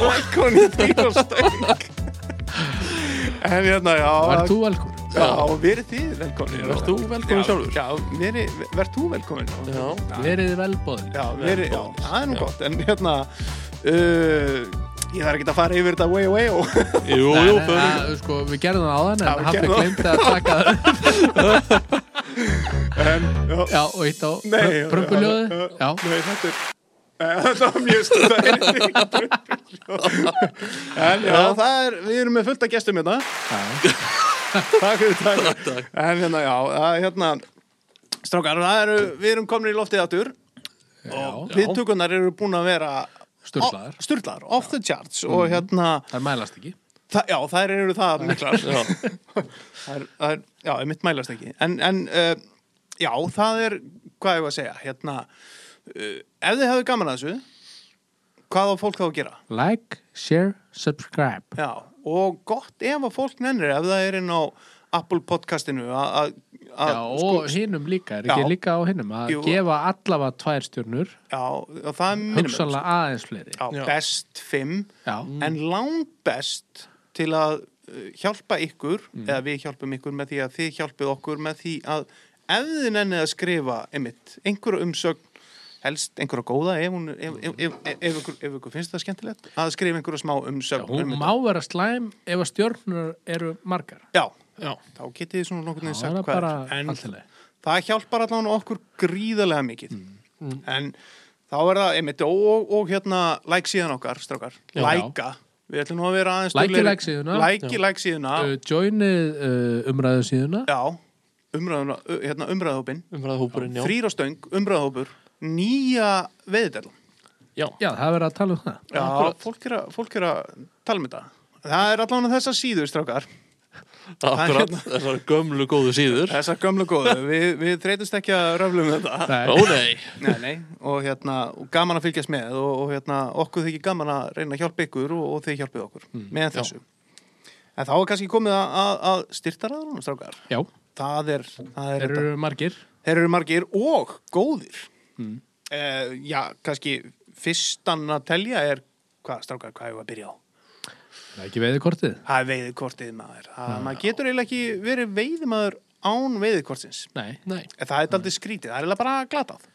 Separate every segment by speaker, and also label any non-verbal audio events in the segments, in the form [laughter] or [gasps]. Speaker 1: í dýrastöng En hérna, já
Speaker 2: Var þú velkomin?
Speaker 1: Já, verið þið velkomin
Speaker 3: Vert þú velkomin sjálfur?
Speaker 1: Já, verið, verð þú velkomin
Speaker 3: Já.
Speaker 2: Verið þið velbóðin?
Speaker 1: Já, verið, já,
Speaker 3: Velkomin.
Speaker 1: það er nú
Speaker 3: Já.
Speaker 1: gott En hérna, uh, ég þarf ekki að fara yfir þetta way [laughs] away og
Speaker 3: Jú,
Speaker 2: Nei,
Speaker 3: jú,
Speaker 2: nei,
Speaker 3: förum
Speaker 2: að, sko, við gerðum það áðan
Speaker 1: Já,
Speaker 2: en
Speaker 1: við
Speaker 2: hafði
Speaker 1: gerðum
Speaker 2: glemt að taka það upp.
Speaker 1: en, já,
Speaker 2: Já, og hitt á
Speaker 1: nei, já, já,
Speaker 2: prömpuljóðu Já,
Speaker 1: Nei, þetta er Nei, Þetta var mjög stund að En já, það er, við erum með fullt af gestum hérna
Speaker 2: já,
Speaker 1: Takk fyrir takk. En hérna, já, það er hérna Strákar, það eru, við erum komin í loftið aftur og
Speaker 2: já
Speaker 1: viðtökunar eru búin að vera
Speaker 2: Sturlaðar.
Speaker 1: Ó, Sturlaðar, off the charts og hérna,
Speaker 2: Það mælast ekki
Speaker 1: það, já, þær eru það miklar
Speaker 3: Já.
Speaker 1: það er, það er, já, mitt mælast ekki en, en uh, já, það er hvað ég var að segja, hérna uh, ef þið hefðu gaman að þessu hvað á fólk þá að gera?
Speaker 2: Like, share, subscribe
Speaker 1: Já, og gott ef að fólk nennir ef það er inn á Apple podcastinu að að- sko,
Speaker 2: Já, og hinnum líka, er
Speaker 1: Já.
Speaker 2: ekki líka á hinnum að
Speaker 1: Jú.
Speaker 2: gefa allavega tvær stjörnur
Speaker 1: já, og það er minimum
Speaker 2: hugsanlega aðeins fleiri
Speaker 1: já,
Speaker 3: Já.
Speaker 1: best 5
Speaker 2: Já, Mm.
Speaker 1: en langt best til að uh, hjálpa ykkur
Speaker 2: Mm.
Speaker 1: eða við hjálpum ykkur með því að þið hjálpið okkur með því að ef þið nennið að skrifa einmitt, einhverja umsögn helst einhverja góða ef, hún, ef, ef, ef, ef, ef, ykkur, ef ykkur finnst það skemmtilegt að skrifa einhverja smá
Speaker 2: Já,
Speaker 1: umsögn
Speaker 2: hún
Speaker 1: um
Speaker 2: má
Speaker 1: þetta.
Speaker 2: vera slæm ef að stjörnur eru margar
Speaker 1: já,
Speaker 3: Já,
Speaker 1: þá getið þið svona nokkur
Speaker 2: Já,
Speaker 1: neins
Speaker 2: það
Speaker 1: sagt
Speaker 2: er
Speaker 1: hvað
Speaker 2: bara
Speaker 1: er en
Speaker 2: alltilega
Speaker 1: það hjálpar allan okkur gríðarlega mikið
Speaker 2: Mm.
Speaker 1: en þá er það einmitt og, og, og hérna like síðan okkar, strákar,
Speaker 2: Já.
Speaker 1: læka við ætlum nú að vera aðeins
Speaker 2: Likeið
Speaker 1: duglegri.
Speaker 2: like síðuna.
Speaker 1: Likeið like síðuna.
Speaker 2: uh, Joinið uh, umræðu síðuna
Speaker 1: Já, umræðuna, hérna, umræðahópin
Speaker 3: umræða hópurinn, já.
Speaker 1: Þrýr og stöng, umræðahópur Nýja veiðdæl
Speaker 3: Já,
Speaker 2: Já, það er verið að tala um það
Speaker 1: Já,
Speaker 3: Akkúrat.
Speaker 1: fólk er, að, fólk er að tala um þetta Það er allan þessar síður, strákar
Speaker 3: akkurat,
Speaker 1: hérna-
Speaker 3: þessar gömlu góðu síður.
Speaker 1: Þessar gömlu góðu, við, við þreytumst ekki að röflum þetta
Speaker 2: Nei,
Speaker 3: Ó nei,
Speaker 1: Nei, nei, og hérna, og gaman að fylgjast með og, og hérna, okkur þykir gaman að reyna að hjálpa ykkur og, og þið hjálpið okkur
Speaker 2: Mm,
Speaker 1: meðan þessu En þá er kannski komið að, að, að styrta ræðanum, strákar
Speaker 2: já,
Speaker 1: Það er, það er
Speaker 2: þeir
Speaker 1: þetta.
Speaker 2: eru margir
Speaker 1: Þeir eru margir og góðir.
Speaker 2: Mm.
Speaker 1: Eh, já, kannski fyrstan að telja er, hvað, strákar, hvað hefur að byrja á?
Speaker 2: Það er ekki veiði kortið
Speaker 1: Það er veiðkortið maður.
Speaker 2: Ah.
Speaker 1: Það, maður getur eiginlega ekki verið veiðmaður án veiðkortsins.
Speaker 2: Nei,
Speaker 3: nei.
Speaker 1: Eh, Það er daldið skrítið, það er eiginlega bara glatað.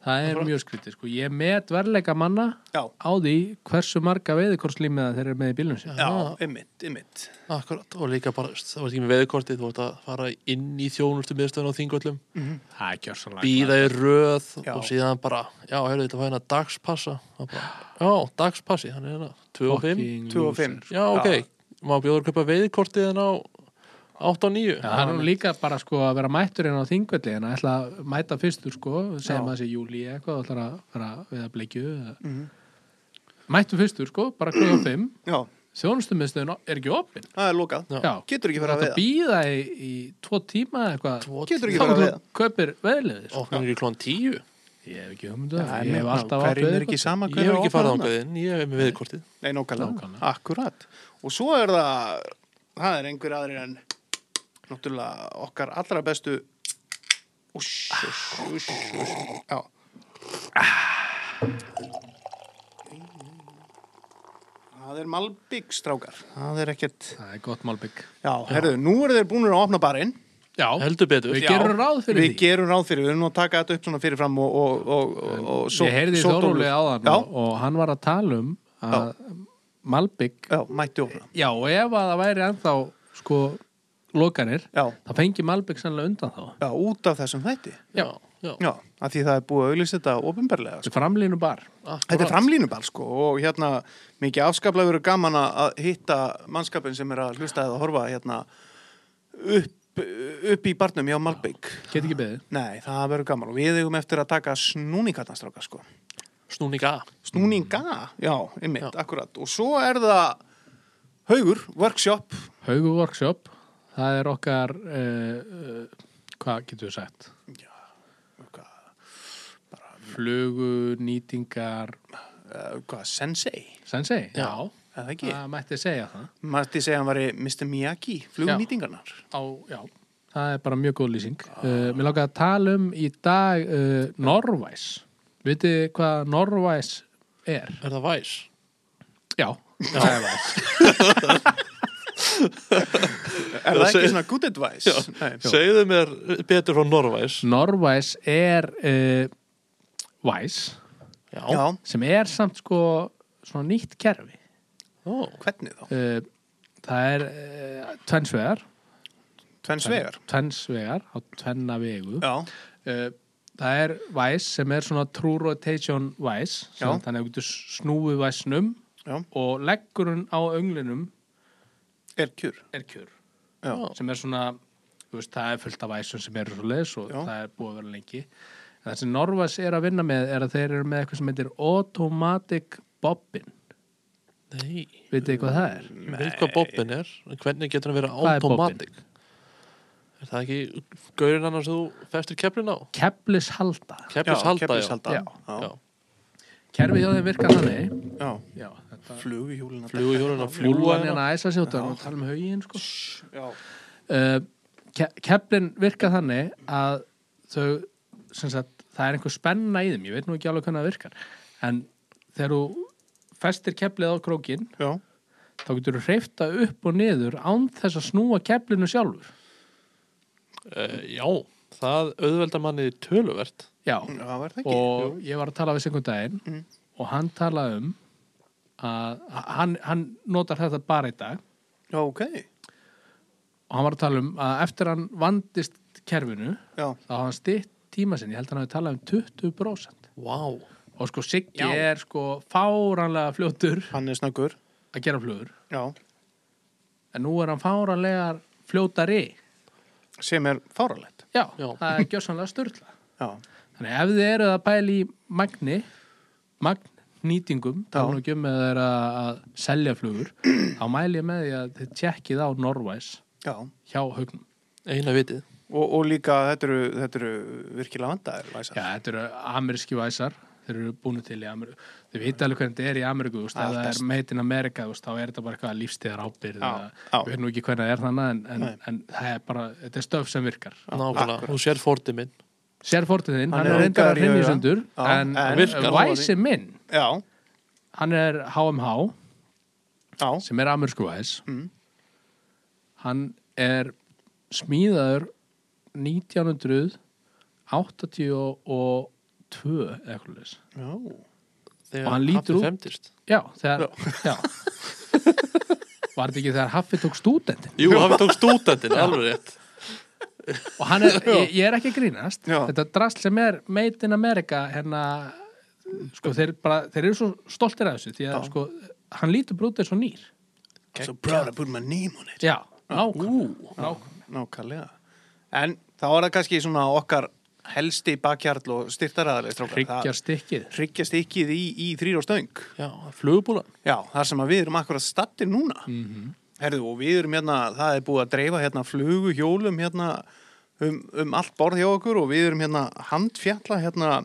Speaker 2: það er mjög skrítið sko. Ég met verleika manna
Speaker 1: Já,
Speaker 2: á því hversu marga veiðikorslímiða þeir eru með í bílunum sér
Speaker 1: já,
Speaker 3: Ah.
Speaker 1: ymmit, ymmit.
Speaker 3: Akkurat, og líka bara, veist, það var ekki með veðkortið, þú vart að fara inn í þjónustu miðstöðun á þingvöllum,
Speaker 2: Það er kjörsanlega
Speaker 3: býða í röð
Speaker 1: Já.
Speaker 3: og síðan bara, já, heyrðu, þetta var hérna dagspassa. Það Bara, já, dagspassi, hann er hérna 2 og 5.
Speaker 1: 2 og 5.
Speaker 3: Já, ok, má bjóður kaupa veðkortið en á 8 og 9.
Speaker 2: Já, það er nú líka bara sko að vera mættur inn á þingvelli en að ætla að mæta fyrstur sko
Speaker 1: Já.
Speaker 2: segjum að þessi júli eitthvað og ætlar að vera við að bleikju mm
Speaker 1: Mhm.
Speaker 2: Mættu fyrstur sko, bara klukka fimm
Speaker 1: Já,
Speaker 2: þjónustumiðstöðin er ekki opinn
Speaker 1: það er lokað.
Speaker 3: Já.
Speaker 2: Já,
Speaker 1: Getur ekki
Speaker 2: þú
Speaker 1: farið að
Speaker 2: þarft
Speaker 1: veiða.
Speaker 2: býða í, í tvo tíma eða eitthvað
Speaker 1: Getur ekki
Speaker 2: Þá
Speaker 1: farið að
Speaker 2: þú
Speaker 1: veiða.
Speaker 2: kaupir veðliðir sko.
Speaker 3: Opnar ekki klón 10.
Speaker 2: Ég hef ekki hugmyndu það,
Speaker 1: Nei,
Speaker 2: ég hef alltaf átt
Speaker 1: hverjum er ekki
Speaker 2: veiðikortið.
Speaker 1: sama
Speaker 3: Ég
Speaker 1: hver
Speaker 3: hef
Speaker 1: á
Speaker 3: ekki
Speaker 1: að fara
Speaker 3: farið
Speaker 1: þarna?
Speaker 3: ángað inn, ég hef með veðkortið.
Speaker 1: Nei, nákvæmlega,
Speaker 2: Nákvæmlega.
Speaker 1: akkurat Og svo er það, það er einhver aðrir en náttúrulega okkar allra bestu Úss, úss, úss, úss Já Það er Malbygg strákar Það er ekkert
Speaker 2: Það er gott málbygg
Speaker 1: Já, herðu, nú eru þeir búinir að opna barinn
Speaker 2: Já,
Speaker 3: Heldur betur.
Speaker 2: við
Speaker 1: Já.
Speaker 2: gerum ráð fyrir
Speaker 1: Við
Speaker 2: því
Speaker 1: gerum ráð fyrir, við erum nú að taka þetta upp svona fyrirfram og, og, og, og, og
Speaker 2: Ég heyrði Þórólfi áðan
Speaker 1: Já,
Speaker 2: og, og hann var að tala um að Malbygg
Speaker 1: já, mætti opna
Speaker 2: Já, og ef að það væri ennþá sko lokanir
Speaker 1: Já,
Speaker 2: þá fengi Malbygg sannlega undan þá
Speaker 1: já, út af þessum þætti
Speaker 3: Já, já.
Speaker 1: Já, af því það er búið að auðlýsa þetta ofinberlega. Sko.
Speaker 2: Þetta er framlínu bar
Speaker 1: Þetta er
Speaker 3: Akkurat.
Speaker 1: framlínuball sko og hérna mikið afskaplega verið gaman að- að hitta mannskapin sem er að hlusta eða horfa hérna upp, upp í barnum hjá Malbygg.
Speaker 2: Get ekki beðið
Speaker 1: Nei, það verður gaman og við eigum eftir að taka snúningatnastráka sko.
Speaker 3: Snúninga.
Speaker 1: Snúninga, já, einmitt, akkurat. Og svo er það haugur, workshop,
Speaker 2: Haugu Workshop Það er okkar uh, uh, Hvað getur við sagt?
Speaker 1: hvað,
Speaker 2: Flugunýtingar
Speaker 1: uh, hvað sensei,
Speaker 2: Sensei?
Speaker 3: Já.
Speaker 1: eða ekki?
Speaker 2: Það mætti segja það
Speaker 1: Mætti segja að hann væri Mr. Miyagi, flugunýtingarnar.
Speaker 2: á, Já Það er bara mjög góð lýsing uh, Mér lókaði að tala um í dag uh, Norvæs Vitið þið hvað Norvæs er?
Speaker 3: Er það væs?
Speaker 2: Já, já,
Speaker 1: Er það ekki
Speaker 3: seg-
Speaker 1: svona good advice? Nei.
Speaker 3: Segðu mér betur frá Norvæs
Speaker 2: Norvæs er uh, Væs
Speaker 3: Já,
Speaker 1: Já,
Speaker 2: sem er samt sko svona nýtt kerfi
Speaker 3: Ó,
Speaker 1: hvernig þá?
Speaker 2: uh, það er uh, tvennsvegar
Speaker 1: Tvenn svegar?
Speaker 2: tvennsvegar á tvenna vegu
Speaker 1: Já,
Speaker 2: uh, það er Væs sem er svona true rotation Væs sem
Speaker 1: Já.
Speaker 2: þannig að þú getur snúið Væsnum
Speaker 1: já,
Speaker 2: og leggur hún á önglinum
Speaker 1: er kjur
Speaker 2: er kjör
Speaker 1: Já,
Speaker 3: Já.
Speaker 2: sem er svona, þú veist, það er fullt af væsum sem eru svo leis og
Speaker 1: Já.
Speaker 2: það er búið að vera lengi. En það sem Norvas er að vinna með er að þeir eru með eitthvað sem heitir Automatic Bobbin.
Speaker 3: nei
Speaker 2: Vitið þið hvað það er?
Speaker 3: Ég veit hvað bobbin er, en hvernig getur hann verið
Speaker 2: Hvað er bobbin?
Speaker 3: automatic? Er, það ekki gaurinn annars sem þú festir keflin á?
Speaker 2: Keplis halda.
Speaker 3: Keflis halda,
Speaker 1: keflishalda.
Speaker 2: Já.
Speaker 1: já,
Speaker 3: já.
Speaker 2: Kerfi hjá þeim virkar þannig.
Speaker 1: já.
Speaker 2: Já, þetta
Speaker 1: Flug í hjúlina
Speaker 3: Flugu hjólun að fljúa
Speaker 2: fljúan
Speaker 3: hérna
Speaker 2: hérna æsa sjóttan og tala um haugin, sko.
Speaker 1: Já,
Speaker 2: Uh, ke Keplin virkar þannig að þau, sem sagt, það er einhver spenna í þeim. Ég veit nú ekki alveg hvernig það virkar. En þegar þú festir keplið á krókinn
Speaker 1: já,
Speaker 2: þá getur þú hreyfta upp og niður án þess að snúa keflinu sjálfur
Speaker 3: Eh, Já, það auðveldar manni töluvert
Speaker 2: já,
Speaker 1: það var það ekki
Speaker 2: og ég var að tala við sekund daginn
Speaker 1: Mm.
Speaker 2: og hann talaði um að hann, hann notar þetta bara í dag
Speaker 1: Já, ok,
Speaker 2: og hann var að tala um að eftir hann vandist kerfinu
Speaker 1: já,
Speaker 2: þá hafði hann stytt tíma sinni, ég held að hann hafi talað um 20%
Speaker 3: Vá,
Speaker 2: og sko Siggi
Speaker 3: Já.
Speaker 2: er sko fáranlega fljótur
Speaker 1: hann er snöggur
Speaker 2: að gera flugur
Speaker 1: Já,
Speaker 2: en nú er hann fáranlega fljótari
Speaker 1: sem er fáralegt
Speaker 2: já,
Speaker 3: Já.
Speaker 2: það er gjössanlega styrla
Speaker 1: Já,
Speaker 2: Þannig ef þið eruð að pæla í magni, magnýtingum,
Speaker 1: Já.
Speaker 2: tala nú ekki um eða er að, að selja flugur, þá mæli ég með því að þið tjekkið á Norvæs
Speaker 1: já
Speaker 2: hjá haugnum.
Speaker 3: eina vitið
Speaker 1: Og, og líka þetta eru, þetta eru virkilega vandaðir,
Speaker 2: Já,
Speaker 1: læsa
Speaker 2: þetta eru ameríski væsar, þeir eru búinu til í Ameríku. Þið vita alveg hvernig þetta er í Ameríku, þú veist, ef
Speaker 1: Allt
Speaker 2: það er
Speaker 1: best.
Speaker 2: made in America, þú veist, þá er þetta bara eitthvað lífstíðar ábyrð.
Speaker 1: Já,
Speaker 2: eða-
Speaker 1: já.
Speaker 2: Við veitum nú ekki hvernig það er þannig, en, en,
Speaker 1: Nei.
Speaker 2: en það er bara, þetta er stöf sem virkar.
Speaker 3: Nákvæmlega, þú sér fórtið minn
Speaker 2: Sér fórtið þinn,
Speaker 1: Hann
Speaker 2: hann
Speaker 1: er
Speaker 2: er reyndar
Speaker 1: ungar
Speaker 2: að
Speaker 1: í
Speaker 2: hrinja
Speaker 1: auga.
Speaker 2: sundur,
Speaker 1: Já,
Speaker 2: en,
Speaker 1: en
Speaker 2: en
Speaker 1: virkar.
Speaker 2: væsi minn,
Speaker 1: Já,
Speaker 2: hann er HMH,
Speaker 1: já,
Speaker 2: sem er amersku væs
Speaker 1: Mm.
Speaker 2: hann er smíðaður 1982 eða eitthvað leis
Speaker 1: já
Speaker 2: Og
Speaker 3: Þegar
Speaker 2: hann lítur út.
Speaker 3: femtist
Speaker 2: já, þegar já. [laughs] var þetta ekki þegar Haffi tók stúdentin
Speaker 3: Jú, hann tók [laughs] stúdendin, alveg rétt
Speaker 2: og hann er, ég, ég er ekki að grínast
Speaker 1: Já.
Speaker 2: þetta drasl sem er Made in America hérna, sko þeir, bara, þeir eru svo stoltir af þessu því að sko, hann lítur brútið svo nýr
Speaker 1: I'm so proud I put my name on it
Speaker 2: já, nákvæmlega nákvæmlega.
Speaker 1: Nákvæmlega En þá er það kannski svona okkar helsti bakhjarl og styrtaræðarlega strókar
Speaker 2: hryggjar stikkið
Speaker 1: Hryggja stikkið í, í þrýr og stöng
Speaker 3: Já, flugubúlan
Speaker 1: Já, þar sem að við erum akkurat stattir núna Herðu, og við erum hérna, það er búið að dreifa hérna flugu hjólum hérna um, um allt borð hjá okkur og við erum hérna handfjalla hérna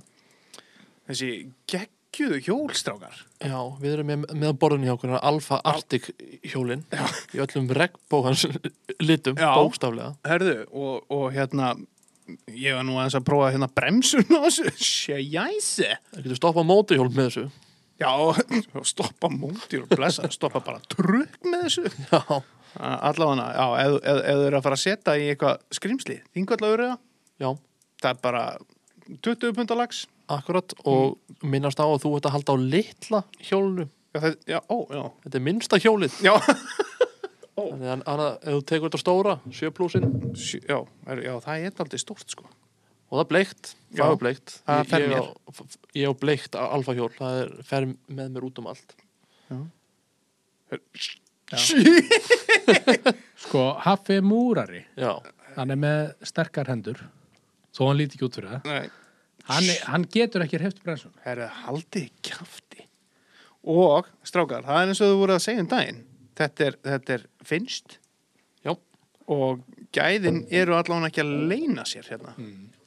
Speaker 1: þessi geggjuðu hjólstrákar
Speaker 3: Já, við erum með, með á borðinu hjá okkur hann er Alfa Arctic hjólin í öllum regnbókans litum,
Speaker 1: Já.
Speaker 3: bókstaflega
Speaker 1: Herðu, og, og hérna ég var nú aðeins að prófa hérna bremsun á þessu, sjæjæsi
Speaker 3: Það getur stoppað mótorhjól með þessu
Speaker 1: Já, og stoppa múndir og blessa, stoppa bara trukk með þessu
Speaker 3: Já,
Speaker 1: Allavega, já, ef, ef, ef þau eru að fara að setja í eitthvað skrimsli, þingvallagur eða
Speaker 3: já,
Speaker 1: það er bara 20 pundalags
Speaker 3: akkurat og minnast á að þú ert að halda á litla hjólinu
Speaker 1: já, það, já, ó, já,
Speaker 3: Þetta er minnsta hjólið
Speaker 1: já,
Speaker 3: Þannig að annað, ef þú tekur þetta stóra, sjö plusin
Speaker 1: Sjö- já, er, já það er aldrei stórt sko
Speaker 3: og það er bleikt,
Speaker 1: Já,
Speaker 3: það er bleikt
Speaker 1: það
Speaker 3: Ég-
Speaker 1: fer
Speaker 3: ég
Speaker 1: mér.
Speaker 3: á- f- Ég á bleikt alfa hjól, það er, fer með mér út um allt
Speaker 1: já.
Speaker 2: Sko, Haffi er múrari
Speaker 3: Já,
Speaker 2: hann er með sterkar hendur þó hann líti ekki út fyrir það
Speaker 1: Nei,
Speaker 2: hann, er- hann getur ekki hreft bremsun
Speaker 1: það er haldið kjafti og strákar, það er eins og þú voru að segja um daginn þetta er, þetta er finnst
Speaker 3: já,
Speaker 1: og gæðin eru allan ekki að leina sér hérna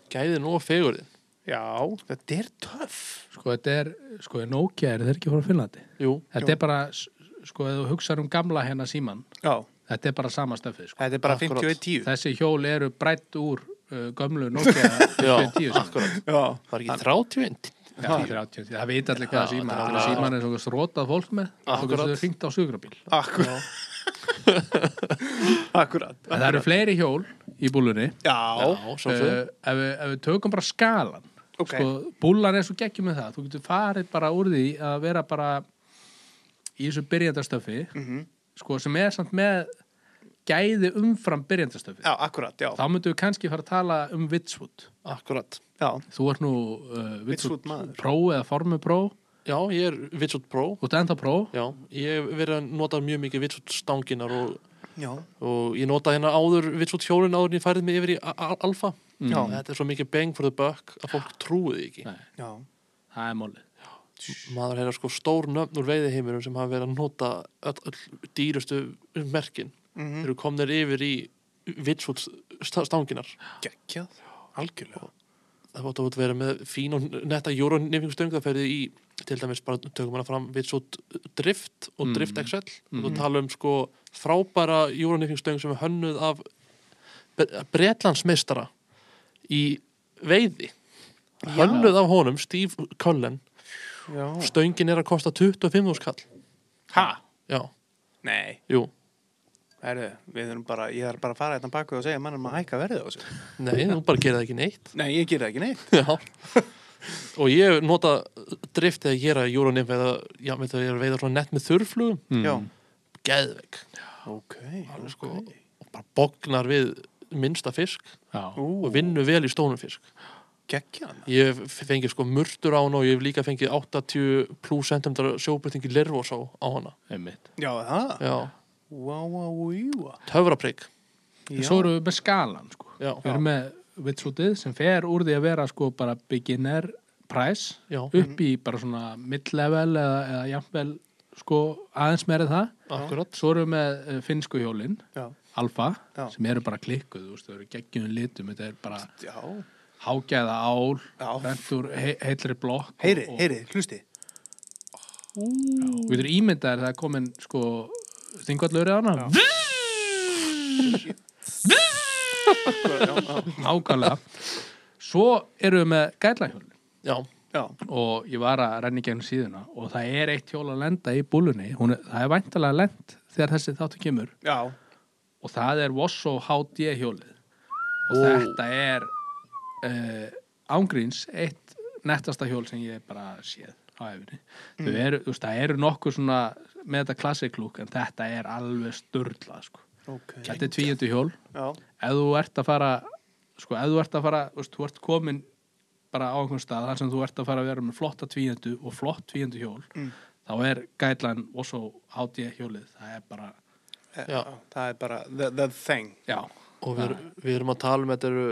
Speaker 3: gæðin og fegurðin
Speaker 1: já, þetta er töff
Speaker 2: sko, þetta er, sko, Nokia er þeir ekki frá Finnlandi
Speaker 3: Jú,
Speaker 2: þetta er bara, s- sko, ef þú hugsar um gamla hérna síman,
Speaker 1: já,
Speaker 2: þetta er bara sama stöfið, sko.
Speaker 1: þetta er bara
Speaker 3: Akkurat.
Speaker 1: 51-10
Speaker 2: þessi hjól eru breytt úr uh, gömlu Nokia
Speaker 3: [laughs]
Speaker 2: 50
Speaker 3: já,
Speaker 2: sko.
Speaker 3: akkurat
Speaker 1: já,
Speaker 3: Var ekki 31?
Speaker 2: Já, þetta er 80. Það veit allir hvað
Speaker 3: Já,
Speaker 2: síma
Speaker 3: þetta er
Speaker 2: er.
Speaker 3: alveg-
Speaker 2: Síman er svona strótað fólk með og
Speaker 3: Akkurat.
Speaker 2: þessu hringt á sögrabíl.
Speaker 1: Akkur, [laughs] akkurat.
Speaker 2: En það eru fleiri hjól í búlunni.
Speaker 1: Já,
Speaker 3: Já,
Speaker 2: Uh, ef,
Speaker 3: sjálfsögðu.
Speaker 2: við, ef við tökum bara skalan
Speaker 1: Ok.
Speaker 2: sko, búlan er svo geggjum með það þú getur farið bara úr því að vera bara í þessu byrjandastöfi
Speaker 3: Mhm.
Speaker 2: sko, sem er samt með gæði umfram byrjandastöfi
Speaker 1: já, akkurat, já.
Speaker 2: þá myndum við kannski fara að tala um Vitswood
Speaker 3: Akkurat.
Speaker 1: Já,
Speaker 2: þú ert nú uh,
Speaker 1: Vitswood
Speaker 2: Vitswood
Speaker 1: maður.
Speaker 2: Pro eða Formu Pro
Speaker 3: Já, ég er Vitsut Pro.
Speaker 2: þú ert ennþá Pro
Speaker 3: Já, ég hef verið að nota mjög mikið Vitsut stanginar og,
Speaker 1: já,
Speaker 3: og ég nota hérna áður Vitsut hjólin áður en ég færið mig yfir í a- a- Alfa.
Speaker 2: Mm.
Speaker 1: Já.
Speaker 3: Þetta er svo mikið bang for the buck að fólk trúið ekki.
Speaker 2: Nei.
Speaker 1: já.
Speaker 2: það er málið
Speaker 3: Maður hefur sko stór nöfn úr veiðiheimurum sem hafa verið að nota öll, öll dýrustu merkin.
Speaker 1: Mm
Speaker 3: Þeir eru komnir yfir í Vitsut stanginar.
Speaker 1: Gekkjað, algjörlega.
Speaker 3: það bótt að vera með fín og netta jórunifingustöng það ferði í, til dæmis bara tökum hana fram við svo drift og
Speaker 2: Mm.
Speaker 3: drift XL og þú
Speaker 2: Mm.
Speaker 3: tala um sko frábæra jórunifingustöng sem er hönnuð af Bre- bretlandsmeistara í veiði hönnuð af honum, Steve Cullen
Speaker 1: Já.
Speaker 3: stöngin er að kosta 25 skall
Speaker 1: Ha?
Speaker 3: já,
Speaker 1: Nei,
Speaker 3: jú,
Speaker 1: herru, við erum bara, ég er bara að fara hérna baku og segja mannum að hækka verðið á þessu.
Speaker 3: nei, þú bara gerir það ekki neitt
Speaker 1: Nei, ég gera ekki neitt.
Speaker 3: já [laughs] og ég nota drift þegar ég er að jórunif eða, já, með þau er að veiða svona nett með þurrflugum
Speaker 1: Já.
Speaker 3: geðveik
Speaker 1: Mm. Ok,
Speaker 3: Alveg
Speaker 1: ok.
Speaker 3: sko, og bara bóknar við minnsta fisk
Speaker 2: Já.
Speaker 1: Ú,
Speaker 3: og vinnu vel í stónum fisk
Speaker 1: geggjað.
Speaker 3: ég hef fengið sko murtur á hana og ég hef líka fengið 80 pluss centimeter sjóbyrtingi lervosá á hana
Speaker 2: einmitt
Speaker 1: Já, það.
Speaker 3: já,
Speaker 1: Vá, vá, vá,
Speaker 3: töfraprygg
Speaker 1: vá.
Speaker 2: En svo erum við með skalan sko.
Speaker 3: já,
Speaker 2: við erum með Vitswoodið sem fer úr því að vera sko bara beginner price
Speaker 3: já,
Speaker 2: upp í bara svona mid-level eða, eða jafnvel sko aðeins meira en það
Speaker 3: akkurat
Speaker 2: svo erum við með eh, finnsku hjólin
Speaker 1: Já,
Speaker 2: alfa,
Speaker 1: Já.
Speaker 2: sem eru bara klikkuð þú veist, þau eru geggjum litum, þetta er bara
Speaker 1: já.
Speaker 2: hágæða ál,
Speaker 1: Já.
Speaker 2: rentur he heillri blokk og-
Speaker 1: Heyri,
Speaker 2: og-
Speaker 1: heyri, hlusti.
Speaker 2: og við erum ímyndaðir það er komin sko þingvallur eða hana nákvæmlega svo erum við með gællahjólin
Speaker 3: já,
Speaker 1: Já,
Speaker 2: og ég var að renni gegn síðuna og það er eitt hjól að lenda í búlunni Hún er, það er væntalega lend þegar þessi þáttu kemur
Speaker 1: já.
Speaker 2: og það er Vosso HD hjólið og
Speaker 3: Ó.
Speaker 2: þetta er uh, ángríns eitt nettasta hjól sem ég bara séð á efinni mm. eru, þú veist, það eru nokkuð svona með þetta classic look en þetta er alveg störla sko.
Speaker 1: Ok.
Speaker 2: þetta er tvíundu hjól
Speaker 1: Já,
Speaker 2: ef þú ert að fara sko, ef þú ert að fara, þú veist, þú ert komin bara á einhvern stað þar sem þú ert að fara að vera með flotta tvíundu og flott tvíundu hjól
Speaker 1: Mm.
Speaker 2: þá er gætlan og svo HD hjólið, það er bara
Speaker 3: já
Speaker 1: það er bara the, the thing.
Speaker 2: já,
Speaker 3: og við, erum- við erum að tala um þetta eru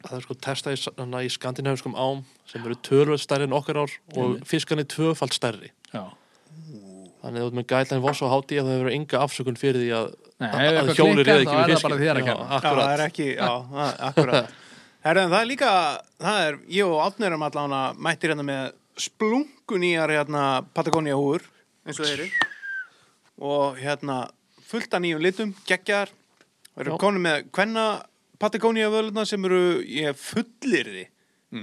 Speaker 3: að það er sko testa í, hana, í skandinaviskum ám sem eru tölvöld stærri en okkar ár og fiskarnir tvöfald stærri
Speaker 2: já
Speaker 3: þannig að þú ert með gætlæn voss og hátíð að það verður enga afsökun fyrir því að
Speaker 2: Nei,
Speaker 3: að-
Speaker 2: ef
Speaker 3: að
Speaker 2: eitthvað
Speaker 3: hjólið
Speaker 2: klikkar,
Speaker 3: réði ekki við
Speaker 2: þá er það
Speaker 3: fiskinn.
Speaker 2: bara þér að
Speaker 3: Já,
Speaker 2: kenna.
Speaker 1: Já, það
Speaker 3: akkurat.
Speaker 1: er ekki, já, það- akkurat. Herra, en það er líka, það er, ég og Átnir erum allan að mættir hérna með splunkunýjar hérna Patagonia húur, eins og þeir eru. Og hérna fullt af nýjum litum, geggjar. Við erum
Speaker 3: Já.
Speaker 1: komin með hvenna Patagonia vöðluna sem eru, ég fullir því,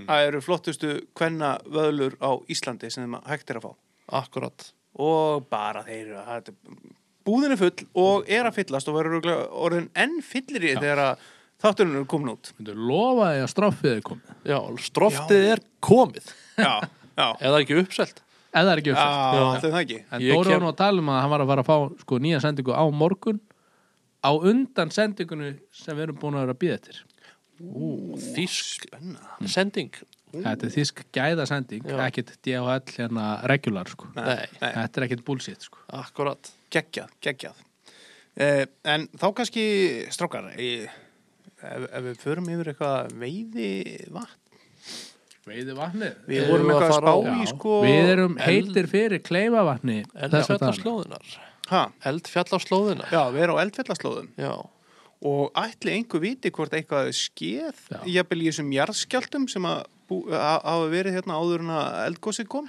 Speaker 1: að eru flottustu hvenna vöðlur á Íslandi sem hægt er að fá.
Speaker 3: Akkurat,
Speaker 1: og bara þeir eru það er- búðin er full og er að fyllast og verður örugglega orðin enn fyllir í þegar að þátturinn eru komin út
Speaker 2: myndu lofa því að straffið er komið
Speaker 3: já, stroftið er komið
Speaker 1: [laughs] já, já, já,
Speaker 3: eða það er ekki uppselt
Speaker 2: eða er ekki uppfætt
Speaker 1: já. það er ekki
Speaker 2: en
Speaker 3: Ég
Speaker 2: Dóri
Speaker 3: kem-
Speaker 2: var nú að tala um að hann var að fara að fá sko, nýja sendingu á morgun á undan sendingunni sem við erum búin að vera að býða eftir
Speaker 3: Þísk sending
Speaker 2: þetta er þísk gæða sending
Speaker 3: Já.
Speaker 2: ekkit DHL hérna regular sko.
Speaker 3: Nei,
Speaker 1: nei.
Speaker 2: þetta er ekkit bullshit sko.
Speaker 3: akkurat
Speaker 1: geggjað, geggjað eh, en þá kannski strákar eh, ef, ef við förum yfir eitthvað veiði vatn
Speaker 2: veiði vatnið
Speaker 1: við
Speaker 3: Erum
Speaker 1: vorum
Speaker 3: við að
Speaker 1: eitthvað
Speaker 3: fara á-
Speaker 1: að spá í sko
Speaker 2: við erum
Speaker 3: eld-
Speaker 2: heitir fyrir kleifavatni
Speaker 3: Eldfjallarslóðunar
Speaker 1: ha,
Speaker 3: Eldfjallarslóðunar
Speaker 1: já, við erum á eldfjallaslóðum
Speaker 3: Já,
Speaker 1: og ætli einhver viti hvort eitthvað er skeð
Speaker 2: Já.
Speaker 1: jafnvel í þessum jarðskjaldum sem að bú- að- hafa verið hérna áður en að eldgósi kom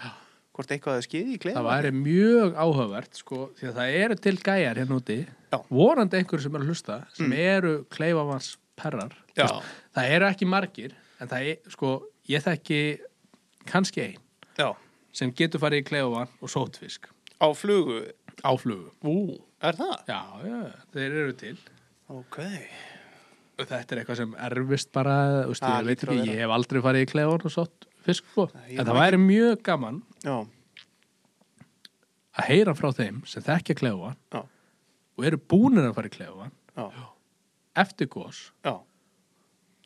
Speaker 1: hvort eitthvað er skeð í
Speaker 2: það
Speaker 1: klefa
Speaker 2: væri mjög áhugavert sko, því að það eru til gæjar hérna úti
Speaker 1: Já. Mm.
Speaker 2: vorandi einhverjum sem er að hlusta sem eru kleifavatnsperrar
Speaker 3: já,
Speaker 2: það eru ekki margir en það er, sko, ég þekki kannski ein,
Speaker 1: Já,
Speaker 2: sem getur farið í klefavann og sótfisk
Speaker 1: á flugu,
Speaker 2: á flugu.
Speaker 3: Ú,
Speaker 1: er það?
Speaker 2: Já, já, þeir eru til.
Speaker 1: Ok.
Speaker 2: Og Þetta er eitthvað sem erfist bara, þú veist,
Speaker 1: Það
Speaker 2: ég veit
Speaker 1: hlýtur að
Speaker 2: ekki,
Speaker 1: vera.
Speaker 2: ég hef aldrei farið í klefavann og sótfisk, sko.
Speaker 1: Nei, ég
Speaker 2: En
Speaker 1: man
Speaker 2: það væri mjög gaman
Speaker 1: Já,
Speaker 2: að heyra frá þeim sem þekkja klefavann
Speaker 1: já,
Speaker 2: og eru búnir að fara í klefavann
Speaker 1: já,
Speaker 2: eftir gos,
Speaker 1: já.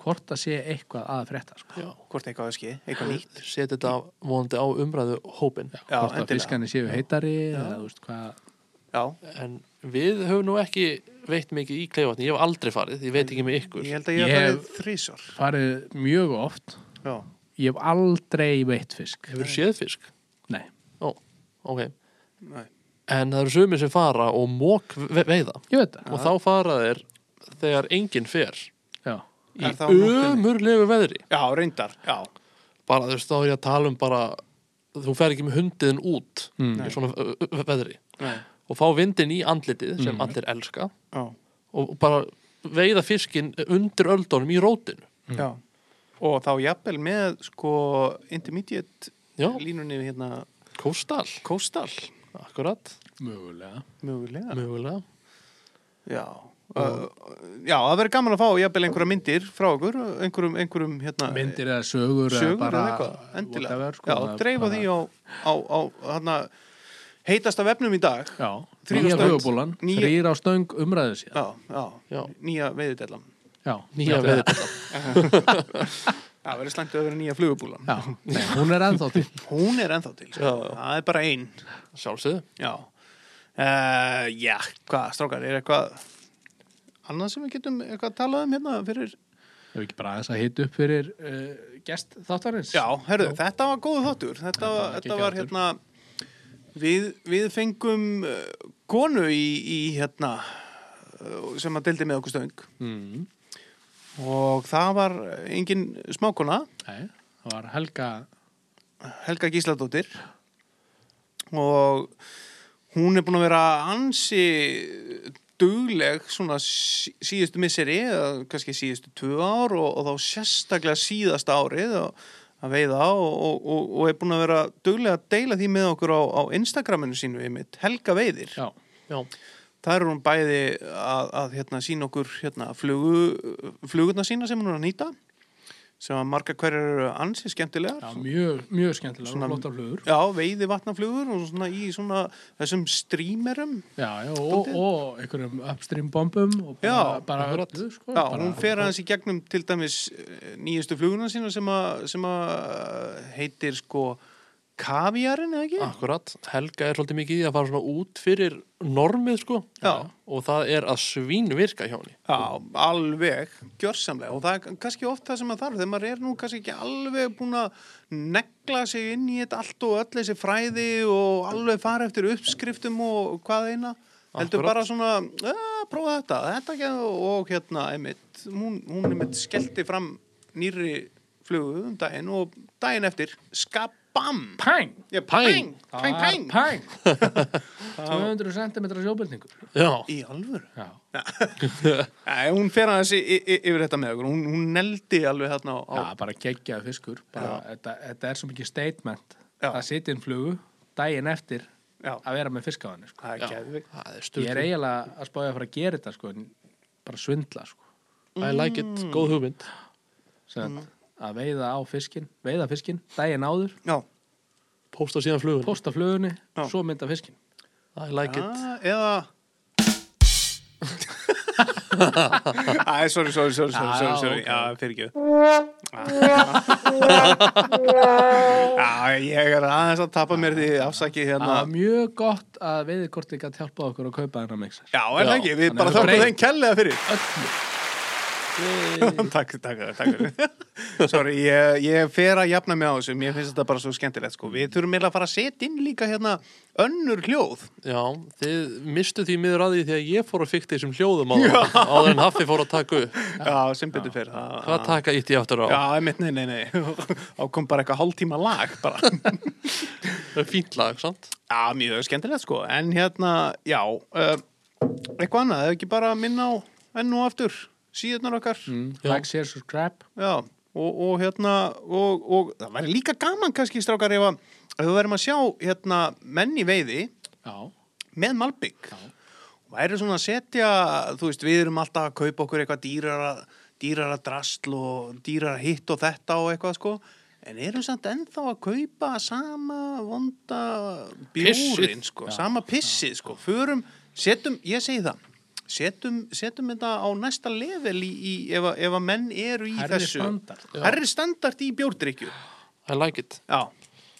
Speaker 2: hvort það sé eitthvað að frétta, sko.
Speaker 3: já.
Speaker 1: Hvort eitthvað er skið, eitthvað nýtt.
Speaker 3: Setja þetta vonandi á umræðu hópin.
Speaker 1: Já,
Speaker 2: hvort að
Speaker 1: endilega.
Speaker 2: fiskarnir séu heitari eða, þú veist, hvað...
Speaker 1: Já,
Speaker 3: En við höfum nú ekki veitt mikið í kleifatni. Ég hef aldrei farið, ég veit ekki með ykkur.
Speaker 1: ég held að ég
Speaker 2: Ég-
Speaker 1: hef farið þrísvar.
Speaker 2: farið mjög oft
Speaker 1: Já,
Speaker 2: ég hef aldrei veitt fisk
Speaker 3: Hefur séð fisk?
Speaker 2: nei,
Speaker 3: Ó, ok.
Speaker 1: nei.
Speaker 3: En það eru sumir sem fara og mók veiða.
Speaker 2: ég veit það
Speaker 3: Og þá fara þeir þegar enginn fer
Speaker 2: já,
Speaker 3: í
Speaker 1: Er það á nóttunni?
Speaker 3: ömurlegu veðri.
Speaker 1: Já, reyndar, já.
Speaker 3: Bara þú veist, þá er ég að tala um bara, þú fer ekki með hundiðin út
Speaker 1: Hmm.
Speaker 2: Mm.
Speaker 3: í svona ö- ö- ö- veðri.
Speaker 1: Nei,
Speaker 3: Og fá vindin í andlitið sem
Speaker 1: Hmm.
Speaker 3: allir elska
Speaker 1: já,
Speaker 3: og bara veiða fiskin undir öldunum í rótinu.
Speaker 1: já. Og þá jafnvel með, sko, intermediate
Speaker 3: Já,
Speaker 1: línunni við hérna
Speaker 3: kóstal,
Speaker 1: Kóstal,
Speaker 3: akkurat,
Speaker 2: mögulega
Speaker 1: mögulega.
Speaker 3: mögulega.
Speaker 1: Já, uh, já það verður gaman að fá jafnvel einhverja myndir frá okkur, einhverjum, einhverjum hérna,
Speaker 2: myndir eða sögur,
Speaker 1: sögur
Speaker 2: eða bara
Speaker 1: eða eitthvað, endilega.
Speaker 2: whatever, sko,
Speaker 1: já, dreifa því á, á, á hana, heitasta vefnum í dag.
Speaker 2: já,
Speaker 1: Þrír á
Speaker 2: nýja
Speaker 1: stöng.
Speaker 2: hugabólan
Speaker 1: Nýja-
Speaker 2: þrýr á stöng umræðu sér
Speaker 1: Já, já,
Speaker 3: Já.
Speaker 1: nýja
Speaker 2: [laughs]
Speaker 1: veiðudellan.
Speaker 2: já,
Speaker 3: Nýja
Speaker 2: já,
Speaker 3: veðri.
Speaker 1: Það verður slæmt að vera nýja flugubúlan.
Speaker 2: já, nei, hún er ennþá til
Speaker 1: Hún er ennþá til, sko.
Speaker 3: Já, já.
Speaker 1: það er bara ein.
Speaker 3: Sjálfsögðu.
Speaker 1: Já, uh, já, hvað, strákar, er eitthvað annað sem við getum eitthvað að tala um hérna fyrir
Speaker 2: hefur ekki bara aðeins að hita upp fyrir uh, gest þáttarins
Speaker 1: Já, herru, þetta var góð þáttur Þetta
Speaker 2: Þetta
Speaker 1: var,
Speaker 2: var
Speaker 1: þetta var
Speaker 2: geggjaður.
Speaker 1: hérna við, við fengum uh, konu í, í hérna uh, sem að deildi með okkur stöng
Speaker 2: mm,
Speaker 1: og það var engin smákona
Speaker 2: nei, það var Helga
Speaker 1: Helga Gísladóttir og hún er búin að vera ansi dugleg svona sí- síðustu misseri eða kannski síðustu tvö ár og, og þá sérstaklega síðasta árið og, að veiða og, og, og, og er búin að vera dugleg að deila því með okkur á, á Instagraminu sínu við mitt Helga Veiðir
Speaker 2: já,
Speaker 3: Já,
Speaker 1: Það er hún bæði að, að hérna, sína okkur hérna, flugu, flugurna sína sem hún er að nýta sem að marga hverjar eru ansi skemmtilegar
Speaker 2: já mjög, mjög skemmtilega
Speaker 1: Svona-
Speaker 2: og flottar flugur
Speaker 1: Já, veiði vatnaflugur og svona í svona þessum streamerum.
Speaker 2: já, já, og,
Speaker 1: Dálítið.
Speaker 2: og einhverjum upstream bombum og bara,
Speaker 1: Já,
Speaker 2: bara
Speaker 3: akkurat.
Speaker 2: öllu, sko,
Speaker 1: Já,
Speaker 2: bara,
Speaker 1: hún fer aðeins í gegnum til dæmis eh, nýjustu fluguna sína sem að sem að heitir sko kaviarinn eða
Speaker 2: Ah,
Speaker 1: ekki?
Speaker 3: akkurat. Helga er svolítið mikið í því að fara svona út fyrir normið, sko.
Speaker 1: Já.
Speaker 3: Og það er að svín virka hjá henni.
Speaker 1: Já, alveg, gjörsamlega og það er kannski oft það sem maður þarf þegar maður er nú kannski ekki alveg búin að negla sig inn í þetta allt og öll þessi fræði og alveg fara eftir uppskriftum og hvað eina heldur
Speaker 3: Akkúrat.
Speaker 1: bara svona, að prófa þetta þetta ekki og hérna einmitt, hún, hún einmitt skellti fram nýri flugu um daginn og daginn eftir, skabam
Speaker 2: Pæng! Ah,
Speaker 1: Ég,
Speaker 3: Pæng.
Speaker 1: pæng, pæng, pæng [laughs]
Speaker 2: Pæng! 200 cm sjóbyrningur.
Speaker 3: Já.
Speaker 1: í alvöru
Speaker 2: Já.
Speaker 1: Nei, hún fer aðeins í- í- í- yfir þetta með okkur, hún, hún neldi alveg þarna á, á
Speaker 2: Já, bara geggjaðu fiskur. Bara, þetta, þetta er svo mikið statement.
Speaker 1: Já.
Speaker 2: Að sitja inn flugu daginn eftir
Speaker 1: Já,
Speaker 2: að vera með fisk á henni. Sko.
Speaker 1: það er geðvikt.
Speaker 3: Það er
Speaker 2: Ég er
Speaker 3: styrktur.
Speaker 2: eiginlega að spája að fara að gera þetta, sko, en bara svindla. Sko.
Speaker 3: I like it. Góð hugmynd.
Speaker 2: Mm.
Speaker 1: Mhm.
Speaker 2: Að veiða á fiskin, veiða fiskin, daginn áður,
Speaker 1: Já,
Speaker 3: Pósta síðan flugun.
Speaker 2: posta flugunni,
Speaker 1: Já.
Speaker 2: svo mynda fiskin.
Speaker 3: I like it.
Speaker 1: Ah, eða... [laughs] Æ, sorry, sorry, sorry, sorry,
Speaker 2: Já,
Speaker 1: sorry, sorry.
Speaker 2: ok.
Speaker 1: Já, fyrir [laughs] ekki. Já, ég er aðeins að tapa mér því afsaki
Speaker 2: Það
Speaker 1: hérna.
Speaker 2: var Ah, mjög gott að veiðikortið gæti hjálpað okkur að kaupa þennan mixer.
Speaker 1: Já, en
Speaker 3: Já,
Speaker 1: ekki, við
Speaker 2: hann
Speaker 1: bara
Speaker 2: hefur
Speaker 1: þökkum
Speaker 2: breytt.
Speaker 1: þeim kellega fyrir.
Speaker 2: Öllu.
Speaker 1: [laughs] takk, takk, takk fyrir. [laughs] Sorry, ég, ég fer að jafna mig á þessu, mér finnst þetta bara svo skemmtilegt, sko. Við þurfum eiginlega að fara að setja inn líka hérna önnur hljóð.
Speaker 3: Já, þið mistu því miður að því því að ég fór að fikta þessum hljóðum á það. Áður en Haffi fór að taka upp.
Speaker 1: Já, sem betur fyrir.
Speaker 3: Hvað taka ítti ég aftur á?
Speaker 1: Já, einmitt, nei, nei, nei. [laughs] Þá kom bara eitthvað hálftíma lag bara.
Speaker 3: Það er fínt lag, sant?
Speaker 1: Já, mjög skemmtilegt sko, en hérna, já, uh, eitthvað
Speaker 2: Mm.
Speaker 1: annað, ef ekki bara minna á enn og aftur, síðunar okkar,
Speaker 2: Like, share, subscribe.
Speaker 1: já, og, og hérna og, og það væri líka gaman kannski strákar ef að ef við verðum að sjá hérna menn í veiði
Speaker 2: Já,
Speaker 1: með Malbygg
Speaker 2: Já.
Speaker 1: og væri svona að setja þú veist við erum alltaf að kaupa okkur eitthvað dýrara dýrara drasl og dýrara hitt og þetta og eitthvað sko en erum samt ennþá að kaupa sama vonda bjórin
Speaker 3: Pissið.
Speaker 1: sko, sama pissið sko förum, setjum, ég segi það setjum, setjum þetta á næsta level í, í ef, að- ef að menn eru í
Speaker 2: Hærri
Speaker 1: þessu
Speaker 2: standard. Já.
Speaker 1: herri standart í bjórdrykju
Speaker 3: I like it
Speaker 1: Já,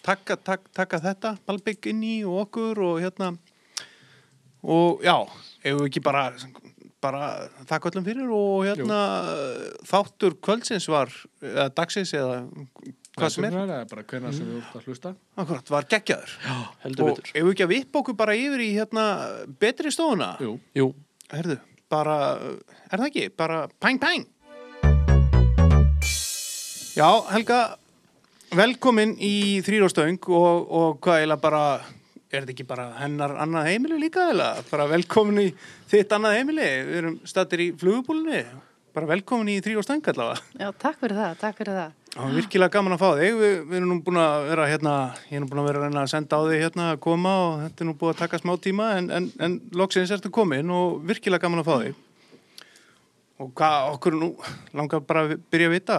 Speaker 1: taka, taka, taka þetta Malbygg inn í og okkur og hérna og já, ef við ekki bara bara þakka öllum fyrir og hérna þáttur kvöldsins var eða dagsins eða hvað sem er,
Speaker 2: Það er bara hvernig sem við út að hlusta
Speaker 1: akkurat, var geggjaður já,
Speaker 3: heldur
Speaker 1: og
Speaker 3: betur.
Speaker 1: ef við ekki að vippa okkur bara yfir í hérna betri stofuna
Speaker 2: Jú,
Speaker 3: Jú,
Speaker 1: herðu, bara, er það ekki bara pæng pæng Já, Helga velkomin í þrýróstöng og, og hvað eiginlega bara er þetta ekki bara hennar annað heimili líka eiginlega, bara velkomin í þitt annað heimili, við erum stattir í flugubúlunni, bara velkomin í þrýróstöng allavega
Speaker 4: Já, takk fyrir það, takk fyrir það.
Speaker 1: Það var virkilega gaman að fá þig, við, við erum nú búin að vera hérna, ég er nú búin að vera að reyna að senda á þig hérna að koma og þetta er nú búin að taka smá tíma en, en, en loksins ertu komin og virkilega gaman að fá þig. Og hvað okkur nú langar bara að byrja að vita,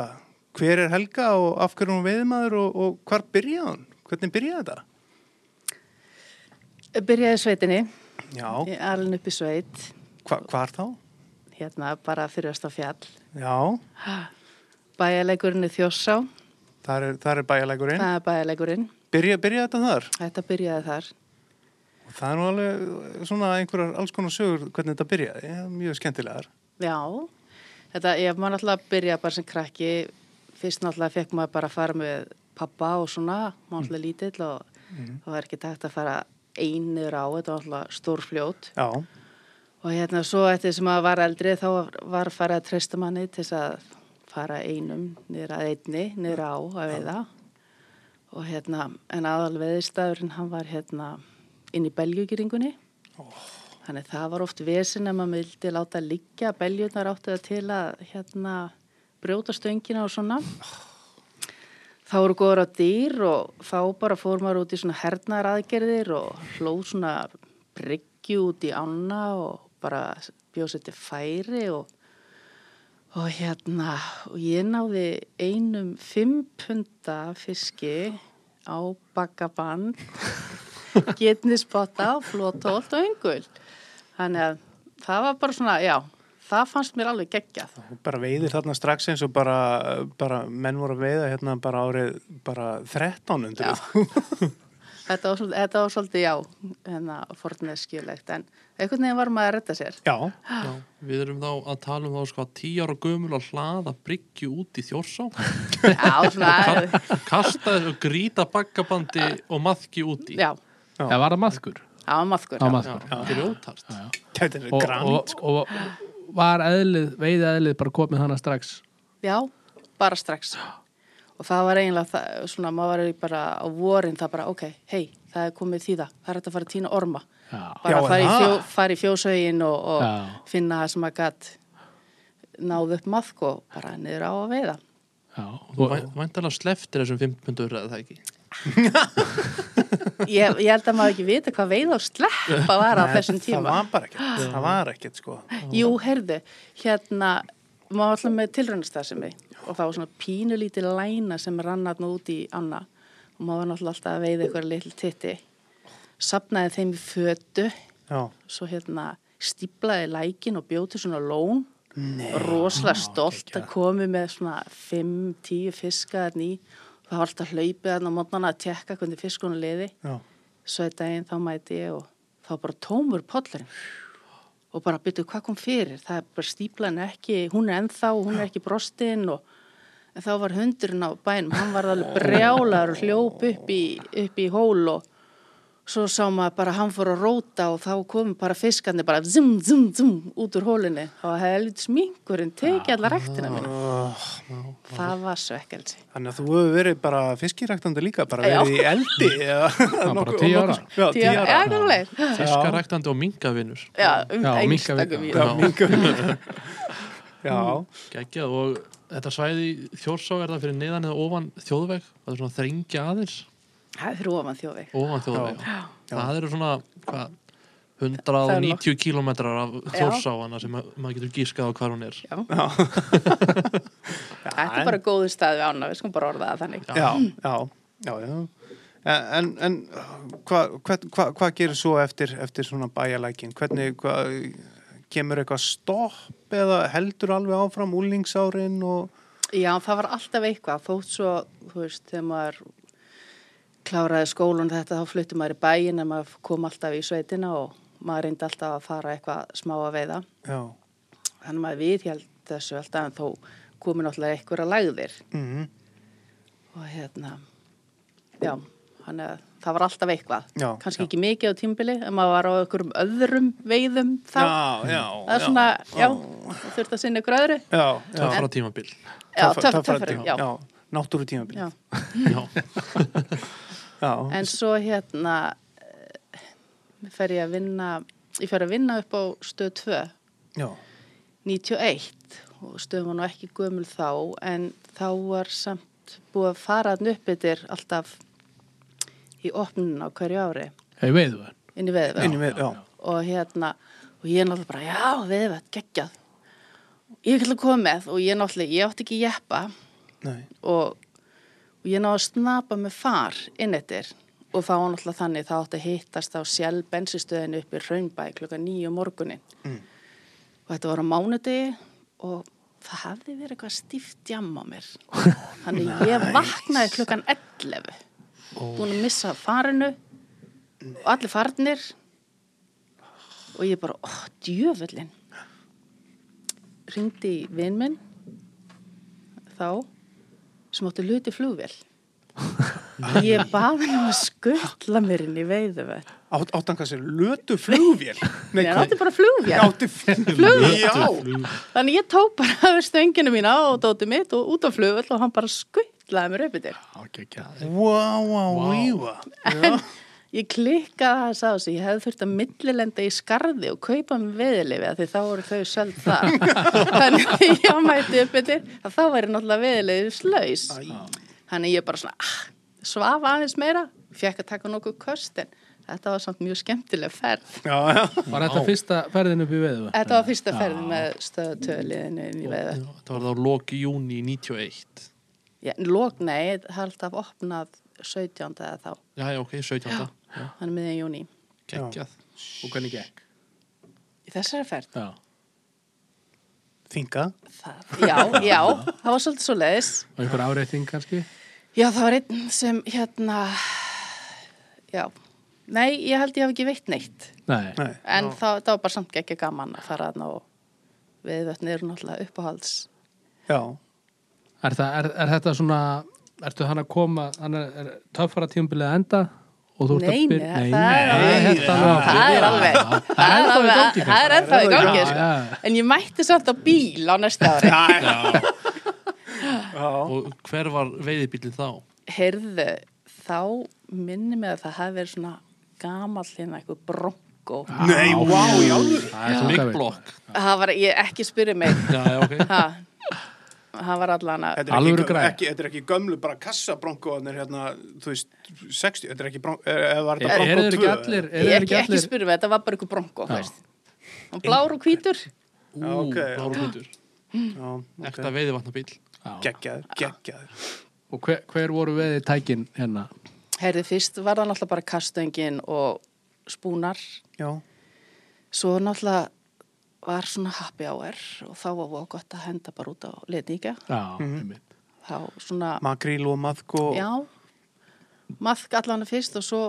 Speaker 1: hver er Helga og af hverju er hún veiðmaður og, og hvar byrjaði hún? Hvernig byrjaði þetta?
Speaker 4: Byrjaði í sveitinni,
Speaker 1: Já,
Speaker 4: ég er alveg upp í sveit,
Speaker 1: hva, hvar þá?
Speaker 4: hérna bara fyrirvast á fjall.
Speaker 1: Já,
Speaker 4: Bæjarleikurinn er þjóssá,
Speaker 1: þar er, þar er bæjarleikurinn.
Speaker 4: það er bæjarleikurinn,
Speaker 1: Byrja, byrjaði þetta þar?
Speaker 4: þetta byrjaði þar.
Speaker 1: Og það er nú alveg svona einhverjar alls konar sögur hvernig þetta byrjaði, mjög skemmtilegar.
Speaker 4: Já, þetta, ég maður náttúrulega byrjaði bara sem krakki, fyrst náttúrulega fekk maður bara að fara með pappa og svona, maður náttúrulega lítill og það var ekki takt að fara einur á, þetta var náttúrulega stór fljót.
Speaker 1: Já.
Speaker 4: Og hérna svo eftir sem að var eldri þá var farið að treysta manni til þess að fara einum niður að einni, niður á að veiða. Og hérna, en aðal veðistafurinn hann var hérna inn í belgjugýringunni. Þannig það var oft vesin að maður vildi láta liggja beljurnar áttu það til að hérna brjóta stöngina og svona. Þá voru góður á dýr og þá bara fór maður út í svona hernar aðgerðir og hlóð svona bryggju út í ána og bara bjóð sér til færi og, og hérna og ég náði einum fimm punda fiski á bakkaband getnisbotta og flótótt og yngul. Þannig að það var bara svona, já, það fannst mér alveg geggjað.
Speaker 1: Og bara veiðir þarna strax eins og bara, bara menn voru að veiða hérna bara árið bara 13 undir.
Speaker 4: Þetta var svolítið, þetta var svolítið já, hérna, forneskjulegt, en einhvern veginn var maður að redda sér.
Speaker 1: [laughs] Já.
Speaker 3: já, við erum þá að tala um þá sko tíu ára gömul að hlaða bryggju út í þjórsá
Speaker 4: [laughs] Já,
Speaker 2: [laughs]
Speaker 4: svona,
Speaker 3: kasta þessu gríta bakkabandi og maðki út í
Speaker 4: já,
Speaker 2: það var að maðkur
Speaker 4: það var maðkur.
Speaker 2: Það var
Speaker 3: Já,
Speaker 4: já.
Speaker 2: maðkur
Speaker 3: grjótart
Speaker 1: Þetta er
Speaker 2: og,
Speaker 1: grann.
Speaker 2: og, og var eðlið, veið eðlið bara komið hana strax
Speaker 4: Já, bara strax. Og það var eiginlega, það, svona, maður var bara á vorin, það bara, ok, hei, það er komið þýða, það er hægt að fara að týna orma.
Speaker 2: Já.
Speaker 4: Bara
Speaker 1: Já,
Speaker 4: að fara í,
Speaker 1: en
Speaker 4: fjó,
Speaker 1: það?
Speaker 4: fara í fjósauðin og,
Speaker 2: Já.
Speaker 4: og finna það sem að gatt náðu upp maðk og bara niður á að veiða.
Speaker 2: Já,
Speaker 3: Þú
Speaker 2: og,
Speaker 3: væntalega sleftir þessum 15 pundur eða það ekki
Speaker 4: Ég, ég held að maður ekki vita hvað veiða og sleppa var á
Speaker 1: Nei,
Speaker 4: þessum tíma.
Speaker 1: Það var bara ekkert. Það var ekkert sko.
Speaker 4: Jú, heyrðu, hérna, maður var alltaf með tilraunastasemi og það var svona pínulítið læna sem rann aðna út í anna og maður var náttúrulega alltaf að veiða eitthvað litl titti. Sapnaði þeim í fötu,
Speaker 1: Já.
Speaker 4: svo hérna stíplaði lækin og bjóti svona lón. Nei. Róslega stolt að komi með svona 5-10 fiska þarna í. Það var alltaf hlaupið þarna á mótnana að tekka hvernig fiskunum liði.
Speaker 1: Já.
Speaker 4: Svo einn daginn þá mæti ég og þá bara tómur pollurinn og bara byrju hvað kom fyrir. Það er bara stíplan ekki, hún er ennþá, hún er ekki brostinn og en þá var hundurinn á bænum, hann var alveg brjálar og hljóp upp í, upp í hól og svo sá maður bara hann fór að róta og þá kom bara fiskandi bara zum, zum, zum út úr hólinni og helvits minkurinn tekið allar rektina mín. Það var svekkelsi.
Speaker 1: Þannig að þú hefur verið bara fiskiræktandi líka, bara
Speaker 4: Já.
Speaker 1: verið í eldi. eða
Speaker 2: bara
Speaker 1: nokkuð-
Speaker 2: tíu
Speaker 1: nokkuð-
Speaker 2: ára.
Speaker 1: Já, tíu ára.
Speaker 4: Já, náttúrulega.
Speaker 3: Fiskaræktandi og mingavinnur
Speaker 4: Já, um
Speaker 2: Já,
Speaker 4: engstakum
Speaker 2: [laughs] minkaveiðar.
Speaker 4: í
Speaker 1: Já,
Speaker 4: það.
Speaker 1: mingur. Já.
Speaker 3: Gægjað og þetta svæði í Þjórsá er það fyrir neðan eða ofan þjóðveg það er svona þrengja aðeins
Speaker 4: Það er fyrir ofan þjóðveg.
Speaker 3: ofan þjóðveg
Speaker 4: Já.
Speaker 3: það eru svona hvað,
Speaker 4: Það er
Speaker 3: 190 kílómetrar af
Speaker 4: Já.
Speaker 3: Þjórsávana sem ma- maður getur gískað á hvar hún er
Speaker 4: Já. Þetta er bara góður stað við ána, við skum bara orða það þannig.
Speaker 1: já, já,
Speaker 4: Hmm.
Speaker 1: já, já. En, en hvað hva, hva, hva gerir svo eftir, eftir svona bæjalækin? Hvernig, hva, kemur eitthvað stopp eða heldur alveg áfram úlingsárin og...
Speaker 4: Já, það var alltaf eitthvað, þótt svo, þú veist, þegar maður kláraði skólun þetta, þá flutti maður í bæin en maður kom alltaf í sveitina og maður reyndi alltaf að fara eitthvað smá að veiða.
Speaker 1: Já,
Speaker 4: Þannig maður viðhjald þessu alltaf en þó komi náttúrulega einhverja lagðir
Speaker 1: mm
Speaker 4: og hérna, já, þannig að það var alltaf eitthvað.
Speaker 1: Já,
Speaker 4: Kannski
Speaker 1: já.
Speaker 4: ekki mikið á tímbili, en maður var á einhverjum öðrum veiðum þá.
Speaker 1: já, já.
Speaker 4: það er svona, já, þú þurft að sinna ykkur öðru.
Speaker 1: Já, já.
Speaker 3: töffara
Speaker 4: [laughs]
Speaker 3: tímabil
Speaker 4: Já,
Speaker 1: Töff-
Speaker 4: töff-
Speaker 1: töffara
Speaker 4: töffari,
Speaker 1: tíma,
Speaker 4: já.
Speaker 1: já. Náttúru tímabili.
Speaker 4: Já.
Speaker 1: Já.
Speaker 3: já,
Speaker 4: En svo hérna eh, fer ég að vinna, ég fer að vinna upp á stöð 2,
Speaker 1: já,
Speaker 4: 91 og stöðum var nú ekki gömul þá en þá var samt búið að fara að nöppbyttir alltaf í opnun á hverju ári
Speaker 2: Hei, veiðu það?
Speaker 4: inn í veðvöld.
Speaker 1: inn í með, já.
Speaker 4: og hérna og ég er náttúrulega bara, já, veðvöld, geggjað. Ég ætla að koma með og ég náttúrulega, ég átti ekki jeppa
Speaker 1: Nei,
Speaker 4: og, og ég náði að snapa með far inn eftir og það var náttúrulega þannig það átti að hittast á sjálf bensistöðinu upp í Raunbæ klukka nýju morgunin
Speaker 1: Mm.
Speaker 4: og þetta var á mánudegi og það hafði verið eitthvað stíft jam á mér þannig ég vaknaði klukkan 11 búin að missa af farinu og allir farnir og ég bara, oh, djöfullin ringdi í vinn minn þá sem átti hluti flugvél ég bað hann um að skuttla mér inn í veiðuvöld
Speaker 1: Átt, áttan hvað sér, lötu
Speaker 4: [laughs]
Speaker 1: flugvél?
Speaker 4: Nei, hann
Speaker 1: hvað-
Speaker 4: átti bara flugvél [laughs]
Speaker 1: Átti flugvél?
Speaker 4: Flugvél.
Speaker 1: Já,
Speaker 4: þannig ég tók bara [laughs] stönginu mína og dóti mitt og út á flugvél og hann bara skuttlaði mér upp yfir
Speaker 2: Já, gekkja.
Speaker 1: Vá, vá, víva
Speaker 4: ég klikkaði þess að þessu ég hefði þurft að millilenda í skarði og kaupa mér veðilifi af því þá voru þau söld þar þannig að ég mæti upp yfir að þá væri náttúrulega veðilifi slaus Þannig ég bara svona ah, svafa aðeins meira, fekk að taka nokkuð köstin. Þetta var samt mjög skemmtileg ferð.
Speaker 1: Já, já
Speaker 2: Var þetta fyrsta ferðin upp í veiðu?
Speaker 4: Þetta var fyrsta ferðin með stöðutöliðinu í veða.
Speaker 3: þetta var þá loki júni 91
Speaker 4: Lók, nei, það er alltaf opnað 17. eða þá,
Speaker 3: já, já, ok, 17.
Speaker 4: hann er miðjan júni.
Speaker 3: geggjað
Speaker 2: Og hvernig gekk?
Speaker 4: Í þessari ferð?
Speaker 2: Já.
Speaker 1: Þinga
Speaker 4: Það, já, já, það var svolítið svo leiðis.
Speaker 2: Og einhver áreiting kannski?
Speaker 4: Já, það var einn sem hérna, já, nei, ég held ég hef ekki veitt neitt.
Speaker 2: Nei.
Speaker 1: Nei,
Speaker 4: En það, það var bara samt ekki gaman að fara þarna og viðvötni eru náttúrulega uppáhalds.
Speaker 1: já,
Speaker 2: Er, það, er, er þetta svona, ertu hann að koma, hann er, er töffara tímabilið að enda? og þú ert að
Speaker 4: Nei,
Speaker 2: byrja-
Speaker 4: nei,
Speaker 2: nei,
Speaker 4: það er
Speaker 2: nei,
Speaker 1: alveg-
Speaker 2: þetta alveg.
Speaker 4: Það er
Speaker 2: ennþá í gangi,
Speaker 4: alveg, það er alveg, það er ennþá í gangi,
Speaker 2: Já,
Speaker 4: sko.
Speaker 2: já.
Speaker 4: En ég mætti samt á bíl á næsta ári.
Speaker 1: já,
Speaker 3: og hver var veiðibílinn þá?
Speaker 4: Heyrðu, þá minni mig að það hafi verið svona gamall hérna eitthvað bronko.
Speaker 1: Nei, vá, í alvöru?
Speaker 2: Það er
Speaker 3: Big
Speaker 2: svona við.
Speaker 3: Block
Speaker 4: Það var, ég ekki spyrja mig,
Speaker 3: já, já,
Speaker 4: [laughs]
Speaker 3: ok
Speaker 4: ha, það var allan að,
Speaker 1: Þetta er
Speaker 2: Alvöru
Speaker 1: ekki,
Speaker 2: græja.
Speaker 1: ekki, þetta er ekki gömlu bara kassabronkoðanir hérna, þú veist, 60, þetta er ekki bronko, eða var þetta
Speaker 2: Er, er
Speaker 1: bronko 2?
Speaker 2: þeir ekki allir, er
Speaker 4: ég
Speaker 2: þeir
Speaker 4: ekki,
Speaker 2: ekki
Speaker 4: ekki
Speaker 2: allir,
Speaker 4: spyrja mig, þetta var bara eitthvað bronko, veist. Hann blár og hvítur,
Speaker 1: Já,
Speaker 3: Ú,
Speaker 1: ok.
Speaker 3: Láru Hlutur
Speaker 1: Já,
Speaker 3: Ekta
Speaker 1: okay.
Speaker 3: veiðivatnabíl
Speaker 2: Já.
Speaker 1: Geggjaður, geggjaður.
Speaker 2: og hver, hver voru veði tækin hérna?
Speaker 4: heyrðu, fyrst var það náttúrulega bara kastöngin og spúnar.
Speaker 1: Já,
Speaker 4: Svo náttúrulega var svona happy hour og þá var það gott að henda bara út á litninga.
Speaker 2: Já,
Speaker 1: Mhm.
Speaker 2: einmitt.
Speaker 4: þá svona,
Speaker 1: makríl og maðko.
Speaker 4: já maðk allan fyrst og svo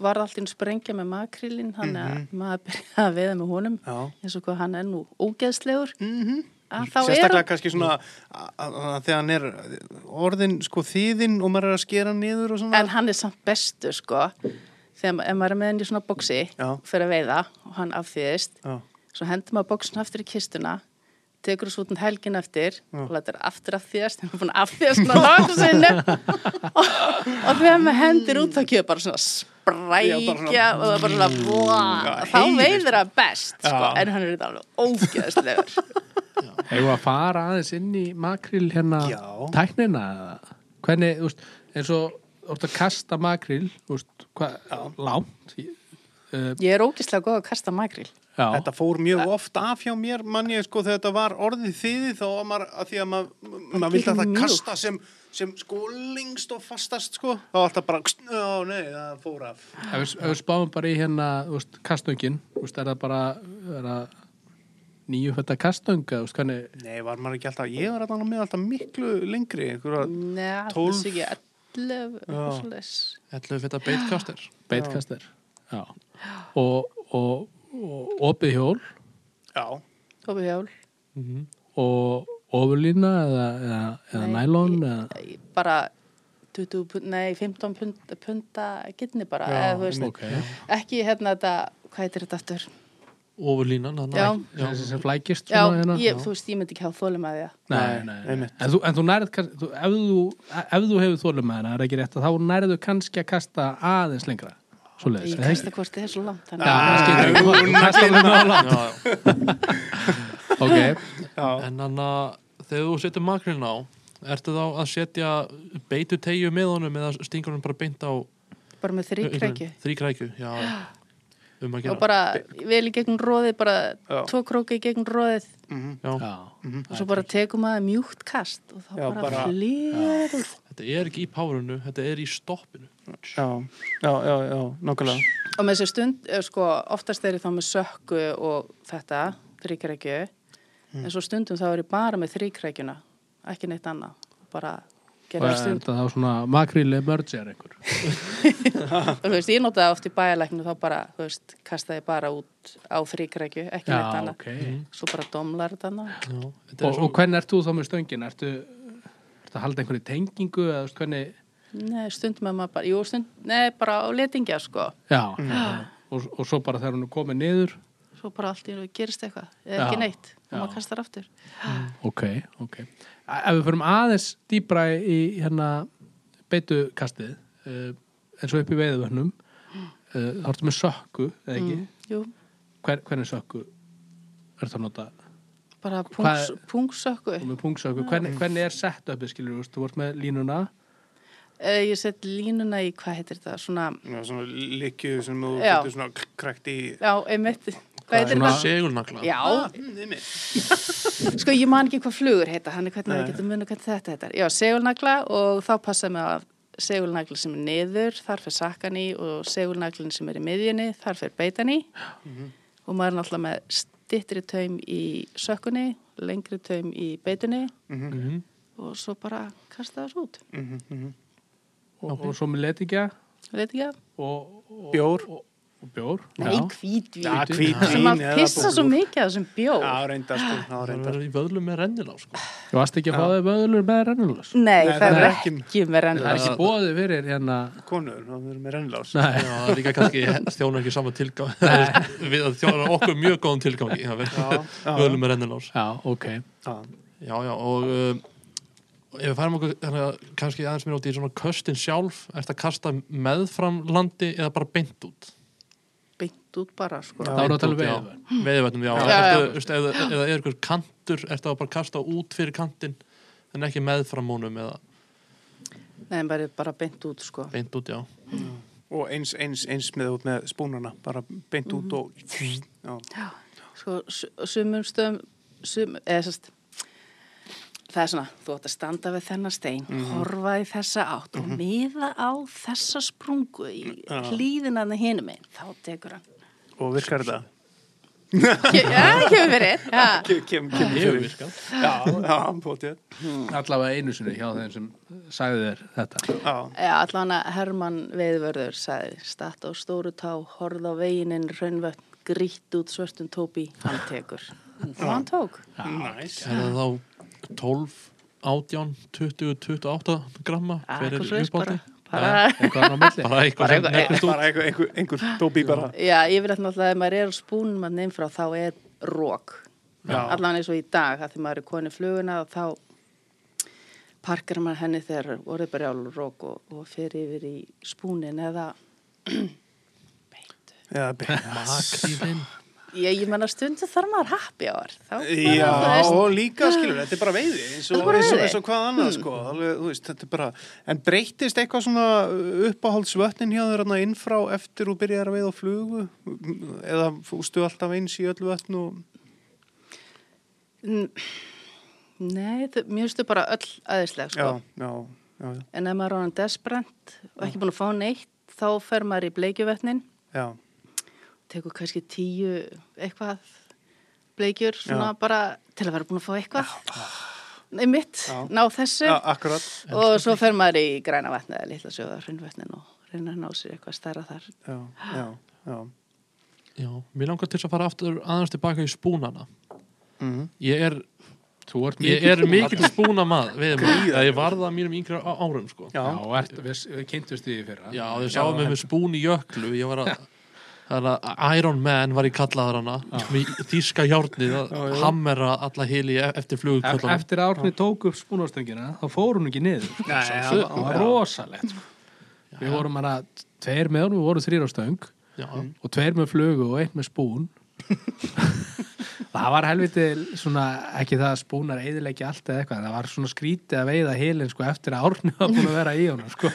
Speaker 4: var allt ín sprengja með makrílinn þannig að maður byrjaði að veða með honum
Speaker 1: Já.
Speaker 4: eins og hvað hann er nú ógeðslegur mm -hmm. þá er
Speaker 1: Sérstaklega
Speaker 4: hann
Speaker 1: kannski svona að- að- að þegar hann er orðin, sko, þýðin og maður er að skera hann niður og svona.
Speaker 4: en hann er samt bestu sko þegar ma- ef maður er með henni í svona boksi
Speaker 1: Já.
Speaker 4: fyrir að veiða og hann afþýðist
Speaker 1: Já,
Speaker 4: svo hendur maður bóksin aftur í kistuna tekur þessu út um helgin eftir og lætur aftur afþýðast hann er
Speaker 1: [laughs]
Speaker 4: búin að afþýðast svona langt sinni og, og þegar maður hendir út þá kemur bara svona brækja
Speaker 1: Já, bara svona-
Speaker 4: og það er bara svona
Speaker 1: Já,
Speaker 4: búa, þá
Speaker 1: heyrir.
Speaker 4: veiður það best sko,
Speaker 1: Já.
Speaker 4: en hann er þetta alveg ógeðslegur
Speaker 2: Hefur að fara aðeins inn í makril hérna
Speaker 1: Já.
Speaker 2: tæknina eða? Hvernig, þú veist, eins og orðið að kasta makril, þú veist, hvað, langt í- uh,
Speaker 4: [laughs] ég er ógeðslega góð að kasta makril
Speaker 2: Já,
Speaker 1: Þetta fór mjög oft af hjá mér, mann ég sko þegar þetta var orðið þýði þá var maður, að því að maður, maður vildi að það
Speaker 4: mjúkt.
Speaker 1: kasta sem, sem sko lengst og fastast sko, þá var alltaf bara, já nei, það fór af.
Speaker 2: ef við, ef við spáum bara í hérna, þú veist, kastöngin, þú veist, er það bara, er það nýju fætta kastönga, þú veist, hvernig,
Speaker 1: Nei, var maður ekki alltaf, ég var alltaf með alltaf miklu lengri, einhverja,
Speaker 4: neða,
Speaker 1: Tólf.
Speaker 4: þessu ekki allavega
Speaker 3: Ætlum við fyrir þetta beitkastir
Speaker 2: beitkast er. Já. Og, og, og opið hjól
Speaker 1: já,
Speaker 4: tófi hjál
Speaker 2: og ofurlína eða, eða, eða
Speaker 4: Nei,
Speaker 2: nælón
Speaker 4: í-
Speaker 2: eða...
Speaker 4: í- bara 20, pund- nei, 15 punta, punta getni bara,
Speaker 1: Já,
Speaker 4: eða þú veist
Speaker 2: Ok,
Speaker 4: ekki hérna þetta, hvað heitir þetta aftur
Speaker 3: ofur línan þarna.
Speaker 4: Já.
Speaker 2: þessi sem flækist
Speaker 4: já,
Speaker 2: svona hérna.
Speaker 4: ég, þú veist, ég myndi ekki hafa þólum að því að
Speaker 2: Nei,
Speaker 1: Nei,
Speaker 2: nei, nei.
Speaker 1: einmitt.
Speaker 2: En, þú, en þú nærið, kann- þú, ef, þú, ef þú hefur þólum með hana, það er ekki rétt að þá nærðu kannski að kasta aðeins lengra. Svo leiðis,
Speaker 4: ég kasta hvort þið er svo langt þannig
Speaker 2: Já,
Speaker 4: að-
Speaker 2: það skilur við, þú kasta alveg með hana. Ok,
Speaker 1: já,
Speaker 3: En þannig að þegar þú setur makrinn á ertu þá að setja beitu tegju með honum eða stingur hann bara beint á
Speaker 4: bara með þrýkrækju
Speaker 3: þrýkrækju,
Speaker 4: [gasps]
Speaker 3: já um að
Speaker 4: og
Speaker 3: gera
Speaker 4: bara vel í gegnum róðið bara
Speaker 1: Já.
Speaker 4: tvo króki í gegnum róðið
Speaker 3: já,
Speaker 1: Mhm.
Speaker 2: já. Mm.
Speaker 4: og svo bara tekum maður mjúkt kast og þá
Speaker 1: Já,
Speaker 4: bara, bara
Speaker 1: bara-
Speaker 4: flýr
Speaker 3: Þetta er ekki í párunu, þetta er í stoppinu
Speaker 1: já, já, já, já, nokkulega.
Speaker 4: og með þessu stund, eh, sko, oftast er ég þá með sökku og þetta þrýkrækju, en svo stundum þá er ég bara með þrýkrækjuna ekki neitt annað, bara
Speaker 2: Og
Speaker 4: gera
Speaker 2: er
Speaker 4: stund,
Speaker 2: þetta þá svona makríli merger einhver?
Speaker 4: og þú veist, ég notaði oft í bæjalæknu þá bara, þú veist, kastaði bara út á þrýkrækju, ekki
Speaker 2: Já,
Speaker 4: neitt annað
Speaker 2: ok.
Speaker 4: svo bara domlar þetta annað
Speaker 3: já, þetta er
Speaker 2: Og,
Speaker 3: svo,
Speaker 2: og hvernig ert þú þá með stöngin? Ertu, ertu að halda einhverju tengingu eða þú veist hvernig,
Speaker 4: Nei, stundum er maður bara, jú, stund, nei, bara á letingja, sko.
Speaker 2: já, og, og svo bara þegar hún er komið niður,
Speaker 4: Svo bara allt í nú gerist eitthvað, eða ekki
Speaker 2: Já.
Speaker 4: neitt, og
Speaker 2: Já.
Speaker 4: maður kastar aftur.
Speaker 2: Ok, ok. A- Ef við förum aðeins dýbra í hérna beitukastið, uh, eins og upp í veiðvörnum, uh, þá ertu með sökku, eða ekki?
Speaker 4: Mm. Jú,
Speaker 2: Hver, hvernig sökku ertu að nota?
Speaker 4: bara
Speaker 2: Hvað-
Speaker 4: pungs- pungsökku.
Speaker 2: Og með pungsökku, hvernig, hvernig er sett uppið, skilur þú, þú vart með línuna,
Speaker 4: Eh, Ég sett línuna í, hvað heitir þetta, svona,
Speaker 1: Já, svona likju sem þú
Speaker 4: Já.
Speaker 1: getur svona krekt í. Ah, mm,
Speaker 4: já, einmitt, hvað heitir
Speaker 2: svona-
Speaker 4: þetta?
Speaker 3: segulnagla
Speaker 4: Já,
Speaker 1: Nei,
Speaker 4: sko ég man ekki hvað flugur heita, hann er hvernig við getum munið hvernig þetta heitar. Já, segulnagla og þá passa mig að segulnagla sem er niður, þar fer sakkan í og segulnaglin sem er í miðjunni, þar fer beitan í
Speaker 1: Mhm.
Speaker 4: og maður er náttúrulega með stittri taum í sökkunni, lengri taum í beitunni
Speaker 1: Mhm.
Speaker 4: og svo bara kasta þessu út.
Speaker 2: og, og svo með letingja
Speaker 4: Veit ekki að?
Speaker 2: og, og,
Speaker 1: Bjór.
Speaker 2: og, og bjór.
Speaker 4: Nei, hvítvín.
Speaker 1: Já,
Speaker 4: Það sem
Speaker 1: hvítvín.
Speaker 4: að
Speaker 1: eða
Speaker 4: pissa svo
Speaker 1: búr.
Speaker 4: mikið að þessum bjór.
Speaker 1: Já, reyndar sko, já,
Speaker 3: það
Speaker 1: reyndar.
Speaker 3: verður í vöðlum með rennilá [laughs] sko.
Speaker 2: Þú varst ekki að fá þau vöðlur með rennulas.
Speaker 4: Nei,
Speaker 1: Nei,
Speaker 4: það
Speaker 1: það
Speaker 4: er
Speaker 1: er
Speaker 4: ekki,
Speaker 1: ekki-
Speaker 4: með
Speaker 2: Það er
Speaker 4: rennilega.
Speaker 2: ekki bóðið fyrir hérna,
Speaker 1: Konur, þá erum við rennlás.
Speaker 2: nei,
Speaker 3: já, það er líka kannski þjóna ekki sama tilgang [laughs] við þjóna okkur mjög góðum tilgangi það verður vöðlum með rennilá
Speaker 2: já, ok,
Speaker 1: Já,
Speaker 3: Já, já, og um, ef við færum okkur hérna, kannski aðeins mér út í svona köstin sjálf, ert að kasta meðfram landi eða bara beint út?
Speaker 4: Beint út bara, sko.
Speaker 2: þá er það um
Speaker 3: Beint
Speaker 2: talað
Speaker 3: út, já.
Speaker 2: veiðvörn.
Speaker 3: Veiðivörnum, já.
Speaker 4: Já, já.
Speaker 3: Ertu, veist, eða, eða er ykkur kantur, ert að bara kasta út fyrir kantinn en ekki meðfram honum eða
Speaker 4: Nei, bara, bara beint út, sko.
Speaker 3: beint út, já.
Speaker 1: og eins, eins, eins með út með spúnana bara beint út og já,
Speaker 4: Sko, su- sumum stöðum, sum, eða sérst, það er svona, þú átt að standa við þennan stein,
Speaker 2: Mhm.
Speaker 4: horfa í þessa átt og miða á þessa sprungu í hlýðina hann hinum einn, þá tekur hann.
Speaker 1: og virkar þetta
Speaker 4: Ke- Já, kemur fyrir. Já,
Speaker 1: Ke- kem, kemur
Speaker 3: Hefur
Speaker 1: fyrir
Speaker 3: virkað.
Speaker 1: já, já, potið
Speaker 2: allavega einu sinni hjá þeim sem sagði þér þetta
Speaker 1: já,
Speaker 4: já allan að Hermann Veðvörður sagði, statt á stóru tá, horða á vegininn, raunvögt, grýtt út svörtum tópi, hann tekur. Og hann tók.
Speaker 1: næs
Speaker 3: Er það þá 12, 18, 20, 28 gramma? Hver
Speaker 4: Akkur
Speaker 3: er
Speaker 4: Ah, svoleiðis
Speaker 3: uppbóti?
Speaker 4: Bara,
Speaker 2: eitthvað á milli
Speaker 3: Bara eitthvað
Speaker 4: Bara
Speaker 3: sem
Speaker 4: eitthvað-
Speaker 3: nekkust út.
Speaker 1: bara einhver, einhver, einhver dópi bara
Speaker 4: Já, yfirleitt náttúrulega ef maður er á spúnum að nefn frá þá er rók.
Speaker 1: Já.
Speaker 4: Allan eins og í dag, að því maður er koni fluguna og þá parkar maður henni þegar orðið bara á rók og, og fer yfir í spúnin eða
Speaker 1: Já, be-
Speaker 4: eh.
Speaker 3: Makrílinn
Speaker 4: Ég, ég menna stundu þarf maður happy hour. Þá,
Speaker 1: Já,
Speaker 4: þú veist,
Speaker 1: og líka skilur, þetta er bara veiði eins og,
Speaker 4: Þetta er bara
Speaker 1: eins og,
Speaker 4: veiði. Mm.
Speaker 1: eins og hvað annað sko, alveg, þú veist, þetta er bara en breytist eitthvað svona uppáhaldsvötnin hjá þér hérna inn frá eftir og byrjar að veiða á flugu eða fústu alltaf eins í öll vötn og
Speaker 4: Nei, þau- mér finnst þau bara öll aðeinslega sko.
Speaker 1: já, já, já, já,
Speaker 4: En ef maður er orðin desperant og ekki búin að fá neitt, þá fer maður í bleikjuvetnin,
Speaker 1: já.
Speaker 4: tekur kannski tíu eitthvað bleikjur, svona
Speaker 1: Já.
Speaker 4: bara til að vera búin að fá eitthvað. Nei, mitt,
Speaker 1: Já.
Speaker 4: ná þessu.
Speaker 1: já akkurat
Speaker 4: Og svo fer maður í græna vatnið eða litla sjóða hrunnvatnin og reyna að ná sér eitthvað stærra þar.
Speaker 1: já, já, já
Speaker 3: Já, mér langar til þess að fara aftur aðeins tilbaka í spúnana
Speaker 1: Mhm.
Speaker 3: Ég er,
Speaker 2: Þú ert
Speaker 3: ég
Speaker 2: mikið
Speaker 3: er mikil spúna maður við mig, ég var það á mínum yngri á- árum sko.
Speaker 1: Já,
Speaker 2: Já, ert, við, við kynntumst því í fyrra
Speaker 3: Já, þau sáum mig með spún í jöklu Ég var að Þannig að Iron Man var í kallaður hana með þýska hjárnið að hammera alla hili e- eftir
Speaker 2: Ef-
Speaker 3: flugkallunum
Speaker 2: Eftir að Árni tók upp spúnastöngina þá fór hún ekki niður sko.
Speaker 1: Nei, já,
Speaker 2: það var
Speaker 1: já.
Speaker 2: rosalegt sko. Við vorum hana tveir með honum, við vorum þrýr á stöng
Speaker 3: Já,
Speaker 2: og tveir með flugu og eitt með spún Það var helviti svona, ekki það að spúnar eðilegja allt eða eitthvað, en það var svona skrítið að veiða helin sko eftir að Árni var búin að vera í honum sko.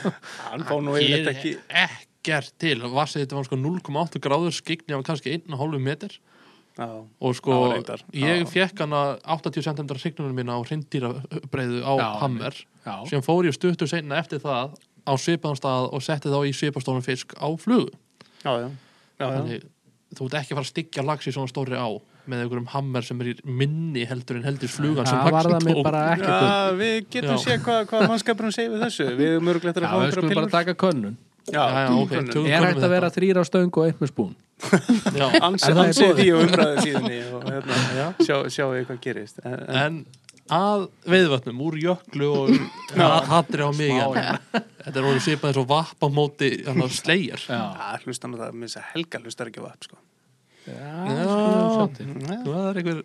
Speaker 1: hann fá nú
Speaker 3: ég
Speaker 1: yfirleitt ekki
Speaker 3: er ekkert til Vassið þetta var sko 0,8 gráður skikni af kannski 1,5 meter
Speaker 1: já,
Speaker 3: og sko
Speaker 1: Það var reyndar,
Speaker 3: ég
Speaker 1: já.
Speaker 3: fekk hana 80 cm hrygnunum minna á hreindýrabreiðu á
Speaker 2: Já,
Speaker 3: hammer
Speaker 2: Já.
Speaker 3: sem fór ég stuttur seinna eftir það á svipaðan stað og setti þá í svipastónum fisk á flugu
Speaker 1: já, já, já, já.
Speaker 3: Þannig, þú ert ekki að fara að styggja lags í svona stóri á með einhverjum hammer sem er í minni heldur en heldur flugan sem
Speaker 2: Það var
Speaker 3: laxinn
Speaker 2: það mig
Speaker 3: tók.
Speaker 2: bara ekki gott.
Speaker 1: Já, við getum
Speaker 3: Já.
Speaker 1: séð hvað, hvað mannskapurinn segir við þessu Við erum mörgulegt að
Speaker 2: Já,
Speaker 1: fá
Speaker 2: við
Speaker 1: einhverja
Speaker 2: skulum bara
Speaker 1: pillur
Speaker 2: taka könnun
Speaker 1: Já,
Speaker 3: Já, já,
Speaker 1: tökum
Speaker 3: ok,
Speaker 1: könnur.
Speaker 3: tökum-
Speaker 2: Er hægt
Speaker 3: könnum
Speaker 2: að vera
Speaker 3: þetta.
Speaker 2: þrýr á stöng og eitt með spún?
Speaker 3: Já.
Speaker 1: ansið
Speaker 2: það í
Speaker 1: ansi
Speaker 2: boði?
Speaker 1: því og umræðu síðunni og hérna, sjá, sjáu við hvað gerist en, en,
Speaker 3: en að veiðvötnum úr jöklu og að hatri á mig [laughs] þetta er orðið svipað eins og vapp á móti hérna, slegjar
Speaker 2: Já,
Speaker 1: að Ah, hlustan að það með þess að Helga hlustar ekki á app sko.
Speaker 2: já
Speaker 3: það er einhver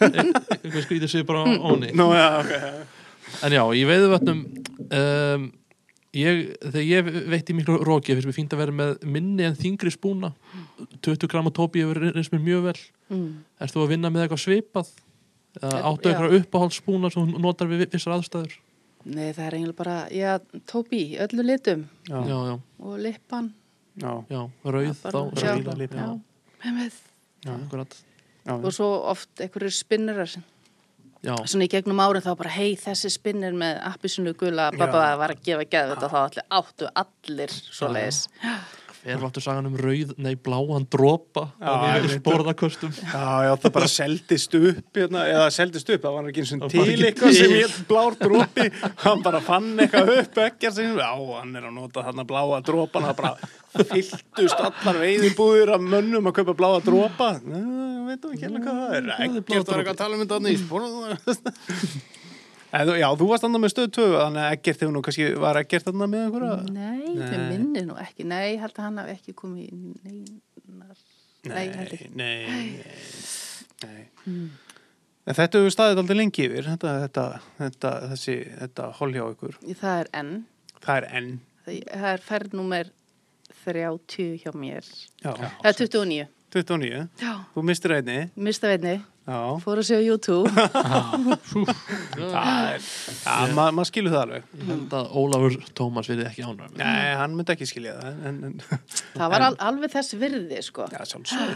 Speaker 3: einhver skrítið sig bara á óni
Speaker 1: Nú, já, okay.
Speaker 3: en já, í veiðvötnum um, ég, þegar ég veitti miklu róki finnst mér fínt að vera með minni en þingri spúna 20 gram á tópi hefur reynst mér mjög vel
Speaker 4: Mm.
Speaker 3: Erst þú að vinna með eitthvað svipað? Eða
Speaker 4: Þetta-
Speaker 3: áttu
Speaker 4: Eh, já.
Speaker 3: eitthvað uppáhaldsspúna sem þú notar við vissar aðstæður?
Speaker 4: Nei, það er eiginlega bara, já, tópi, í öllu litum
Speaker 1: já,
Speaker 3: Já,
Speaker 1: já,
Speaker 3: já,
Speaker 4: og lippan.
Speaker 1: já,
Speaker 3: já, rauð
Speaker 4: Já,
Speaker 3: þá
Speaker 1: já,
Speaker 4: bara-
Speaker 3: rauða,
Speaker 1: já,
Speaker 3: já,
Speaker 4: Með með.
Speaker 3: já, akkurat
Speaker 1: já,
Speaker 4: Og svo oft einhverju spinnurar
Speaker 3: Já,
Speaker 4: svona í gegnum árin þá bara hei þessi spinnir með appisinu gula bababa var að gefa geðvöld og þá allir áttu allir svo leiðis.
Speaker 3: hver vartu sagan um rauð, nei, bláan dropa
Speaker 1: ég
Speaker 3: á
Speaker 1: veit það.
Speaker 3: sporðakostum
Speaker 1: já, já, það bara seldist upp hérna, eða seldist upp, það var ekki eins og
Speaker 3: Það var
Speaker 1: til
Speaker 3: ekki
Speaker 1: eitthvað sem
Speaker 3: til.
Speaker 1: hétt blár dropi hann bara fann eitthvað upp ekkert sem, já, hann er að nota þarna bláa dropan það bara fylltust allar veiðibúður af mönnum að kaupa bláa dropa Nei, ég veit ekki hérna hvað það er ekkert var eitthvað að tala um þetta þannig í
Speaker 3: [laughs]
Speaker 1: spórnum En, þú- já, þú varst annað með stöð 2 þannig að Eggert hefur nú kannski, var Eggert annað með einhverja?
Speaker 4: Nei, þau
Speaker 1: Nei.
Speaker 4: minnir nú ekki. Nei, ég held að hann hafi ekki komið í neinar. Nei, ég held ekki. Hmm.
Speaker 1: nei, nei, nei. En þetta hefur staðið aldrei lengi yfir, þetta, þetta, þetta, þessi, þetta hol hjá ykkur.
Speaker 4: Það er enn.
Speaker 1: Það er enn.
Speaker 4: Það það er ferðnúmer 30 hjá mér.
Speaker 1: Já,
Speaker 4: Það er 29.
Speaker 1: 29.
Speaker 4: Já.
Speaker 1: Þú mistir einni.
Speaker 4: Mista veitni,
Speaker 1: Já,
Speaker 4: fór að sjá
Speaker 1: [laughs]
Speaker 4: YouTube.
Speaker 1: það er, já, ma maður skilur það alveg.
Speaker 3: Ég held að Ólafur Tómas verið ekki ánægður með
Speaker 1: Nei, hann myndi ekki skilja það, en, en [laughs]
Speaker 4: Það var al alveg þess virði, sko.
Speaker 1: já, sjálfsög.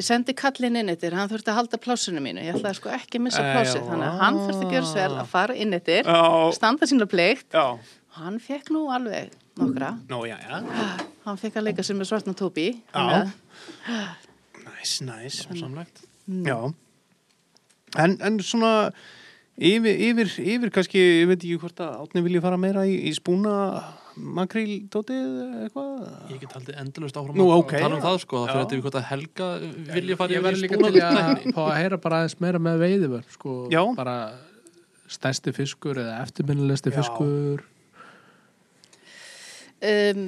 Speaker 4: Ég sendi kallin inn eittir, hann þurfti að halda plásinu mínu. Ég ætlaði sko ekki að missa
Speaker 1: Æ,
Speaker 4: plásið.
Speaker 1: já.
Speaker 4: Þannig að hann þurfti að gera svo vel að fara inn eittir,
Speaker 1: Já.
Speaker 4: standa sína pleikt.
Speaker 1: Já,
Speaker 4: Hann fekk nú alveg nokkra.
Speaker 1: nú, já, já.
Speaker 4: Hann fekk að leika sér með svartna tópi.
Speaker 1: Já. Næs, næs.
Speaker 3: það samlegt
Speaker 4: Mm.
Speaker 1: Já. En, en svona yfir, yfir, yfir kannski, ég veit ekki hvort að átni vilji fara meira í, í spúna makríldótið eitthvað?
Speaker 3: Ég get haldið endalust áfram
Speaker 1: Nú,
Speaker 3: að
Speaker 1: ok,
Speaker 3: tala um
Speaker 1: já.
Speaker 3: það sko, það
Speaker 1: Já.
Speaker 3: fyrir þetta við hvort að Helga vilja fara
Speaker 2: Ég
Speaker 3: yfir í
Speaker 2: verði líka til að [laughs]
Speaker 3: spúnatækni.
Speaker 2: fá að heyra bara aðeins meira með veiðivörn sko,
Speaker 1: Já.
Speaker 2: bara stærsti fiskur eða eftirminnilegsti
Speaker 1: Já.
Speaker 2: fiskur
Speaker 4: Um,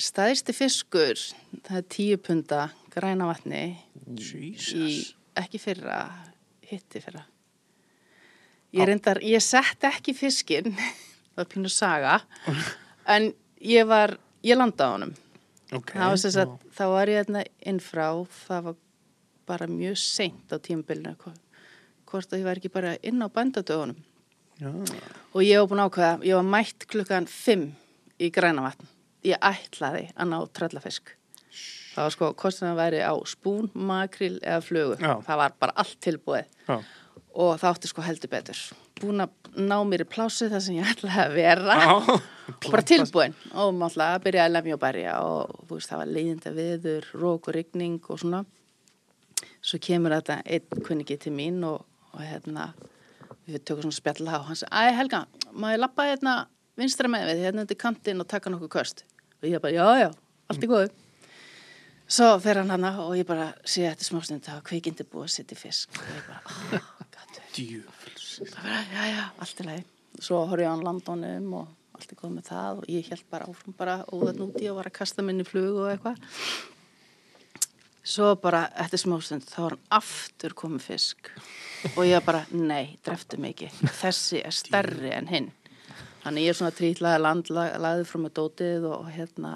Speaker 4: staðisti fiskur, það er tíu punda græna vatni í
Speaker 1: Jesus.
Speaker 4: ekki fyrra, hitti fyrra. [laughs] Ég reyndar, ég sett ekki fiskinn, það er pínu saga, en ég var, ég landa á honum
Speaker 1: ok,
Speaker 4: það var sem sagt, þá var ég þarna innfrá, það var bara mjög seint á tímabilinu hvo- hvort að ég var ekki bara inn á bændadögunum
Speaker 1: já,
Speaker 4: og ég var búin að ákveða, ég var mætt klukkan 5 í grænavatn ég ætlaði að ná tröllafisk það var sko, kostin að væri á spún, makril eða flugu
Speaker 1: Já.
Speaker 4: það var bara allt tilbúið
Speaker 1: já.
Speaker 4: og það átti sko heldur betur búin að ná mér í plásu þar sem ég ætlaði að vera
Speaker 1: Já.
Speaker 4: og bara tilbúin og maður alltaf að byrja að lemja og berja og þú veist, það var leiðinda viður, rók og rigning og svona svo kemur þetta einn kunningi til mín og, og hérna við tökum svona spjalla og hann sagði, æ Helga, má ég lappa hérna vinstra með við, hérna undir kantinn og taka nokkuð köst og ég bara, já, já, allt í góðu svo fer hann hana og ég bara sé eftir smástund það var kvikindi búið að setja í fisk og ég bara, oh, gatu það bara, já, já, allt í lagi. Svo horfði ég á hann landónum og allt er góð með það og ég held bara áfram bara óðan úti og var að kasta minni flug og eitthvað. Svo bara, eftir smástund, þá var hann aftur komið fisk og ég bara, nei, dreftu mig ekki. Þessi er stærri en hinn. Þannig ég er svona trítlaði landlaðið frá með dótið og hérna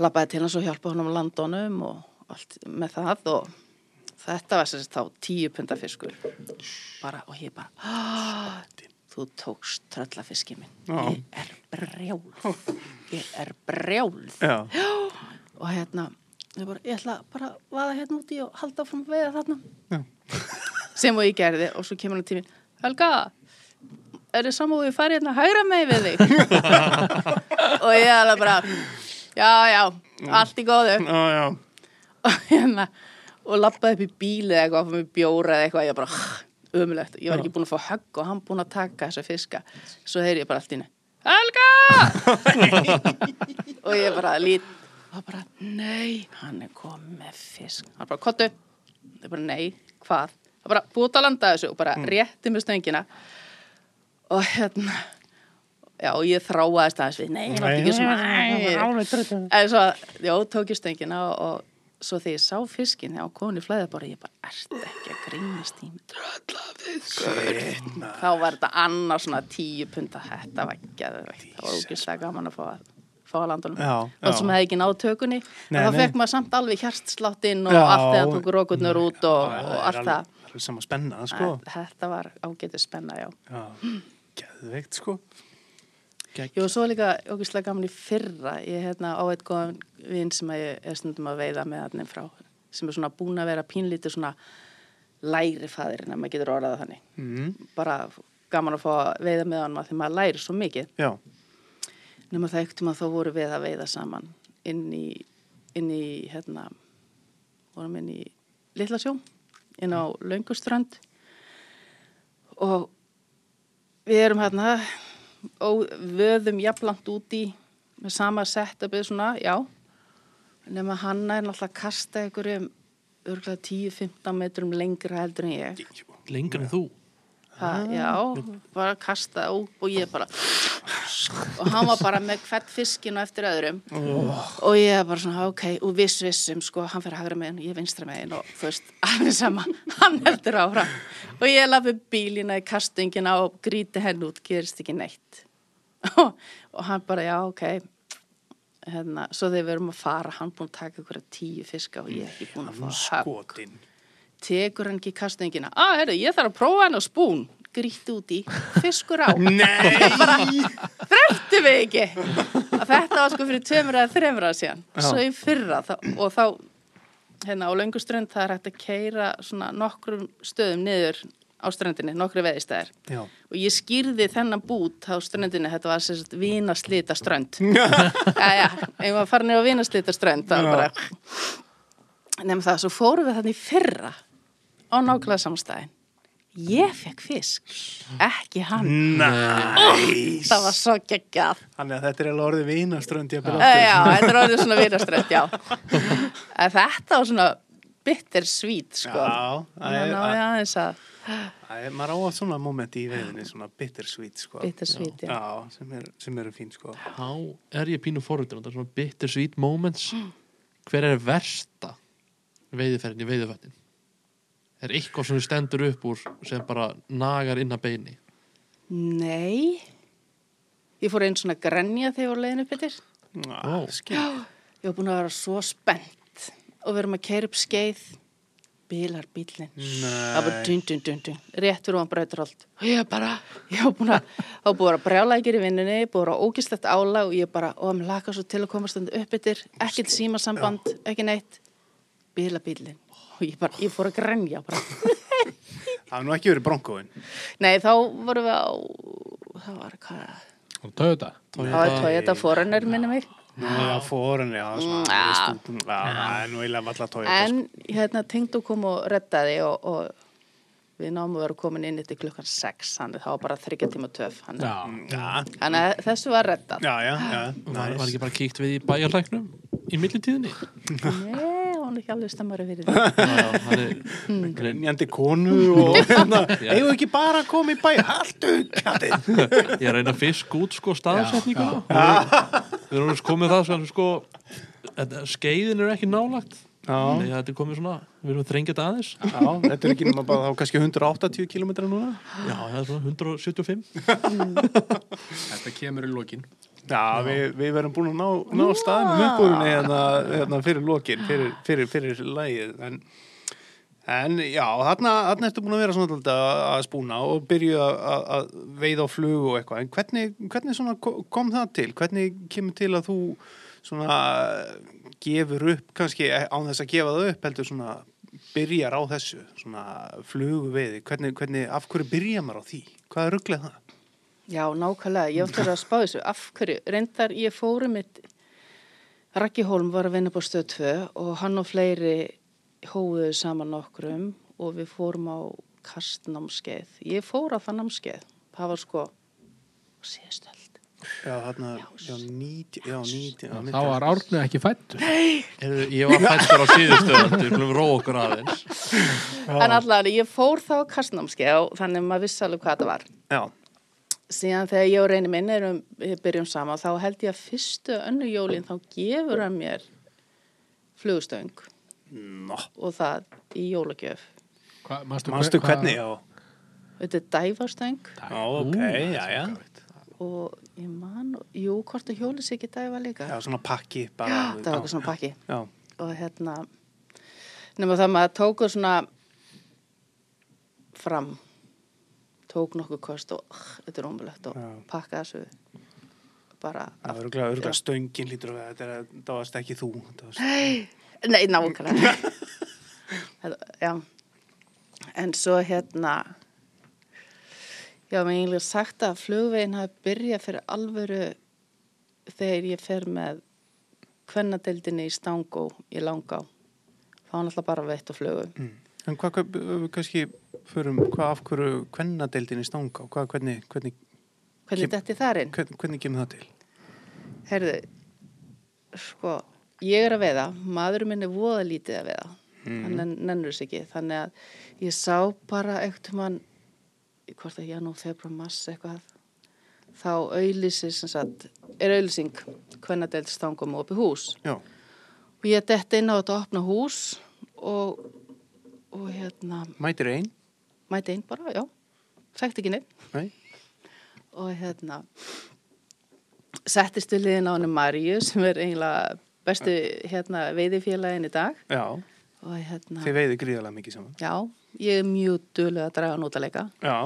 Speaker 4: labbaði til hans og hjálpa honum á landónum og allt með það og þetta var sérst þá tíu punta fiskur bara, og ég bara "Ah, þú tókst tröllafiski minn
Speaker 1: Já.
Speaker 4: ég er brjál ég er brjál
Speaker 1: Já.
Speaker 4: og hérna ég, bara, ég ætla bara að vaða hérna úti og halda áfram að veiða þarna
Speaker 1: Já.
Speaker 4: [laughs] sem og ég gerði og svo kemur hann til mín Helga, er þið saman og ég fari hérna hægra með við þig
Speaker 1: [laughs]
Speaker 4: og ég ætla bara já, já, allt í góðu
Speaker 1: Já, já.
Speaker 4: [laughs] og hérna og lappaði upp í bíli eða eitthvað, fór mér bjóra eða eitthvað, ég bara ömulegt, ég var ekki búin að fá högg og hann búin að taka þessa fiska, svo heyri ég bara allt í henni Helga! [laughs] og ég bara lít og bara, nei, hann er komið með fisk, hann bara, kottu ég bara, nei, hvað hann bara, búið að landa þessu og bara rétti með stöngina og hérna já, og ég þráaðist aðeins við, nei, ég var ekki svona nei, En svo, já, tók ég stöngina og, og svo þegar ég sá fiskin á konu flæðabora, ég bara, ert ekki að grínast í mig tröllafiskur. Þá var þetta annað svona tíu punta, þetta var geðveikt. Það var ógislega gaman að fá að fá að landunum.
Speaker 1: Já,
Speaker 4: og
Speaker 1: já.
Speaker 4: sem hefði ekki náð tökunni
Speaker 1: Nei,
Speaker 4: en þá
Speaker 1: nei.
Speaker 4: fekk maður samt alveg hjartsláttinn og
Speaker 1: Já. Mm.
Speaker 4: allt þegar tók rókurnar út og,
Speaker 1: Það
Speaker 4: og
Speaker 1: er
Speaker 4: allt
Speaker 1: alveg-
Speaker 4: það
Speaker 1: Það er alveg sama spenna, sko.
Speaker 4: En þetta var ágætið spenna, já
Speaker 1: Já. Geðveikt, sko. Gegn.
Speaker 4: Ég var svo líka ógislega gaman í fyrra. Ég er hérna á eitt góðan vinn sem að ég er stundum að veiða með hann frá sem er svona búin að vera pínlítið svona læri fæðirinn að maður getur orðað það þannig.
Speaker 1: Mm.
Speaker 4: Bara gaman að fá að veiða með hann því maður læri svo mikið.
Speaker 1: Já.
Speaker 4: Nefnum það ekkert um að þá voru við að veiða saman inn í, inn í hérna, vorum inn í Littlasjó, inn á Lönguströnd og við erum hérna og vöðum jafnlant úti með sama setupið svona, já nema hann er náttúrulega að kasta einhverjum örgulega 10-15 metrum lengra heldur en ég
Speaker 3: lengur en þú
Speaker 4: Það, já, bara kasta úp og ég bara og hann var bara með hvert fiskinu eftir öðrum og ég bara svona, ok, og viss vissum sko, hann fyrir hægra megin og ég vinstra megin og þú veist, alveg sama, [laughs] hann heldur áfram og ég lafi bílina í kastingina og gríti henn út gerist ekki neitt [laughs] og, hann bara, já, ok hérna, svo þegar við erum að fara hann búin að taka ykkur tíu fiska og ég er ekki búin að fá
Speaker 1: Hann
Speaker 4: högg
Speaker 1: skotin.
Speaker 4: tekur hann ekki kastingina að, herru, ég þarf að prófa hann á spún gríti úti, fiskur á
Speaker 1: Nei!
Speaker 4: dreftu mig ekki að þetta var sko fyrir tveimur eða þreimur að síðan svo í fyrra þá, og þá hérna á löngu strönd það er hægt að keira svona nokkrum stöðum niður á ströndinni, nokkru veðistæðir
Speaker 1: Já.
Speaker 4: og ég skýrði þennan bút á ströndinni, þetta var sérst vínaslita
Speaker 1: [laughs]
Speaker 4: strönd Jæja, ef maður farin er á vínaslita strönd þá er bara nefnum það, svo fórum við þannig fyrra á nákvæmlega samstæðin ég fekk fisk ekki hann,
Speaker 1: Næs!
Speaker 4: það var svo geggjað
Speaker 1: Þannig að þetta er alveg orðið vinaströnd ég að
Speaker 4: Eh, Já, þetta er orðið svona vinaströnd, já. En þetta var svona bitter sweet, sko.
Speaker 1: Já, það
Speaker 4: Þannig
Speaker 1: er-
Speaker 4: að já, þess að
Speaker 1: Það er, maður á að svona moment í veðinni, svona bittersweet, sko.
Speaker 4: Bittersweet,
Speaker 1: já.
Speaker 4: já.
Speaker 1: Já, sem, er, sem eru fín, sko.
Speaker 3: þá er ég pínu forvitin þetta er svona bittersweet moments hver er versta veiðiferðin í veiðiferðin er eitthvað sem stendur upp úr sem bara nagar inn að beini
Speaker 4: Nei. Ég fór einn svona grenja þegar ég voru leiðin upp yfir.
Speaker 1: Ná, skil.
Speaker 4: Ég var búin að vera svo spennt og við erum að keira upp skeið bílar bílinn það var dun dun dun dun rétt fyrir hann breytur allt og ég bara, ég var búin að þá var búin að brjála ekkert í vinnunni búin að vera ógislegt álag og ég bara, og hann laka svo til að koma stundu upp yfir ekkert símasamband, ekki neitt bílar bílinn og ég bara, ég fór að grenja bara
Speaker 1: Það er nú ekki verið bronkóin.
Speaker 4: nei, þá vorum við á það var hvað,
Speaker 2: Og Toyota.
Speaker 4: það var Toyota Forerunner minni mig
Speaker 1: Nú er það fórunni, já, svona,
Speaker 4: já.
Speaker 1: veist, um- já, það er nú eiginlega valla tóið.
Speaker 4: En hérna tengdu kom og reddaði og, og við náum að vera komin inn eftir klukkan 6, þannig það var bara þryggja tíma töf. Þannig
Speaker 2: Já.
Speaker 1: sko. Já,
Speaker 4: þannig að þessu var reddað.
Speaker 1: já, já, já,
Speaker 3: Var, var
Speaker 1: næs.
Speaker 3: ekki bara kíkt við í bæjarlæknum í millitíðinni?
Speaker 4: Nei, hún er ekki alveg stemmari fyrir það.
Speaker 3: Já, já, hann er, hann er,
Speaker 1: Njandi konu [laughs] og hérna, eigum við ekki bara að koma í bæ, haldu, kjaldið.
Speaker 3: ég er að reyna að fisk út sko staðsetninguna. Við erum alveg komið það sem sko, þetta- skeiðin er ekki nálagt.
Speaker 1: Já,
Speaker 3: Nei, þetta er komið svona, við erum að þrengja þetta aðeins.
Speaker 1: já, þetta er ekki nema bara þá kannski 180 km núna.
Speaker 3: Já, það er svona 175.
Speaker 2: Þetta kemur í lokin.
Speaker 1: Já, við, við verðum búin að ná, ná staðnum uppbúinni hérna, hérna fyrir lokin, fyrir, fyrir, fyrir lagið. En, en já, þarna, þarna ertu búin að vera svona alltaf að spúna og byrja að, að veiða á flug og eitthvað. En hvernig, hvernig svona ko- kom það til? Hvernig kemur til að þú svona gefur upp, kannski eh, án þess að gefa það upp, heldur svona byrjar á þessu, svona flugveiði. Hvernig, hvernig, af hverju byrjar maður á því? Hvað er rugglega það?
Speaker 4: Já, nákvæmlega, ég átti að vera að spá þessu. Af hverju? Reyndar, ég fóru mitt, Raggi Holm var að vinna upp á stöð 2 og hann og fleiri hóðuðu saman okkurum og við fórum á kastnámskeið. Ég fór á það námskeið. Það var sko síðastöld.
Speaker 1: Já, þarna, já, 90, já, 90, já,
Speaker 2: Þá var Árni ekki fættur.
Speaker 3: Heyrðu, Ég var fættur á síðustu öldu, við viljum róa okkur aðeins.
Speaker 4: En allavega, ég fór þá á kastnámskeið og þannig að maður vissi alveg hvað þetta var.
Speaker 1: Já,
Speaker 4: Síðan þegar ég og reyni minn erum, við byrjum saman, þá held ég að fyrstu önnu jólin, þá gefur hann mér flugstöng
Speaker 1: Nó,
Speaker 4: og það í jólagjöf.
Speaker 2: Hva, manstu,
Speaker 1: manstu
Speaker 2: hva-
Speaker 1: hvernig já
Speaker 4: Þetta er dæfastöng
Speaker 1: Já, ok, já, já
Speaker 4: og ég man, jú, hvort að hjóli sig ekki dæfa líka.
Speaker 1: Já, svona pakki bara
Speaker 4: Já, það var eitthvað svona pakki.
Speaker 1: Já,
Speaker 4: og hérna nema það maður tóku svona fram tók nokkuð kost og uh, þetta er ómulegt og
Speaker 1: Já.
Speaker 4: pakka þessu bara
Speaker 1: það var örgulega, örgulega stöngin lítur að vera, þetta er, það varst ekki þú þetta varst-
Speaker 4: nei, nákvæmlega Þetta- já en svo hérna já, maður eiginlega sagt að flugveginn hafi byrjað fyrir alvöru þegar ég fer með kvennadeildinni í Stangó í Langá þá var náttúrulega bara veitt og flugu
Speaker 1: Hmm. En hvað, hvað, ef við kannski förum, hvað af hverju kvennadeildin í stanga hvað, hvernig, hvernig,
Speaker 4: Hvernig
Speaker 1: Kem-
Speaker 4: dætti þar inn?
Speaker 1: hvernig, hvernig kemur það til?
Speaker 4: Herðu, sko, ég er að veiða, maður minn er voða lítið að veiða, hann mm. nennur þess ekki, þannig að ég sá bara eitthvað mann, hvort að janú, februar, mars eitthvað, þá auðlýsi sem sagt, er auðlýsing hvernig deilt stangum og um opið hús
Speaker 1: Já,
Speaker 4: og ég dætti inn á þetta að opna hús og, og hérna,
Speaker 1: mætir ein,
Speaker 4: mæti einn bara, já, þekkt ekki neitt
Speaker 1: nei
Speaker 4: og hérna settist við liðin á henni Maríu sem er eiginlega bestu hérna, veiðifélagin í dag
Speaker 1: Já,
Speaker 4: og hérna,
Speaker 1: þið veiði gríðarlega mikið saman
Speaker 4: já, ég er mjög duðlega að draga hann út að leika
Speaker 1: Já,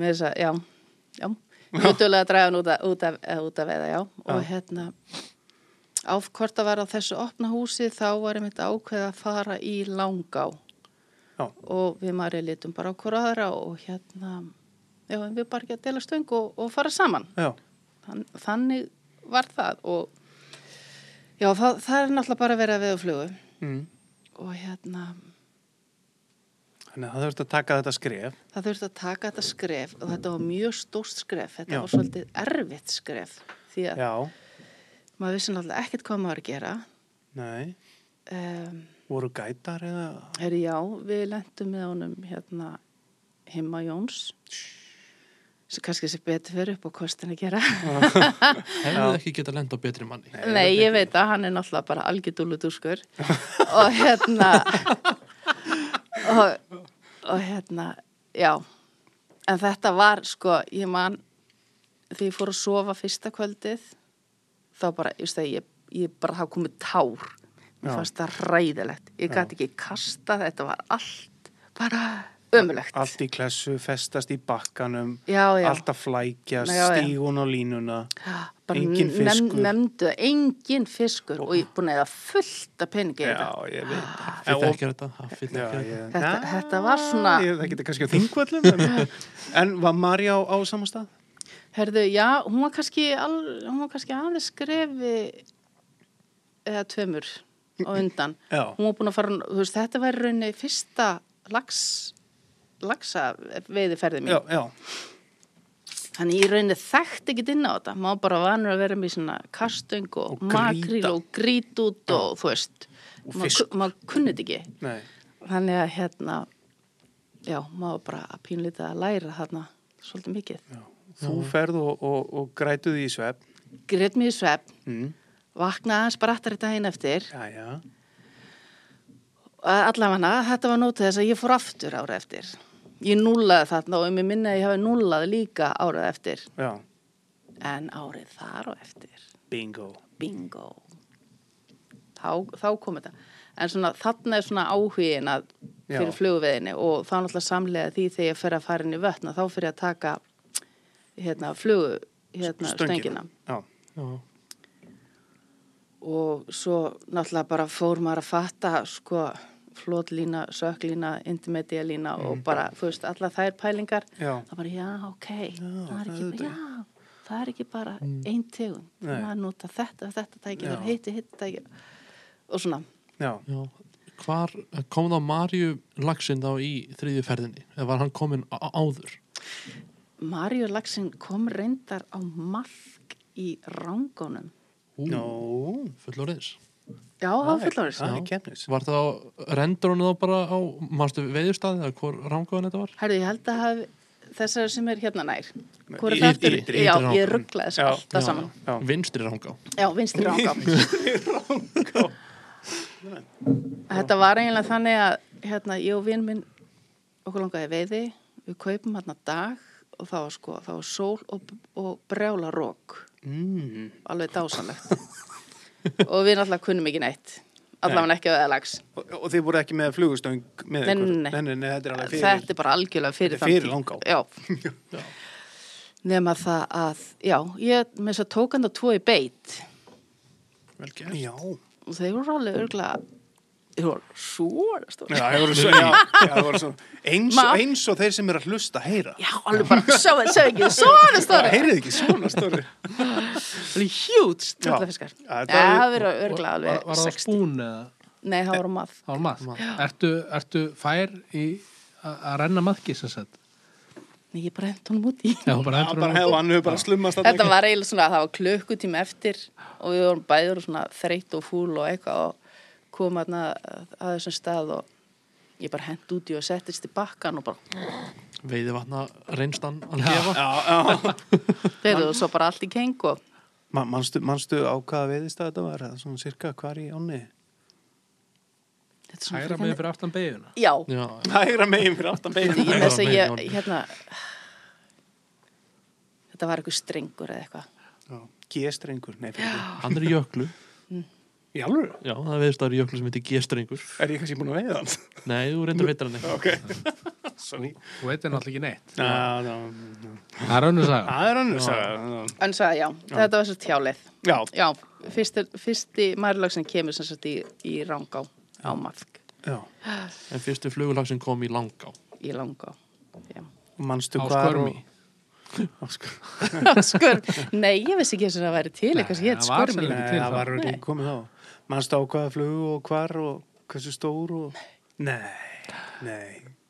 Speaker 4: með þess að, já, já mjög duðlega að draga hann út að, út að, eða út að veiða, já, og hérna áfkvort að vera á þessu opna húsi þá var ég mitt ákveð að fara í langá
Speaker 1: Já.
Speaker 4: og við Maríu litum bara á hver aðra og hérna, já, en við bara ekki að dela stöng og, og fara saman
Speaker 1: já,
Speaker 4: Þann, þannig var það og já, það, það er náttúrulega bara verið að veða flugu
Speaker 1: mm.
Speaker 4: og hérna,
Speaker 1: þannig að það þurft að taka þetta skref
Speaker 4: það þurfti að taka þetta skref og þetta var mjög stórt skref, þetta
Speaker 1: Já.
Speaker 4: var svolítið erfitt skref því að
Speaker 1: Já,
Speaker 4: maður vissi náttúrulega ekkert hvað maður var að gera.
Speaker 1: nei,
Speaker 4: Um,
Speaker 1: voru gætar eða
Speaker 4: Herri, já, við lendum með honum hérna himma Jóns sem kannski sé betur fyrir upp á kostin að gera.
Speaker 3: Hefðu ekki getað lenda á betri manni.
Speaker 4: Nei, ég veit að hann er náttúrulega bara algjörðúludúskur [laughs] og hérna og, og hérna já, en þetta var sko, ég man þegar ég fór að sofa fyrsta kvöldið þá bara, ég veist það, ég, ég bara það komið tár mér
Speaker 1: Já.
Speaker 4: fannst það ræðilegt ég gæti ekki kasta, þetta var allt bara ömulegt
Speaker 1: Allt í klessu, festast í bakkanum,
Speaker 4: Já, já.
Speaker 1: allt að flækja,
Speaker 4: Já, já.
Speaker 1: stígun á línuna.
Speaker 4: bara
Speaker 1: engin fiskur.
Speaker 4: nefndu það, engin fiskur og ég er búin að eða fullt af peningi hérna. í
Speaker 1: Já,
Speaker 4: þetta.
Speaker 1: ég veit.
Speaker 3: Fyrir
Speaker 1: En-
Speaker 3: ekki þetta, hann fyrir
Speaker 1: Já,
Speaker 3: ekki þetta.
Speaker 1: ég,
Speaker 4: Þetta-
Speaker 1: Já,
Speaker 4: þetta var svona-
Speaker 1: ég, Það getur kannski á [laughs] þingvöllum en, en var Marja á, á sama stað?
Speaker 4: Herðu, já, hún var kannski, al, hún var kannski aðeins skrefi eða tveimur á undan
Speaker 1: [laughs] Já.
Speaker 4: hún var búin að fara, þú veist, þetta var í rauninni fyrsta lags lagsa veiðiferði mín
Speaker 1: Já, já,
Speaker 4: Þannig ég rauninni þekkt ekkert inn á þetta. Má bara vanur að vera með svona kastöng og,
Speaker 1: Og
Speaker 4: og
Speaker 1: grýta.
Speaker 4: makrýl og grít út og þú veist.
Speaker 1: Og
Speaker 4: Má-
Speaker 1: fisk.
Speaker 4: Má kunnið ekki.
Speaker 1: nei
Speaker 4: Þannig að hérna, já, má bara að pínlítið að læra þarna svolítið mikið.
Speaker 1: Þú ferð og, og, og grætuð í svefn
Speaker 4: Grét mér í svefn,
Speaker 1: mm.
Speaker 4: vakna aðeins bara aftar þetta einn eftir.
Speaker 1: Já, já,
Speaker 4: Allavega, þetta var nótið þess að ég fór aftur ára eftir. Ég núlaði þarna og um ég minna að ég hafi núlað líka árað eftir.
Speaker 1: já
Speaker 4: En árið þar og eftir.
Speaker 1: Bingo
Speaker 4: bingo þá, þá kom þetta en svona, þarna er svona áhugin að
Speaker 1: Já.
Speaker 4: fyrir flugveðinni og þá náttúrulega samlega því þegar ég fer að fara inn í vötna þá fyrir ég að taka hérna, flugu hérna, stöngina
Speaker 1: Já,
Speaker 3: Já.
Speaker 4: og svo náttúrulega bara fór maður að fatta sko flótlína, söklína, intermedialína og bara, þú veist, alla þær pælingar
Speaker 1: Já.
Speaker 4: það bara, já, ok það, er
Speaker 1: það er
Speaker 4: ekki, já, það er ekki bara ein tegund,
Speaker 1: Nei.
Speaker 4: maður nota þetta þetta tæki,
Speaker 1: Já.
Speaker 4: það heiti, hitt tæki og svona,
Speaker 1: já,
Speaker 3: Já. Hvar kom þá Marju lagsin þá í þriðju ferðinni? Eða var hann komin á- áður?
Speaker 4: Maríu Laxin kom reyndar á mark í rángunum
Speaker 3: Ú,
Speaker 1: no
Speaker 3: fullorðins.
Speaker 4: já, það var fullorðis
Speaker 1: Það er kemnis
Speaker 3: Var það á, rendur hún þá bara á, mástu veðurstaði eða hvor rámgóðan þetta var?
Speaker 4: herðu, ég held að hafi þessar sem er hérna nær hvort
Speaker 1: Í-
Speaker 4: það aftur,
Speaker 3: í- í- í-
Speaker 4: já,
Speaker 3: í-
Speaker 4: ég rugglaði
Speaker 1: Já,
Speaker 4: þessu alltaf
Speaker 3: já.
Speaker 4: saman
Speaker 1: Já.
Speaker 3: Vinstri rámgá.
Speaker 4: Já, vinstri rangá. [laughs] Þetta var eiginlega þannig að hérna, ég og vinn minn okkur langaði í veiði, við kaupum hérna dag og það var sko, það var sól og, og brjála rók,
Speaker 1: mm.
Speaker 4: alveg dásanlegt. og við náttúrulega kunnum ekki neitt, allavega ekki að veða lags.
Speaker 1: og, og þið voru ekki með flugustöng með
Speaker 4: Nei,
Speaker 1: ykkur
Speaker 4: nei, nei.
Speaker 1: nei, nei, þetta er alveg fyrir
Speaker 4: Þetta er bara algjörlega fyrir
Speaker 1: Þetta er fyrir langá.
Speaker 4: Já. Nefna það að, já, ég með þess að tók hann það tvo í beitt
Speaker 3: Vel gert.
Speaker 1: Já,
Speaker 4: og þeir voru alveg örgulega, þeir voru svona stóri.
Speaker 1: já, það [laughs] voru svo, já, já, það voru svo eins,
Speaker 4: Ma-
Speaker 1: og- eins og þeir sem eru að hlusta heyra
Speaker 4: Já, alveg bara, sjá það, sjá ekki, svona stóri.
Speaker 1: Heyrið ekki svona stóri [laughs]
Speaker 4: alveg hjút tröllafiskar
Speaker 1: Já,
Speaker 4: Já,
Speaker 1: þetta er-
Speaker 4: það verður örglega
Speaker 2: var,
Speaker 4: alveg
Speaker 2: var það
Speaker 4: 60
Speaker 2: spún eða
Speaker 4: Nei, það voru mað
Speaker 2: það var maður ertu, ertu fær í a- að renna maðki sem sagt
Speaker 4: Nei, ég bara hendt honum út í
Speaker 2: já,
Speaker 1: Já,
Speaker 2: bara hendur
Speaker 1: bara
Speaker 2: honum.
Speaker 1: hefðu hann hefur bara slummast þarna
Speaker 4: Þetta
Speaker 1: ekki.
Speaker 4: var eiginlega svona að það var klukkutíma eftir og við vorum bæður svona þreytt og fúl og eitthvað og komum að, að þessum stað og ég bara hendt út í og settist í bakkan og bara,
Speaker 3: Veiði vatna reynstan að gefa.
Speaker 1: Já, já [laughs]
Speaker 4: þeirðu og svo bara allt í keng og
Speaker 1: Man, manstu, manstu á hvaða veiðist þetta var? eða Svona cirka hvar í ánni?
Speaker 4: þetta er
Speaker 2: hægra
Speaker 4: svona
Speaker 2: með fyrir aftan beiguna
Speaker 4: Já,
Speaker 3: Já,
Speaker 1: Hægra megin fyrir aftan
Speaker 4: ég
Speaker 1: [laughs] beigina.
Speaker 4: með þess að
Speaker 3: Hægra
Speaker 4: ég,
Speaker 3: megin,
Speaker 4: hérna Þetta var eitthvað strengur eða eitthvað
Speaker 1: G-strengur, nei fyrir ekki.
Speaker 3: hann er í jöklu.
Speaker 1: Í alvöru?
Speaker 3: Já, það er veðurstaður í jöklu sem heitir G-strengur.
Speaker 1: Er ég kannski búin að veiða hann?
Speaker 3: Nei, þú reyndur veitir hann ekki.
Speaker 1: [laughs] ok. Sorry.
Speaker 2: þú veitir náttúrulega ekki neitt
Speaker 1: Ná, ná, ná.
Speaker 2: það er önnu saga
Speaker 1: Það er annars að...
Speaker 4: En svo, já, þetta var svo tjálið
Speaker 1: Já,
Speaker 4: Já, fyrsti, fyrsti maðurlagsin kemur sem sagt í, í Rangá á maðk,
Speaker 1: já.
Speaker 3: En fyrstu flugulag sem kom í langá.
Speaker 4: í Langá. Já. [laughs]
Speaker 1: Manstu
Speaker 2: á
Speaker 1: hvar
Speaker 2: skörmi
Speaker 1: Á skörmi.
Speaker 4: Skur, nei, ég vissi ekki eins og það væri til, eitthvað sem
Speaker 2: Nei,
Speaker 4: hétt
Speaker 2: það var
Speaker 4: skurmi.
Speaker 2: sennilega.
Speaker 1: Nei,
Speaker 2: til
Speaker 1: það
Speaker 2: þá.
Speaker 1: var ekki komið þá. Manstu á hvaða flugu og hvar og hversu stór og... Nei, nei.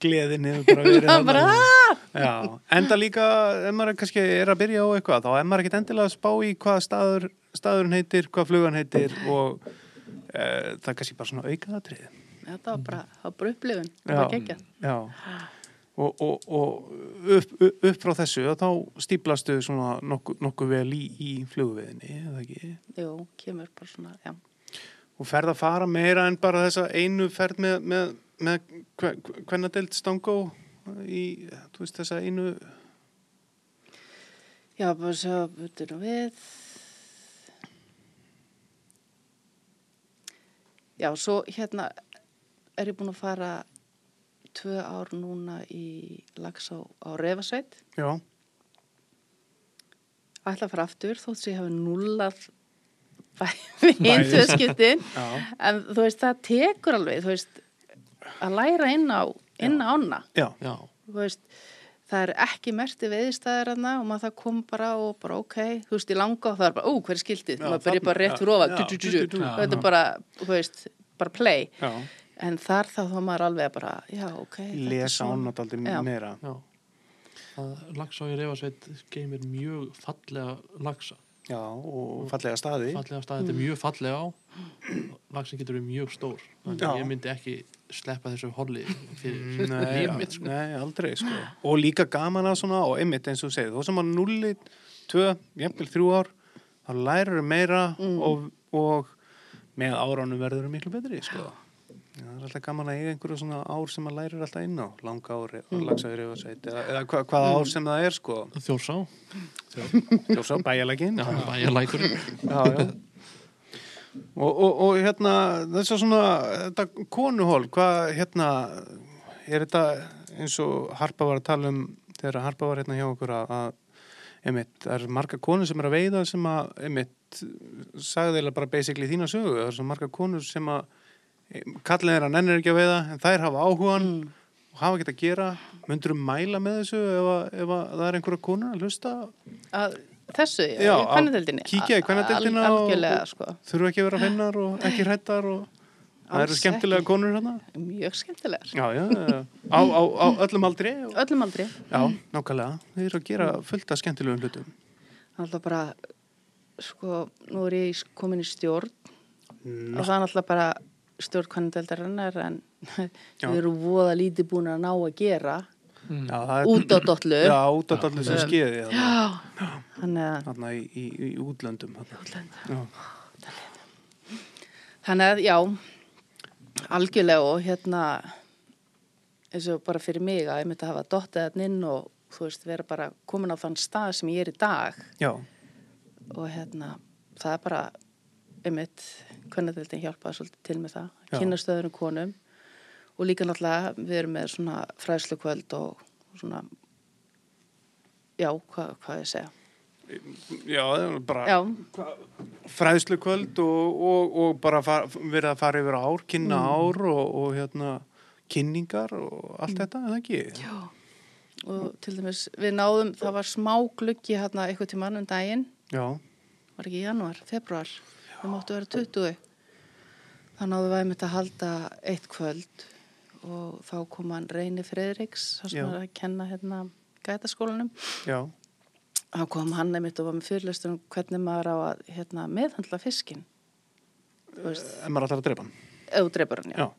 Speaker 1: Gleðin hefur bara verið
Speaker 4: Það bara,
Speaker 1: þarna.
Speaker 4: aah!
Speaker 1: Já, enda líka ef maður kannski er að byrja á eitthvað þá er maður ekkit endilega að spá í hvað staður, staðurinn heitir, hvað flugan heitir og e, það er kannski bara svona aukaðatrið
Speaker 4: þetta var bara, það var bara upplifun, það var
Speaker 1: Já,
Speaker 4: geggjað.
Speaker 1: já. og, og, og upp, upp, upp frá þessu þá stíplastu svona nokkuð nokku vel í, í flugviðinni eða ekki
Speaker 4: Jú, kemur bara svona, já.
Speaker 1: og ferð að fara meira en bara þessa einu ferð með, með, með hvernadelt stangó í, þú veist, þessa einu
Speaker 4: Já, bara svo butur og við. Já, svo hérna er ég búin að fara tvö ár núna í Lagsá á Refasveit.
Speaker 1: Já,
Speaker 4: Ætla að fara aftur þótt sem ég hafi núllað bæðin tvö skiptin.
Speaker 1: já,
Speaker 4: En þú veist, það tekur alveg, þú veist, að læra inn á, inn á ána.
Speaker 1: já,
Speaker 3: já,
Speaker 4: Þú veist, það er ekki merti veiðistæðir hana og maður það kom bara og bara ok, þú veist, í langa og það er bara, ú, hver er skildið?
Speaker 1: Já,
Speaker 4: maður byrja
Speaker 1: þarna,
Speaker 4: bara rétt fyrir
Speaker 1: já,
Speaker 4: ofa,
Speaker 1: já,
Speaker 4: du, du, du,
Speaker 1: du, du,
Speaker 4: du.
Speaker 1: du.
Speaker 4: þetta er bara, þú veist, bara play.
Speaker 1: já.
Speaker 4: En þar þá þá maður alveg bara, já, ok. þetta er
Speaker 1: Lesa
Speaker 4: svona.
Speaker 1: ánáttaldi
Speaker 4: Já.
Speaker 1: meira.
Speaker 3: já. Það lagsá í reyfasveit geymir mjög fallega lagsa.
Speaker 1: Já, og fallega staði.
Speaker 3: Fallega staði, þetta er mjög fallega á. Lagsin getur verið mjög stór. Þannig
Speaker 1: Já.
Speaker 3: að ég myndi ekki sleppa þessu holli fyrir
Speaker 1: Nei,
Speaker 3: líf mitt. Sko.
Speaker 1: nei, aldrei
Speaker 3: [gasps]
Speaker 1: sko. og líka gaman að svona og einmitt eins og þú segir, þó sem að nulli tvö, jafnvel þrjú ár þá lærir meira
Speaker 3: Mm.
Speaker 1: og, og með áránum verður miklu betri sko. Já, það er alltaf gaman að eiga einhverju svona ár sem að lærir alltaf inn á langa ári, mm. lagsaður eða, eða hva, hvaða
Speaker 3: Mm.
Speaker 1: ár sem það er sko.
Speaker 3: Þjórsá,
Speaker 1: Jósá, bæjalækin já,
Speaker 3: bæjarlækur.
Speaker 1: já, já. Og, og, og hérna þess að svona þetta konuhól, hvað hérna er þetta eins og Harpa var að tala um þegar Harpa var hérna hjá okkur að, að einmitt, það eru marga konur sem er að veiða sem að, einmitt, sagði þeirlega bara basically þína sögu, það eru svo marga konur sem að em, kallin þeirra nennir ekki að veiða en þær hafa áhugan og hafa ekki að gera, myndur mæla með þessu ef, að, ef að það er einhverja konur að hlusta
Speaker 4: Að, þessu, já,
Speaker 1: Já,
Speaker 4: í kvennadeldinni.
Speaker 1: að kíkja í kvennadeildina
Speaker 4: Al-
Speaker 1: og-
Speaker 4: Algjörlega, sko.
Speaker 1: þurfa ekki að
Speaker 4: [gasps]
Speaker 1: vera finnar og ekki hrættar og það
Speaker 4: Alls
Speaker 1: eru skemmtilega
Speaker 4: ekki.
Speaker 1: konur hérna
Speaker 4: Mjög skemmtilegar.
Speaker 1: já, já, já. á, á, á öllum aldri og...
Speaker 4: Öllum aldrei.
Speaker 1: já, nákvæmlega, þeir eru að gera fullt af skemmtilegum hlutum
Speaker 4: Alltaf bara, sko, nú er ég komin í stjórn
Speaker 1: Ná,
Speaker 4: og það er náttúrulega bara stjórn kvennadeldarinnar en [laughs]
Speaker 1: Já.
Speaker 4: við erum voða lítið búin að ná að gera
Speaker 1: já, það er-
Speaker 4: út á dollu
Speaker 1: Mm. já, út á allir sem skeiði þarna-
Speaker 4: þannig að,
Speaker 1: þarna í, í, í útlöndum þarna. já,
Speaker 4: þannig að já algjörlega og hérna eins og bara fyrir mig að ég myndi hafa dottið hann inn og þú veist vera bara komin á þann stað sem ég er í dag
Speaker 1: já,
Speaker 4: og hérna það er bara einmitt kvennadeildin hjálpaði svolítið til með það
Speaker 1: Já.
Speaker 4: kynastöðunum konum og líka náttúrulega við erum með svona fræðslukvöld og svona já, hva, hvað ég að segja
Speaker 1: já það er bara
Speaker 4: já,
Speaker 1: fræðslu kvöld og, og, og bara far, verið að fara yfir ár, kynna
Speaker 4: Mm.
Speaker 1: ár og, og hérna kynningar og allt
Speaker 4: Mm.
Speaker 1: þetta, er það ekki? Já.
Speaker 4: og til dæmis við náðum, það var smá gluggi hérna eitthvað til mannum daginn
Speaker 1: Já,
Speaker 4: var ekki í januar, februar við máttu vera 20 þá náðum við einmitt að halda eitt kvöld og þá kom hann Reyni Freðriks það sem
Speaker 1: Já.
Speaker 4: er að kenna hérna gætaskólanum
Speaker 1: já,
Speaker 4: þá kom hann einmitt og var með fyrirlestur um hvernig maður á að hérna, meðhandla fiskin þú veist,
Speaker 1: en maður ætlar að drepa hann
Speaker 4: eða dreipur hann, já,
Speaker 1: Já,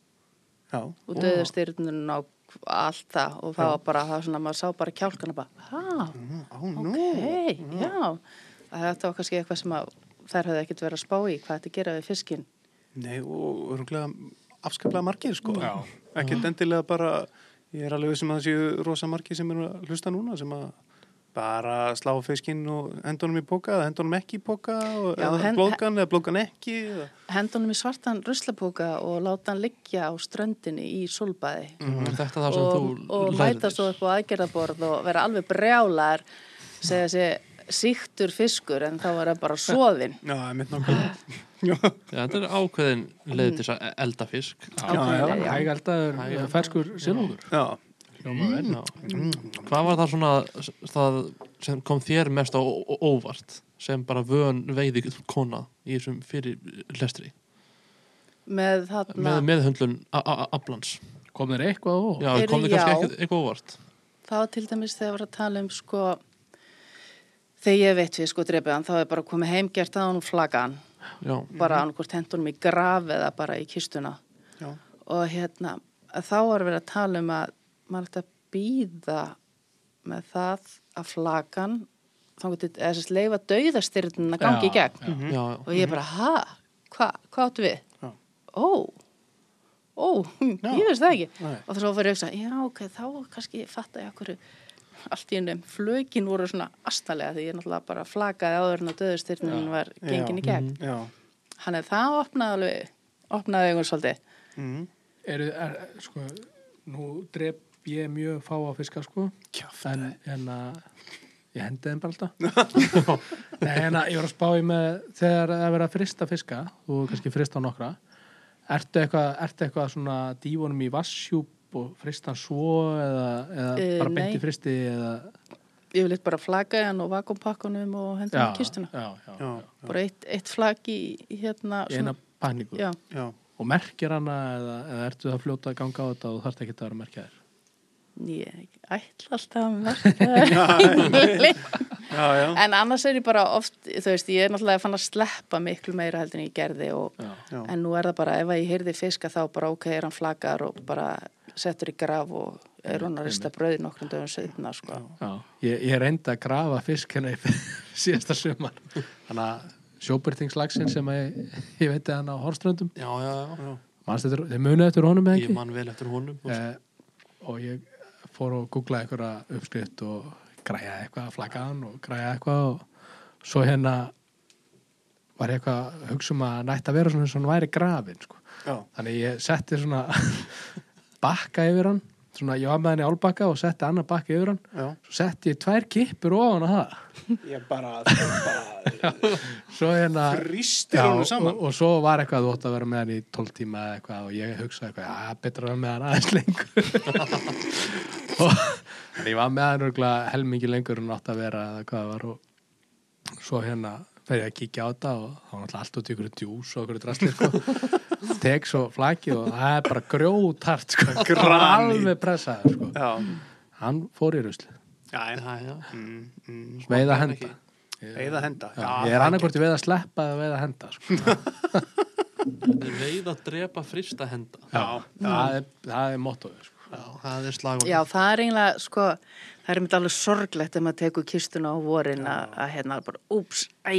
Speaker 1: já,
Speaker 4: og döðustyrnun og allt það og það var bara, það var svona, maður sá bara kjálkana bara, hæ,
Speaker 1: á
Speaker 4: ok,
Speaker 1: nú
Speaker 4: já að þetta var kannski eitthvað sem að þær höfðu ekkert verið að spá í, hvað þetta gera við fiskin
Speaker 1: Nei, og örgulega afskaplega margir sko ekkert endilega bara ég er alveg viss um að það séu rosa margir sem eru að hlusta núna sem að bara slá fiskinn og hendunum í póka eða hendunum ekki í póka og-
Speaker 4: Já,
Speaker 1: eða
Speaker 4: hen-
Speaker 1: blókan eða blókan ekki eða-
Speaker 4: hendunum í svartan ruslapóka og láta hann liggja á ströndinni í solbæði
Speaker 3: Þetta er það sem
Speaker 4: Mhm. og,
Speaker 3: þú
Speaker 4: og
Speaker 3: lærðir.
Speaker 4: mæta svo upp á aðgerðaborð og vera alveg brjálar segja þessi síktur fiskur en þá er það bara svoðinn
Speaker 1: Já, ég mitt nákvæmlega [laughs] Já,
Speaker 3: Já, þetta er ákveðin leið til þess að elda fisk.
Speaker 4: Ákveðin leið, já.
Speaker 2: hægaldaður ferskur silungur
Speaker 1: já,
Speaker 4: Mm.
Speaker 2: hljómaður
Speaker 3: Já. hérna. Hvað var það svona það sem kom þér mest á ó- ó- óvart sem bara vön veiði kona í þessum fyrir lestri
Speaker 4: með þarna
Speaker 3: með meðhöndlun a- a- a- aflans
Speaker 2: kom þér eitthvað á
Speaker 3: Já,
Speaker 4: Heyrðu,
Speaker 3: kom þér kannski
Speaker 4: já.
Speaker 3: ekkert- eitthvað óvart
Speaker 4: þá til dæmis þegar var að tala um sko þegar ég veit við sko drefið hann þá er bara komið heim gert að hann og flagga hann
Speaker 3: Já,
Speaker 4: bara hann hvort hendunum í graf eða bara í kistuna
Speaker 1: já,
Speaker 4: og hérna að þá var verið að tala um að maður ætti að býða með það að flakan þá getur eða þess að leifa dauðastyrnin að gangi í
Speaker 2: Já,
Speaker 4: gegn
Speaker 3: já, Mhm. já.
Speaker 4: og ég bara, ha, hva, hvað áttu við?
Speaker 1: Já.
Speaker 4: Ó, ó,
Speaker 1: Já.
Speaker 4: [laughs] ég veist það ekki
Speaker 1: Nei.
Speaker 4: og þá svo fyrir ég að hugsa, já, ok, þá kannski fatta ég okkur allt í ennum, flökin voru svona astalega því ég náttúrulega bara flakaði áður en að döðustyrnin var gengin í gegn.
Speaker 1: já, Mhm.
Speaker 4: Þannig að það opnaði alveg, opnaði einhvern svolítið.
Speaker 1: mm,
Speaker 2: er, er, sko, nú drep ég mjög fá á fiska sko en, en að ég hendi þeim bara alltaf Nei, en að ég var að spá í með þegar það er verið að frista fiska þú hefur kannski frista nokkra ertu eitthvað, ertu eitthvað svona dífunum í vassjúp og frista hann svo eða, eða
Speaker 4: Eh,
Speaker 2: bara beint
Speaker 4: nei.
Speaker 2: í fristi eða,
Speaker 4: Ég vil eitthvað bara flakaði hann og vakumpakkunum og hendur hann í kistuna.
Speaker 2: já, já,
Speaker 1: já,
Speaker 4: Bara eitt, eitt flak í í hérna.
Speaker 2: í eina paníku
Speaker 4: já,
Speaker 1: já.
Speaker 2: og merkir hana eða, eða ertu að fljóta að ganga á þetta og þarf ekki að vera merkjaðir
Speaker 4: ég ætla alltaf að merka.
Speaker 1: já, já.
Speaker 4: en annars er ég bara oft, þú veist, ég er náttúrulega fann að sleppa miklu meira heldur en ég gerði og
Speaker 2: já.
Speaker 1: Já.
Speaker 4: En nú er það bara, ef að ég heyrði fiska þá bara ok, er hann flakar og bara settur í graf og er hún að rista brauði nokkrum dögum setna, sko.
Speaker 2: Já, ég, ég reyndi að grafa fisk hérna í [laughs] síðasta sumar þannig að sjóbyrtingslagsin sem að ég, ég veit að hann á Horströndum
Speaker 3: já, já, já,
Speaker 2: manst eftir, þeir munið eftir honum eða
Speaker 3: ég
Speaker 2: ekki
Speaker 3: man vel eftir honum og
Speaker 2: eh, og ég fór og googlaði einhverja uppskrift og græjaði eitthvað að flagga hann og græjaði eitthvað og svo hérna var ég eitthvað að hugsa um að hann ætti að vera svona eins og hann væri grafin sko.
Speaker 1: já.
Speaker 2: þannig ég setti svona [laughs] bakka yfir hann svona ég var með henni álbakka og setti annar bakka yfir hann
Speaker 1: Já.
Speaker 2: svo setti ég tvær kippur ofan á það
Speaker 1: Ég bara, bara
Speaker 2: svo hérna
Speaker 1: ristir
Speaker 2: já,
Speaker 1: honum
Speaker 2: og,
Speaker 1: saman.
Speaker 2: og svo var eitthvað að þú ótt að vera með hann í 12 tíma eða eitthvað og ég hugsaði eitthvað, já, betra að vera með hann aðeins lengur [laughs] og en ég var með hann örgulega helmingi lengur en átt að vera eða hvað það var og svo hérna fer ég að kíkja á þetta og þá var náttúrulega allt út í ykkur djús og ykkur drastir sko. tek svo flaki og það er bara grjótart sko.
Speaker 1: Granít.
Speaker 2: alveg pressaður sko.
Speaker 1: Já,
Speaker 2: hann fór í rusli
Speaker 1: já, en
Speaker 3: já, já,
Speaker 1: mm, mm,
Speaker 2: veiða
Speaker 3: hann
Speaker 2: henda
Speaker 3: ekki.
Speaker 1: Eða henda
Speaker 2: Já, ég er annarkvort í veið að sleppa eða veið að henda sko.
Speaker 3: veið að drepa frista henda
Speaker 1: Já,
Speaker 2: það er, það er mottoð sko.
Speaker 3: já, það er slagur
Speaker 4: Já, það er eiginlega, sko, það er mitt alveg sorglegt ef maður tekur kistuna á vorin að, að hérna bara, úps, æ,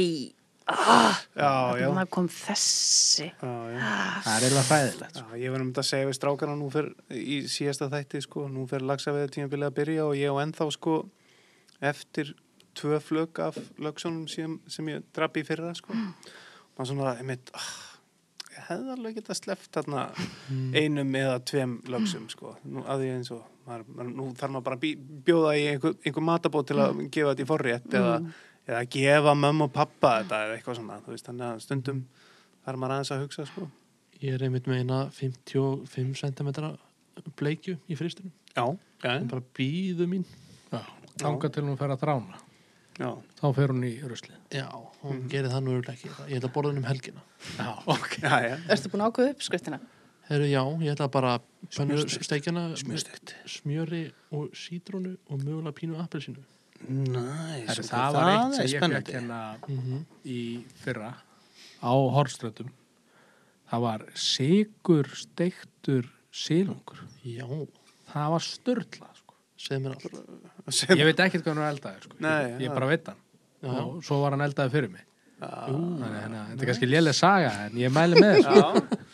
Speaker 4: ah,
Speaker 1: já, já,
Speaker 4: það kom þessi.
Speaker 1: já, já.
Speaker 2: það er sko. eitthvað fræðilegt
Speaker 1: Já, ég var um þetta að segja við strákana nú fer í síðasta þætti sko, nú fer lagsaveður tímabilið að byrja og ég á ennþá sko eftir tvö flög af lögsónum sem, sem ég drap í fyrra sko. Maður svona, einmitt, ah, ég hefði alveg getað sleppt þarna einum eða tveim lögsum sko. Nú, að ég eins og, maður, maður, nú þarf maður bara að bí, bjóða í einhver, einhver matabót til að gefa þetta í forrétt eða, eða gefa mömmu og pappa þetta eða eitthvað svona, þú veist, þannig að stundum þarf maður aðeins að hugsa sko.
Speaker 3: ég er einmitt meina 55 cm bleikju í fristinum
Speaker 1: Já, já,
Speaker 3: bara býðu mín
Speaker 2: þanga til hún fer að drána
Speaker 1: já.
Speaker 2: þá fer hún í ruslið
Speaker 3: já, hún gerir það nú örugglega ekki ég ætla að borða henni um helgina
Speaker 2: já, ok
Speaker 1: Já, já.
Speaker 4: Erstu búin að ákveða uppskriftina?
Speaker 3: Heru, já, ég ætla bara að pönnu steikjana
Speaker 1: Smjörsteikt.
Speaker 3: smjöri og sítrónu og mögulega pínu appelsínu
Speaker 1: Næs.
Speaker 2: það, var eitt sem ég fekk
Speaker 1: [laughs]
Speaker 2: hérna í fyrra á horströndum það var sigur steiktur sílungur
Speaker 3: já,
Speaker 2: það var störla sko.
Speaker 3: segð mér allt
Speaker 2: ég veit ekkert hvað hann var eldaður sko.
Speaker 1: Hérna. Nei,
Speaker 2: ég, ég
Speaker 1: já.
Speaker 2: bara veit hann
Speaker 3: Já.
Speaker 2: og svo var hann eldaður fyrir mig Þannig, hérna, þetta er kannski léleg saga en ég mæli með þessu
Speaker 1: Já.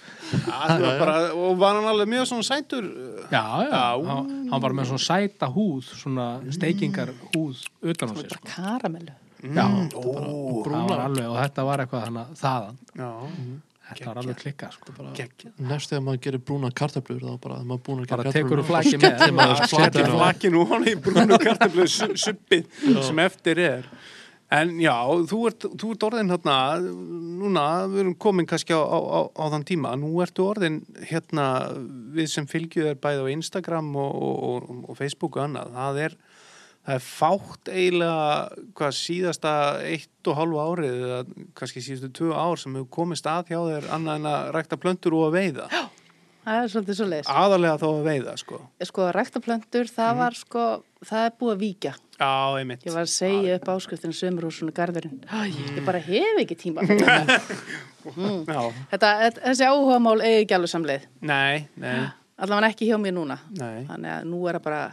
Speaker 1: Það var bara, og var hann alveg mjög svona sætur. uh,
Speaker 2: Já, já,
Speaker 1: Já.
Speaker 2: Hann, hann var með svona sæta húð, svona steikingar húð utan á sig,
Speaker 4: Bara
Speaker 2: sko.
Speaker 4: karamellu.
Speaker 2: Já,
Speaker 1: mm. Ó,
Speaker 2: það var alveg, og þetta var eitthvað þannig að þaðan,
Speaker 1: já.
Speaker 2: þetta var alveg klikka, sko. Bara,
Speaker 1: Gekk.
Speaker 3: næst þegar maður gerir brúna kartöflur þá bara, þegar maður búin að
Speaker 2: bara
Speaker 3: gera
Speaker 2: tekur
Speaker 3: kartöflur
Speaker 2: þú flakið með,
Speaker 3: maður
Speaker 2: maður
Speaker 3: flakinu
Speaker 2: setur
Speaker 3: á.
Speaker 2: flakið.
Speaker 1: Lakin og hann í brúnu kartablu suppið sem eftir er. En já, þú ert, þú ert orðin hérna, núna, við erum komin kannski á, á, á, á þann tíma, nú ertu orðin hérna, við sem fylgjum þér bæði á Instagram og, og, og, og Facebook og annað, það er, það er fátt eiginlega hvað síðasta eitt og hálfu árið eða kannski síðustu tvö ár sem hefur komist að hjá þér annað en að rækta plöntur og að veiða,
Speaker 4: Það er svolítið svo leiðis.
Speaker 1: aðalega þá að veiða, sko.
Speaker 4: Sko, ræktaplöntur,
Speaker 1: Mhm.
Speaker 4: það var sko, það er búið að víkja.
Speaker 1: Já, einmitt.
Speaker 4: Ég var að segja upp áskriftin sömurhúsinu garðurinn. Æ, ég bara hef ekki tíma. fyrir [laughs] þetta,
Speaker 1: Já,
Speaker 4: þetta- þessi áhugamál eigi ekki alveg samleið.
Speaker 1: nei, nei.
Speaker 4: Allavega ekki hjá mér núna.
Speaker 1: Nei.
Speaker 4: Þannig að nú er það bara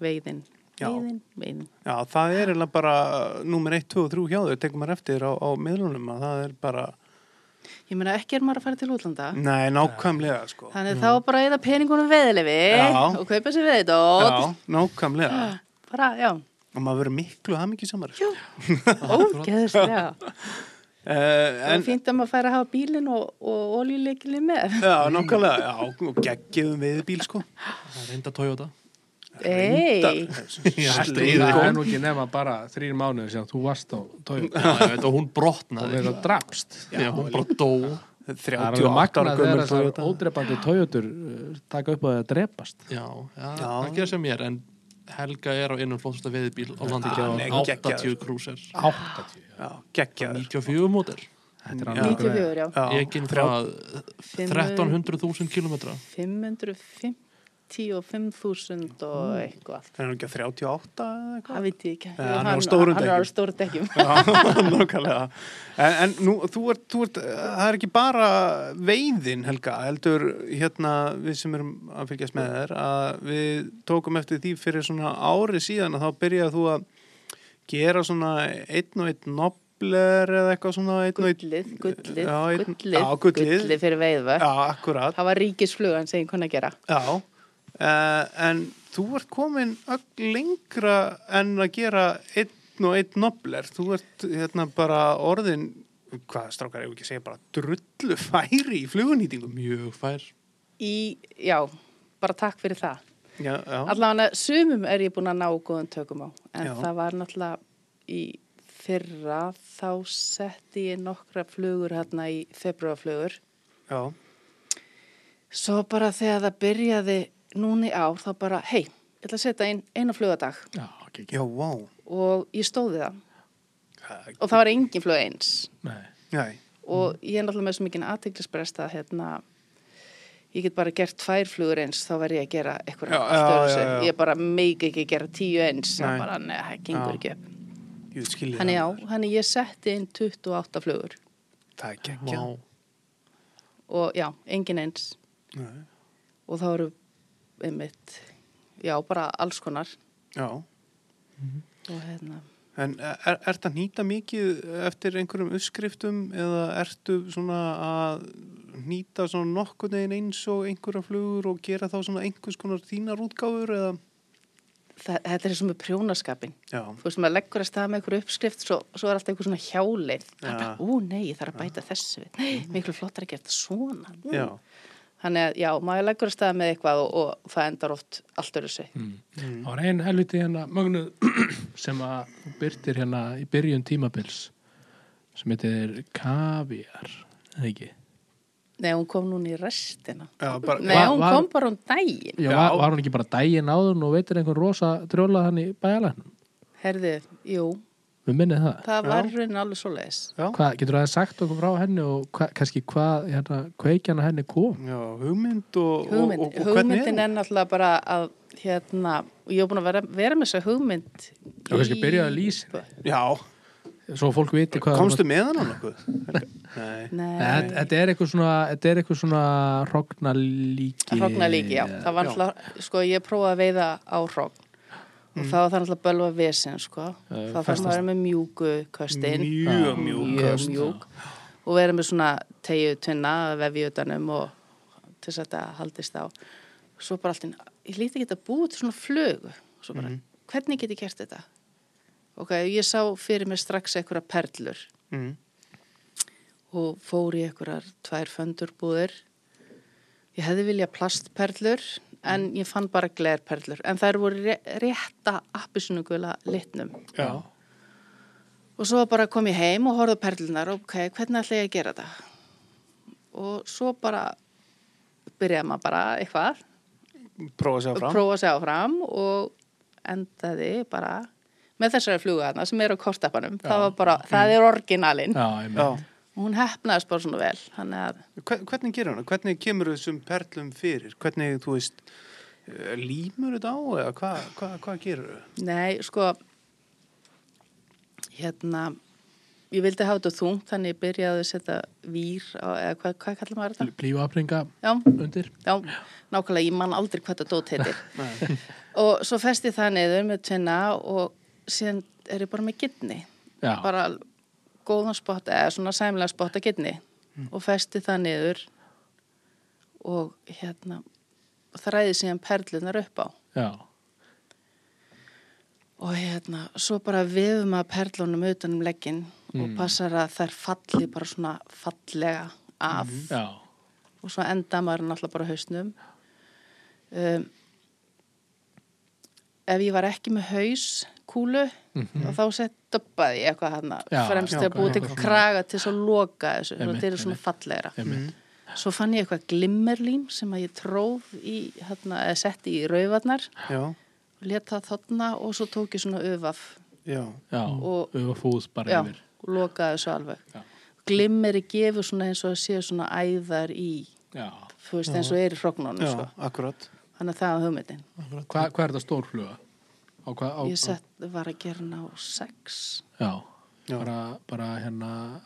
Speaker 4: veiðin,
Speaker 1: Já.
Speaker 4: veiðin, veiðin.
Speaker 1: Já, það er eiginlega bara númer 1, 2 og 3 hjá þau, tekum maður eftir á, á miðlunum að það er bara,
Speaker 4: Ég meina ekki er maður að fara til útlanda.
Speaker 1: nei, nákvæmlega sko.
Speaker 4: Þannig að þá bara eða peningunum veðilefi
Speaker 1: Já.
Speaker 4: og kaupa sér
Speaker 1: Já,
Speaker 4: veðidótt.
Speaker 1: nákvæmlega.
Speaker 4: Bara, já.
Speaker 1: og maður verður miklu sko. hamingi samar
Speaker 4: [laughs] Jú, ógeðislega.
Speaker 1: Eh, en
Speaker 4: En fínt að maður færi að hafa bílinn og, og oljuleikili með.
Speaker 1: Já, nákvæmlega, já, og geggjum við bíl sko
Speaker 3: Það er reynda Toyota.
Speaker 4: Ei,
Speaker 1: [laughs] Sleið
Speaker 2: það er
Speaker 1: sko
Speaker 2: nú ekki nema bara þrýr mánuðir sem þú varst á tóið
Speaker 3: Já, ég veit, og hún
Speaker 2: og
Speaker 3: brotnaði.
Speaker 2: verið að drapst
Speaker 3: Já, hún bara dó.
Speaker 2: það er
Speaker 1: 38
Speaker 2: alveg
Speaker 1: ára
Speaker 2: magnað þegar
Speaker 1: gömur
Speaker 2: þessar
Speaker 1: Toyota
Speaker 2: ódrepandi tójötur taka upp á því að drepast
Speaker 3: Já, já, það gerði sem ég er, en Helga er á einum flótasta veðibíl á landi
Speaker 1: hann er
Speaker 3: ekki á
Speaker 1: geggjaður.
Speaker 3: 80 krúsir.
Speaker 2: 80
Speaker 1: Já, geggjaður
Speaker 3: 94 mótir.
Speaker 2: þetta er
Speaker 1: Já.
Speaker 2: annað greið.
Speaker 4: 94, já.
Speaker 1: Já,
Speaker 3: Eginn
Speaker 1: þrjá-
Speaker 3: frá 1300.000 kilometra.
Speaker 4: 550 og 5000 og eitthvað allt.
Speaker 1: Er hann ekki að 38 eða eitthvað?
Speaker 4: Það veit ég ekki.
Speaker 1: Nei, hann er á
Speaker 4: hann,
Speaker 1: stórum
Speaker 4: hann
Speaker 1: dekkjum.
Speaker 4: er á stóru dekkjum.
Speaker 1: Já, [laughs] nákvæmlega En, en nú, þú ert, þú ert, eh, það er ekki bara veiðin, Helga, heldur hérna við sem erum að fylgjast með þér að við tókum eftir því fyrir svona ári síðan að þá byrjaði þú að gera svona einn og einn nobler eða eitthvað svona einn og einn
Speaker 4: Gullið, gullið,
Speaker 1: Já, einn-
Speaker 4: gullið,
Speaker 1: já, gullið.
Speaker 4: gullið fyrir veiðvöld.
Speaker 1: Já, akkurat
Speaker 4: Það var ríkisflugan sem ég kunna gera.
Speaker 1: Já, uh, en þú ert komin öll lengra en að gera einn og einn nobler. Þú ert hérna bara orðin, hvað strákar, ég ekki að segja bara drullu færi í flugunýtingum.
Speaker 3: Mjög fær.
Speaker 4: Í, já, bara takk fyrir það.
Speaker 1: Já, já,
Speaker 4: Allavega sumum er ég búin að ná góðum tökum á en
Speaker 1: Já.
Speaker 4: það var náttúrulega í fyrra þá setti ég nokkra flugur hérna í februarflugur
Speaker 1: já,
Speaker 4: svo bara þegar það byrjaði núni á þá bara hei, ég ætla að setja inn eina flugadag
Speaker 2: Já, ekki ekki.
Speaker 1: já, wow.
Speaker 4: og ég stóði það
Speaker 1: Það-
Speaker 4: og það var engin flug eins
Speaker 2: Nei.
Speaker 1: Nei,
Speaker 4: og ég er náttúrulega með svo mikið aðteglisbrest að hérna ég get bara gert tvær flugur eins þá verð ég að gera eitthvað
Speaker 1: Já,
Speaker 4: allt
Speaker 1: já,
Speaker 4: öðru
Speaker 1: já, já.
Speaker 4: ég bara meik ekki gera tíu eins
Speaker 1: Nei.
Speaker 4: það bara, nei, það gengur
Speaker 1: Já.
Speaker 4: ekki upp
Speaker 1: ég skilja
Speaker 4: Þannig já, þannig ég setti inn 28 flugur
Speaker 1: Það er
Speaker 3: Vá.
Speaker 1: gekkja.
Speaker 4: og já, engin eins
Speaker 1: Nei.
Speaker 4: og þá eru einmitt, já, bara alls konar
Speaker 1: Já,
Speaker 4: og hérna,
Speaker 1: en er, ert að nýta mikið eftir einhverjum uppskriftum eða ertu svona að nýta svona nokkurn veginn eins og einhverja flugur og gera þá svona einhvers konar þínar útgáfur eða?
Speaker 4: það, þetta er eins og með prjónaskapin
Speaker 1: Já,
Speaker 4: þú veist, maður leggur að stað með einhver uppskrift svo, svo er alltaf einhver svona hjálið það er
Speaker 1: Já. Mhm.
Speaker 4: bara, ú, nei, ég þarf að bæta þessu við nei, miklu flottar að gera þetta svona Mm.
Speaker 1: já,
Speaker 4: þannig að, já, maður leggur að stað með eitthvað og, og það endar oft allt öðru sig
Speaker 1: Mm.
Speaker 2: Það var einn helviti hérna mögnuð [clears throat] sem að þú byrtir hérna í byrjun tímabils sem heitir kaviar eða ekki?
Speaker 4: nei, hún kom núna í restina
Speaker 1: já bara,
Speaker 4: nei,
Speaker 2: Var-
Speaker 4: hún
Speaker 2: var-
Speaker 4: kom bara um daginn
Speaker 2: Já,
Speaker 1: Já.
Speaker 2: Var, var hún ekki bara dægin áður og veitir einhvern rosa drjóla hann í bæjarlæknum?
Speaker 4: herði, jú,
Speaker 2: Við minnið það.
Speaker 4: það
Speaker 1: Já.
Speaker 4: var raunin alveg svo leiðis
Speaker 2: Hvað, getur það sagt okkur frá henni og hva, kannski hvað hérna, kveikjana henni kom?
Speaker 1: já, hugmynd og,
Speaker 4: Hugmynd,
Speaker 1: og, og, og hvernig
Speaker 4: hugmyndin er náttúrulega bara að hérna, og ég hef búin að vera, vera með þessa hugmynd
Speaker 2: Já, kannski byrjaðu að lýsa
Speaker 1: Já,
Speaker 2: Svo fólk viti hvað...
Speaker 1: komstu með hann á nokkuð? Nei,
Speaker 2: Nei, þetta-
Speaker 4: Nei,
Speaker 2: Þetta er eitthvað svona, þetta er eitthvað svona rognalíki.
Speaker 4: hrogna líki, já það var
Speaker 1: Já.
Speaker 4: náttúrulega, sko ég prófaði að veiða á hrogn og þá var það náttúrulega bölva vesen, sko þá þarf maður að vera með mjúku köstin
Speaker 1: mjög mjög
Speaker 4: mjög mjúk og vera með svona tegju tunna að vefja utanum og til þess að þetta haldist á svo bara allt inn, ég líti ekki þetta búið til svona flugu svo bara, hvernig get ég kert þetta ok, ég sá fyrir mér strax einhverja perlur
Speaker 1: mm.
Speaker 4: og fór í einhverjar tvær föndurbúðir ég hefði viljað plastperlur en ég fann bara glerperlur en þær voru ré- rétta appisunugula litnum
Speaker 1: Já,
Speaker 4: Og svo bara kom ég heim og horfði á perlunar, ok, hvernig ætla ég að gera þetta? Og svo bara byrjaði maður bara eitthvað
Speaker 1: prófa sér
Speaker 4: að
Speaker 1: fram
Speaker 4: prófa sig áfram og endaði bara með þessari flugaðna sem eru á kortappanum. Það var bara, það er orginalinn.
Speaker 2: Já, ég meina.
Speaker 1: Já,
Speaker 4: Hún hefnaðist bara svona vel. Þannig að,
Speaker 1: Hve- hvernig gerir hann? Hvernig kemur þessum perlum fyrir? Hvernig, þú veist, eh, límur þetta á eða hvað hva, hva gerir þau?
Speaker 4: nei, sko, hérna, ég vildi hafa þetta þungt, þannig ég byrjaði að setja vír á, eða hvað, hvað kallar maður þetta?
Speaker 2: Blífapringa
Speaker 4: Já,
Speaker 2: undir.
Speaker 4: Já, nákvæmlega, ég man aldrei hvað það dót heitir. og svo festi ég það niður með tvinna og síðan er ég bara með gittni.
Speaker 2: Já.
Speaker 4: Bara góðan spott, eða svona sæmlega spott að gittni. Og festi það niður og hérna þræði síðan perlunar upp á.
Speaker 2: Já.
Speaker 4: og hérna, svo bara vefum að perlunum utan um leggin og passar að þær falli bara svona fallega af
Speaker 2: já,
Speaker 4: og svo enda maður náttúrulega bara á hausnum um, ef ég var ekki með hauskúlu og þá sett döbbaði ég eitthvað hann
Speaker 2: Mhm. Já,
Speaker 4: fremst
Speaker 2: já,
Speaker 4: þegar búið til
Speaker 2: eitthvað svona.
Speaker 4: kraga til þess að loka þessu og
Speaker 2: Einmitt,
Speaker 4: þetta er svona
Speaker 2: einmitt.
Speaker 4: fallegra
Speaker 2: einmitt.
Speaker 4: svo fann ég eitthvað glimmerlím sem að ég tróð í, hérna, eða setti í rauvarnar
Speaker 1: já,
Speaker 4: og let það þotna og svo tók ég svona öfaf
Speaker 1: já,
Speaker 2: já,
Speaker 4: Og-
Speaker 2: við varum fúð bara
Speaker 4: já,
Speaker 2: yfir
Speaker 4: og lokaði þessu alveg
Speaker 2: Já.
Speaker 4: glimmeri gefur svona eins og að séu svona æðar í
Speaker 2: já.
Speaker 4: þú veist eins og er í hrognónu
Speaker 1: já,
Speaker 4: sko.
Speaker 1: akkurat.
Speaker 4: þannig að það var hugmyndin
Speaker 2: Hva, hvað er þetta stórfluga? Á, hva, á,
Speaker 4: ég sett, var að gera ná sex
Speaker 2: já,
Speaker 1: Já.
Speaker 2: Bara, bara hérna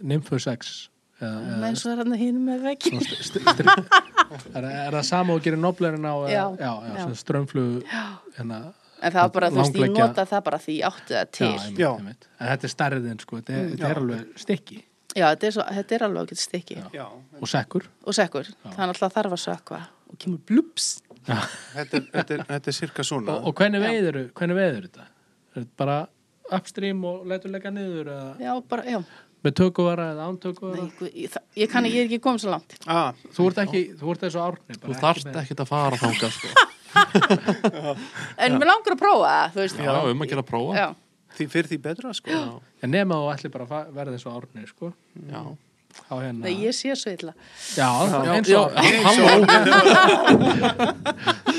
Speaker 2: nymfu 6 eða,
Speaker 4: en eins og er hann hinn með veginn
Speaker 2: Svona st- st- strik- [laughs] er, er það sama og gerir noblerinn á já,
Speaker 4: Já,
Speaker 2: já,
Speaker 4: já.
Speaker 2: já. strömmflug hérna,
Speaker 4: en það var bara, þú veist, ég
Speaker 2: Langleggja-
Speaker 4: nota það bara því ég átti það
Speaker 2: já,
Speaker 4: til já,
Speaker 2: einmitt,
Speaker 1: Já.
Speaker 2: Einmitt. en þetta er stærðin sko,
Speaker 3: Mm,
Speaker 2: þetta, er- þetta er alveg stikki
Speaker 4: þetta, er svo, þetta er alveg ekkert stykki
Speaker 1: Já,
Speaker 2: og sekkur
Speaker 4: og sekkur, þannig að alltaf þarf að sökva og kemur blups
Speaker 1: þetta er, þetta er, þetta er cirka svona.
Speaker 2: og, og hvernig veiður, hvernig veiður þetta? Er þetta bara upstream og letur leggja niður eða,
Speaker 4: já, bara, já,
Speaker 2: með tökuvara eða án tökuvara
Speaker 4: Nei, guð, ég, það- ég kann ég er ekki komið svo langt
Speaker 1: Ah,
Speaker 2: þú ert ekki, þú ert þessu árni bara
Speaker 3: Þú
Speaker 2: ekki
Speaker 3: þarft
Speaker 2: með-
Speaker 3: ekkert að fara þangað sko.
Speaker 4: en mér langar að prófa það, þú veist
Speaker 3: Já, um að gera prófa
Speaker 4: já,
Speaker 1: því fyrir því betra, sko. Já.
Speaker 2: en nema þú ætlir bara að fa- verða þessu árni sko,
Speaker 3: Já,
Speaker 2: á hérna
Speaker 4: Nei, ég sé svo illa
Speaker 2: já,
Speaker 3: já,
Speaker 2: eins
Speaker 3: já,
Speaker 2: og árni
Speaker 3: halló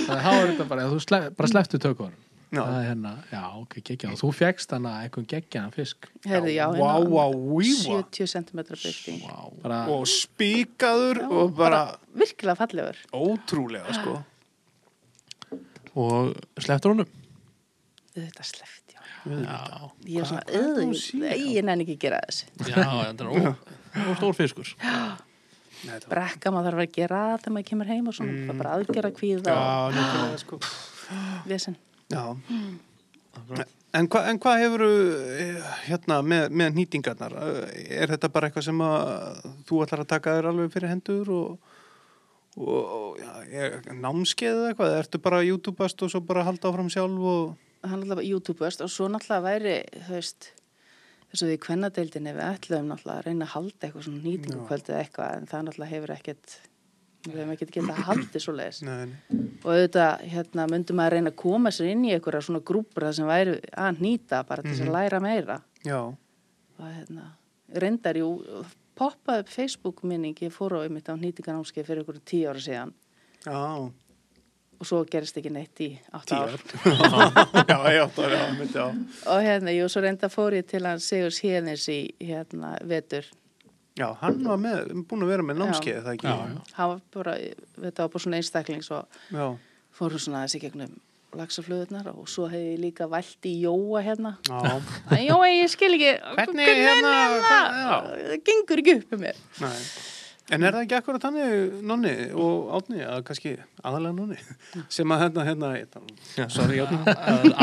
Speaker 2: þá er þetta bara, þú slef, bara sleftu tökuvara
Speaker 1: Já.
Speaker 2: það er hérna, já, ok, geggjan og þú fegst hana einhvern geggjan fisk
Speaker 4: Herði, já,
Speaker 1: Vá,
Speaker 4: hérna,
Speaker 1: vá, víva.
Speaker 4: 70 cm byrting
Speaker 2: bara,
Speaker 1: Og spíkaður og bara
Speaker 4: virkilega fallegur
Speaker 1: ótrúlega, sko.
Speaker 3: Og sleftur honum
Speaker 4: þetta sleft, já
Speaker 3: Já,
Speaker 4: ég
Speaker 1: hvað er
Speaker 4: er svona
Speaker 1: það að
Speaker 4: öðug,
Speaker 1: sé?
Speaker 4: nei, ég nenni ekki að gera þessu
Speaker 3: já, þetta er ó, ó stór fiskur
Speaker 2: Hérna
Speaker 4: brekka maður þarf að gera það þegar maður kemur heim og svona, það er bara aðgerða kvíða
Speaker 1: Mm. Já, náttúrulega, sko.
Speaker 4: og [gasps] vesen
Speaker 1: Já. En, hva, en hvað hefur hérna með, með nýtingarnar? Er þetta bara eitthvað sem að þú ætlar að taka þér alveg fyrir hendur og, og, og já, er námskeið eða eitthvað? Ertu bara að YouTube-ast og svo bara halda áfram sjálf og...
Speaker 4: hann náttúrulega YouTube-öst og svo náttúrulega væri þú veist, þess að við í kvennadeildinni við ætlum náttúrulega að reyna að halda eitthvað svona nýtingu kvöldið eitthvað en það náttúrulega hefur ekkert við hefum ekkert
Speaker 1: [clears throat]
Speaker 4: getað að haldi svo leiðis
Speaker 1: Nei, nei.
Speaker 4: og auðvitað hérna, myndum að reyna að koma sér inn í einhverja svona grúpur þar sem væri að nýta bara til
Speaker 1: Mhm.
Speaker 4: þess að læra meira
Speaker 1: Já,
Speaker 4: og hérna, reyndar jú poppaði upp Facebook minning ég fór á einmitt á nýtinganámskeið fyrir einhverju tíu ára síðan
Speaker 1: já.
Speaker 4: og svo gerist ekki neitt í átta ár
Speaker 1: [laughs] já, já, það er já, myndi, já.
Speaker 4: og hérna, jú, svo reyndar fór ég til hann Sigur Sýðins í hérna, vetur
Speaker 1: Já, hann var með, búin að vera með námskeið, er það ekki?
Speaker 2: Já, já.
Speaker 4: hann var bara, þetta var bara svona einstakling svo
Speaker 1: Já,
Speaker 4: fór hún svona þessi gegnum lagsaflöðunar og svo hef ég líka vælt í Jóa hérna
Speaker 1: já.
Speaker 4: Æ, Jói, ég skil ekki
Speaker 1: Hvernig,
Speaker 4: hvernig
Speaker 1: hérna,
Speaker 4: er það?
Speaker 1: hvað-
Speaker 4: það gengur ekki upp með mér
Speaker 1: Nei. En er það ekki akkurat þannig nonni og átni, að kannski aðalega nonni, [laughs] sem að hérna, hérna, hérna sorry,
Speaker 3: [laughs]
Speaker 1: hérna,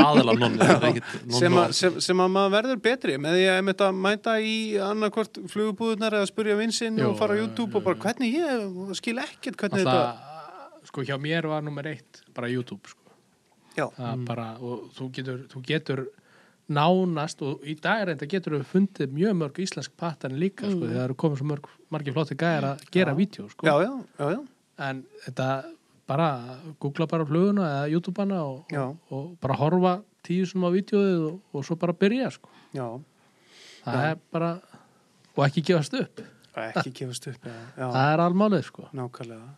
Speaker 3: Aðalega nonni það er ekkert nonni
Speaker 1: sem, að,
Speaker 3: og-
Speaker 1: sem, sem að maður verður betri með því að ég mitt að mæta í annarkvort flugubúðunar eða spurja vinsinn
Speaker 2: Jú,
Speaker 1: og fara á
Speaker 2: jú,
Speaker 1: YouTube og bara hvernig ég skil ekkert hvernig þetta
Speaker 2: alltaf, sko hjá mér var nummer eitt bara YouTube sko.
Speaker 1: Já,
Speaker 2: það mm. bara, og þú getur, þú getur nánast og í dag reynda getur við fundið mjög mörg íslensk patan líka sko, þegar það eru komið svo mörg, margir flotti gæjar að gera vídeo sko.
Speaker 1: Mm. já, já, já, já.
Speaker 2: en þetta bara googla bara fluguna eða YouTube-ana og,
Speaker 1: Já.
Speaker 2: og, og bara horfa tíu sem á vídeoið og, og svo bara byrja sko.
Speaker 1: Já,
Speaker 2: það er bara og ekki gefast upp,
Speaker 1: ekki gefast upp Já, já
Speaker 2: það er almálið sko.
Speaker 1: nákvæmlega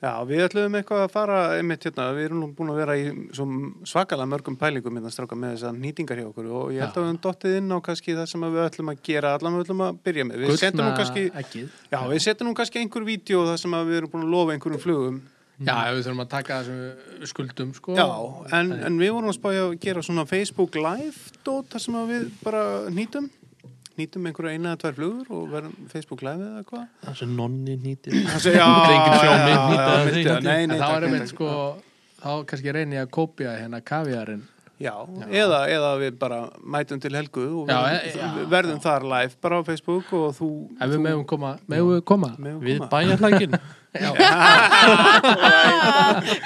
Speaker 1: Já, við ætlum eitthvað að fara einmitt hérna, við erum nú búin að vera í svo svakalega mörgum pælingum hérna stráka með þessar nýtingar hjá okkur og ég held
Speaker 2: Já.
Speaker 1: að við höfum dottið inn á kannski það sem að við ætlum að gera allan við ætlum að byrja með. Við setjum nú kannski
Speaker 2: ekkið
Speaker 1: Já, við setjum nú kannski einhver vídeo það sem að við erum búin að lofa einhverjum flugum
Speaker 2: Já, við þurfum að taka það sem við skuldum sko.
Speaker 1: Já, en, en við vorum að spája að gera svona Facebook live dót þar sem að við bara nýtum nýtum einhverja eina eða tvær flugur og verðum Facebook live eða hvað
Speaker 3: Það sem nonni nýtir
Speaker 1: [laughs] Það segja, já,
Speaker 3: enginn sjá mig
Speaker 1: já,
Speaker 3: nýta
Speaker 1: já,
Speaker 3: það,
Speaker 1: myndi
Speaker 3: nýta
Speaker 1: það, nei,
Speaker 2: en
Speaker 1: nei,
Speaker 2: þá
Speaker 1: takk,
Speaker 2: er
Speaker 1: nei,
Speaker 2: einmitt
Speaker 1: takk.
Speaker 2: sko þá kannski reyni ég að kópja hérna kaviarinn
Speaker 1: Já, eða, eða við bara mætum til helgu og
Speaker 2: Já, e-
Speaker 1: verðum,
Speaker 2: já,
Speaker 1: verðum þar live bara á Facebook og þú
Speaker 2: ef við meðum koma, meðum við koma
Speaker 1: meðum
Speaker 3: Við
Speaker 1: koma [laughs]
Speaker 3: bæjarlækin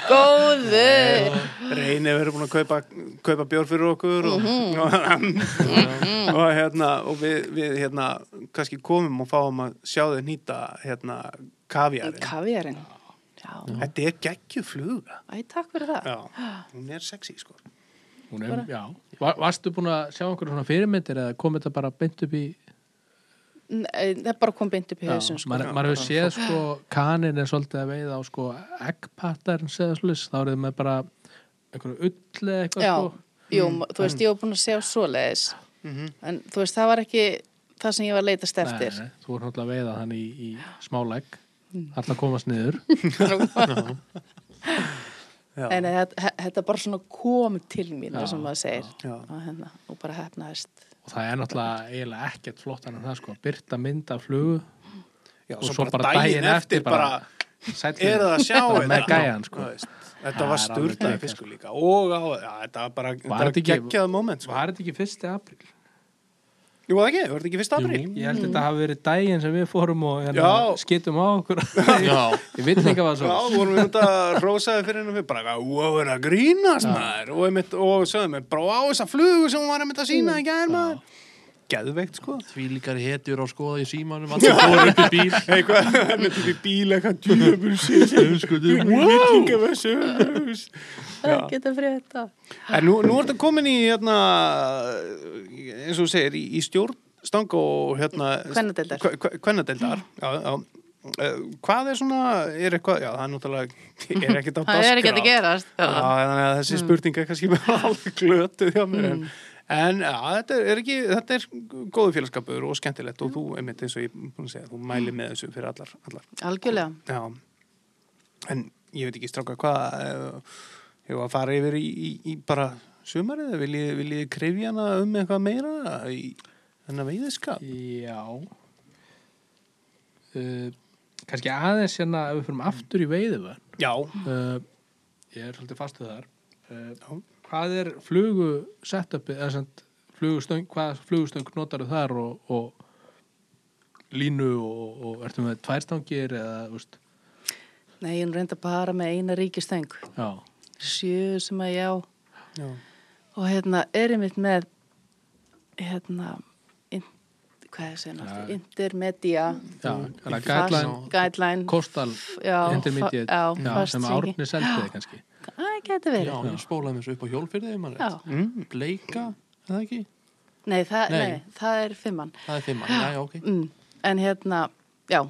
Speaker 4: góður
Speaker 1: Reyðin Steini hefur verið búin að kaupa, kaupa bjór fyrir okkur og,
Speaker 2: Mhm.
Speaker 1: [laughs] og, og hérna og við, við hérna kannski komum og fáum að sjá þau nýta hérna kavjarinn.
Speaker 4: Kavjarinn. Já.
Speaker 1: Þetta er geggjufluga.
Speaker 4: Æ, takk fyrir það.
Speaker 2: [gasps]
Speaker 1: Já, hún er sexy sko.
Speaker 2: Hún er, já. Var, varstu búin að sjá einhverjum svona fyrirmyndir eða kom þetta bara beint upp í
Speaker 4: Nei, eh, það bara kom beint upp í hausum sko.
Speaker 2: maður maður hefur séð sko kanin er svolítið að veiða á sko eggpattarn segja svolítið, þá er það með bara einhverju ull eða eitthvað
Speaker 4: Já,
Speaker 2: sko
Speaker 4: jú, þú veist, ég var búin að sjá svoleiðis. En þú veist, það var ekki það sem ég var að leitast eftir.
Speaker 2: Nei, nei, þú voru náttúrulega að veiða hann í, í smálegg
Speaker 4: Mm.
Speaker 2: alltaf að komast niður
Speaker 1: Já.
Speaker 4: En eh, þetta- he- þetta bara svona kom til mín, það sem maður segir.
Speaker 1: Já.
Speaker 4: Og hérna, og bara hefnaðist.
Speaker 2: og það er náttúrulega eiginlega ekkert flott en það sko, að byrta mynd af flugu
Speaker 1: Já,
Speaker 2: og svo bara daginn eftir bara, bara
Speaker 1: er það að sjá
Speaker 2: þetta með
Speaker 1: þetta?
Speaker 2: gæjan sko
Speaker 1: Þú veist, Þetta
Speaker 2: Það
Speaker 1: var
Speaker 2: er alveg
Speaker 1: sturdlaði
Speaker 2: klikkað,
Speaker 1: fiskur líka og á, já, þetta var bara þetta var
Speaker 2: þetta ekki-
Speaker 1: geggjaða moment sko.
Speaker 2: var þetta ekki fyrsti apríl?
Speaker 1: Jú, það ekki, var þetta ekki fyrst apríl?
Speaker 2: Ég
Speaker 4: Mm.
Speaker 2: held að þetta hafi verið daginn sem við fórum og hérna,
Speaker 1: Já.
Speaker 2: skitum á okkur
Speaker 1: [laughs]
Speaker 3: Já.
Speaker 2: ég veit ekki hvað
Speaker 1: Já,
Speaker 2: svo
Speaker 1: vorum við þetta rósaði fyrir henni og við bara, eitthvað, wow, er að grínast maður og, einmitt, og sögðum við, brá á þessa flugu sem hún var einmitt að sína í gær maður Geðveikt sko
Speaker 3: Því líkar hetjur á skoða í símanum Allir fóru upp í bíl
Speaker 1: [laughs] Eitthvað, einmitt upp í bíl, eitthvað djöfur sér Wow
Speaker 4: Það geta fyrir þetta.
Speaker 1: En nú, nú er þetta komin í hérna, eins og þú segir, í, í stjórn stang og hérna
Speaker 4: Kvennadeildar.
Speaker 1: kvennadeildar já, já. Eh, hvað er svona, er eitthvað já, það er náttúrulega, er ekkert á dagskrá
Speaker 4: Það er ekki að gerast.
Speaker 1: já, Mm. þannig að þessi spurning er kannski bara [laughs] alveg glötuð hjá mér en, en já, þetta er ekki þetta er góðu félagskapur og skemmtilegt og þú, einmitt eins og ég er búin að segja, þú mæli með þessu fyrir allar, allar.
Speaker 4: Algjörlega.
Speaker 1: Mm. Já, en ég veit ekki stráka hvað eh, hefur að fara yfir í, í, í bara sumarið, viljið vilji krefja hana um eitthvað meira í hennar veiðiskap?
Speaker 2: já uh, kannski aðeins hérna ef við fyrir aftur í veiðuvörn
Speaker 1: Já,
Speaker 2: uh, ég er svolítið fastuð þar uh,
Speaker 1: Já.
Speaker 2: hvað er flugu setupið eða sem flugustöng, hvað flugustöng notarðu þar og, og línu og, og ertu með tværstangir eða úst,
Speaker 4: Nei, ég er nú reynda bara með eina ríkistöng.
Speaker 2: já,
Speaker 4: Sjö sem að ég á.
Speaker 1: já,
Speaker 4: Og hérna, er ég mitt með, hérna, in, hvað er það segna aftur? Intermedia.
Speaker 2: já mm.
Speaker 4: Fast- Guideline.
Speaker 2: kostal
Speaker 4: Já,
Speaker 2: intermediate
Speaker 4: fa- já, fast
Speaker 2: sem
Speaker 4: tengi.
Speaker 2: árni seldiði kannski
Speaker 4: Það geta verið.
Speaker 3: Já, ég spólaði mér svo upp á hjólfyrði mann
Speaker 4: Já.
Speaker 3: rétt.
Speaker 2: Mm.
Speaker 3: Bleika, eða ekki?
Speaker 4: Nei, það,
Speaker 3: Nei.
Speaker 4: nei. það er fimmann.
Speaker 3: Það er fimmann, já, já, ok
Speaker 4: Mm. En hérna, já,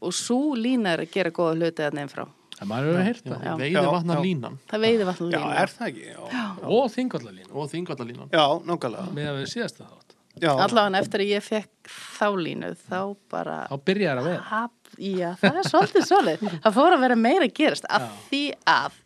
Speaker 4: og svo lína er að gera góða hluti að nefnfrá.
Speaker 2: það maður hefur heyrt það
Speaker 4: Já.
Speaker 3: Veiði
Speaker 1: Já,
Speaker 3: vatnar
Speaker 1: já.
Speaker 3: línan
Speaker 4: Það veiði vatnum
Speaker 1: já,
Speaker 4: lína.
Speaker 1: er það ekki? Já,
Speaker 2: og þingvallalínu
Speaker 3: og þingvallalínan
Speaker 1: já nákvæmlega.
Speaker 2: með að við síðasta þátt
Speaker 1: Já,
Speaker 4: Allavega eftir að ég fekk þá línu, þá bara...
Speaker 2: þá byrjar að veða
Speaker 4: Hap, já, það er svolítið svolítið. Það fór að vera meira að gerast af því að,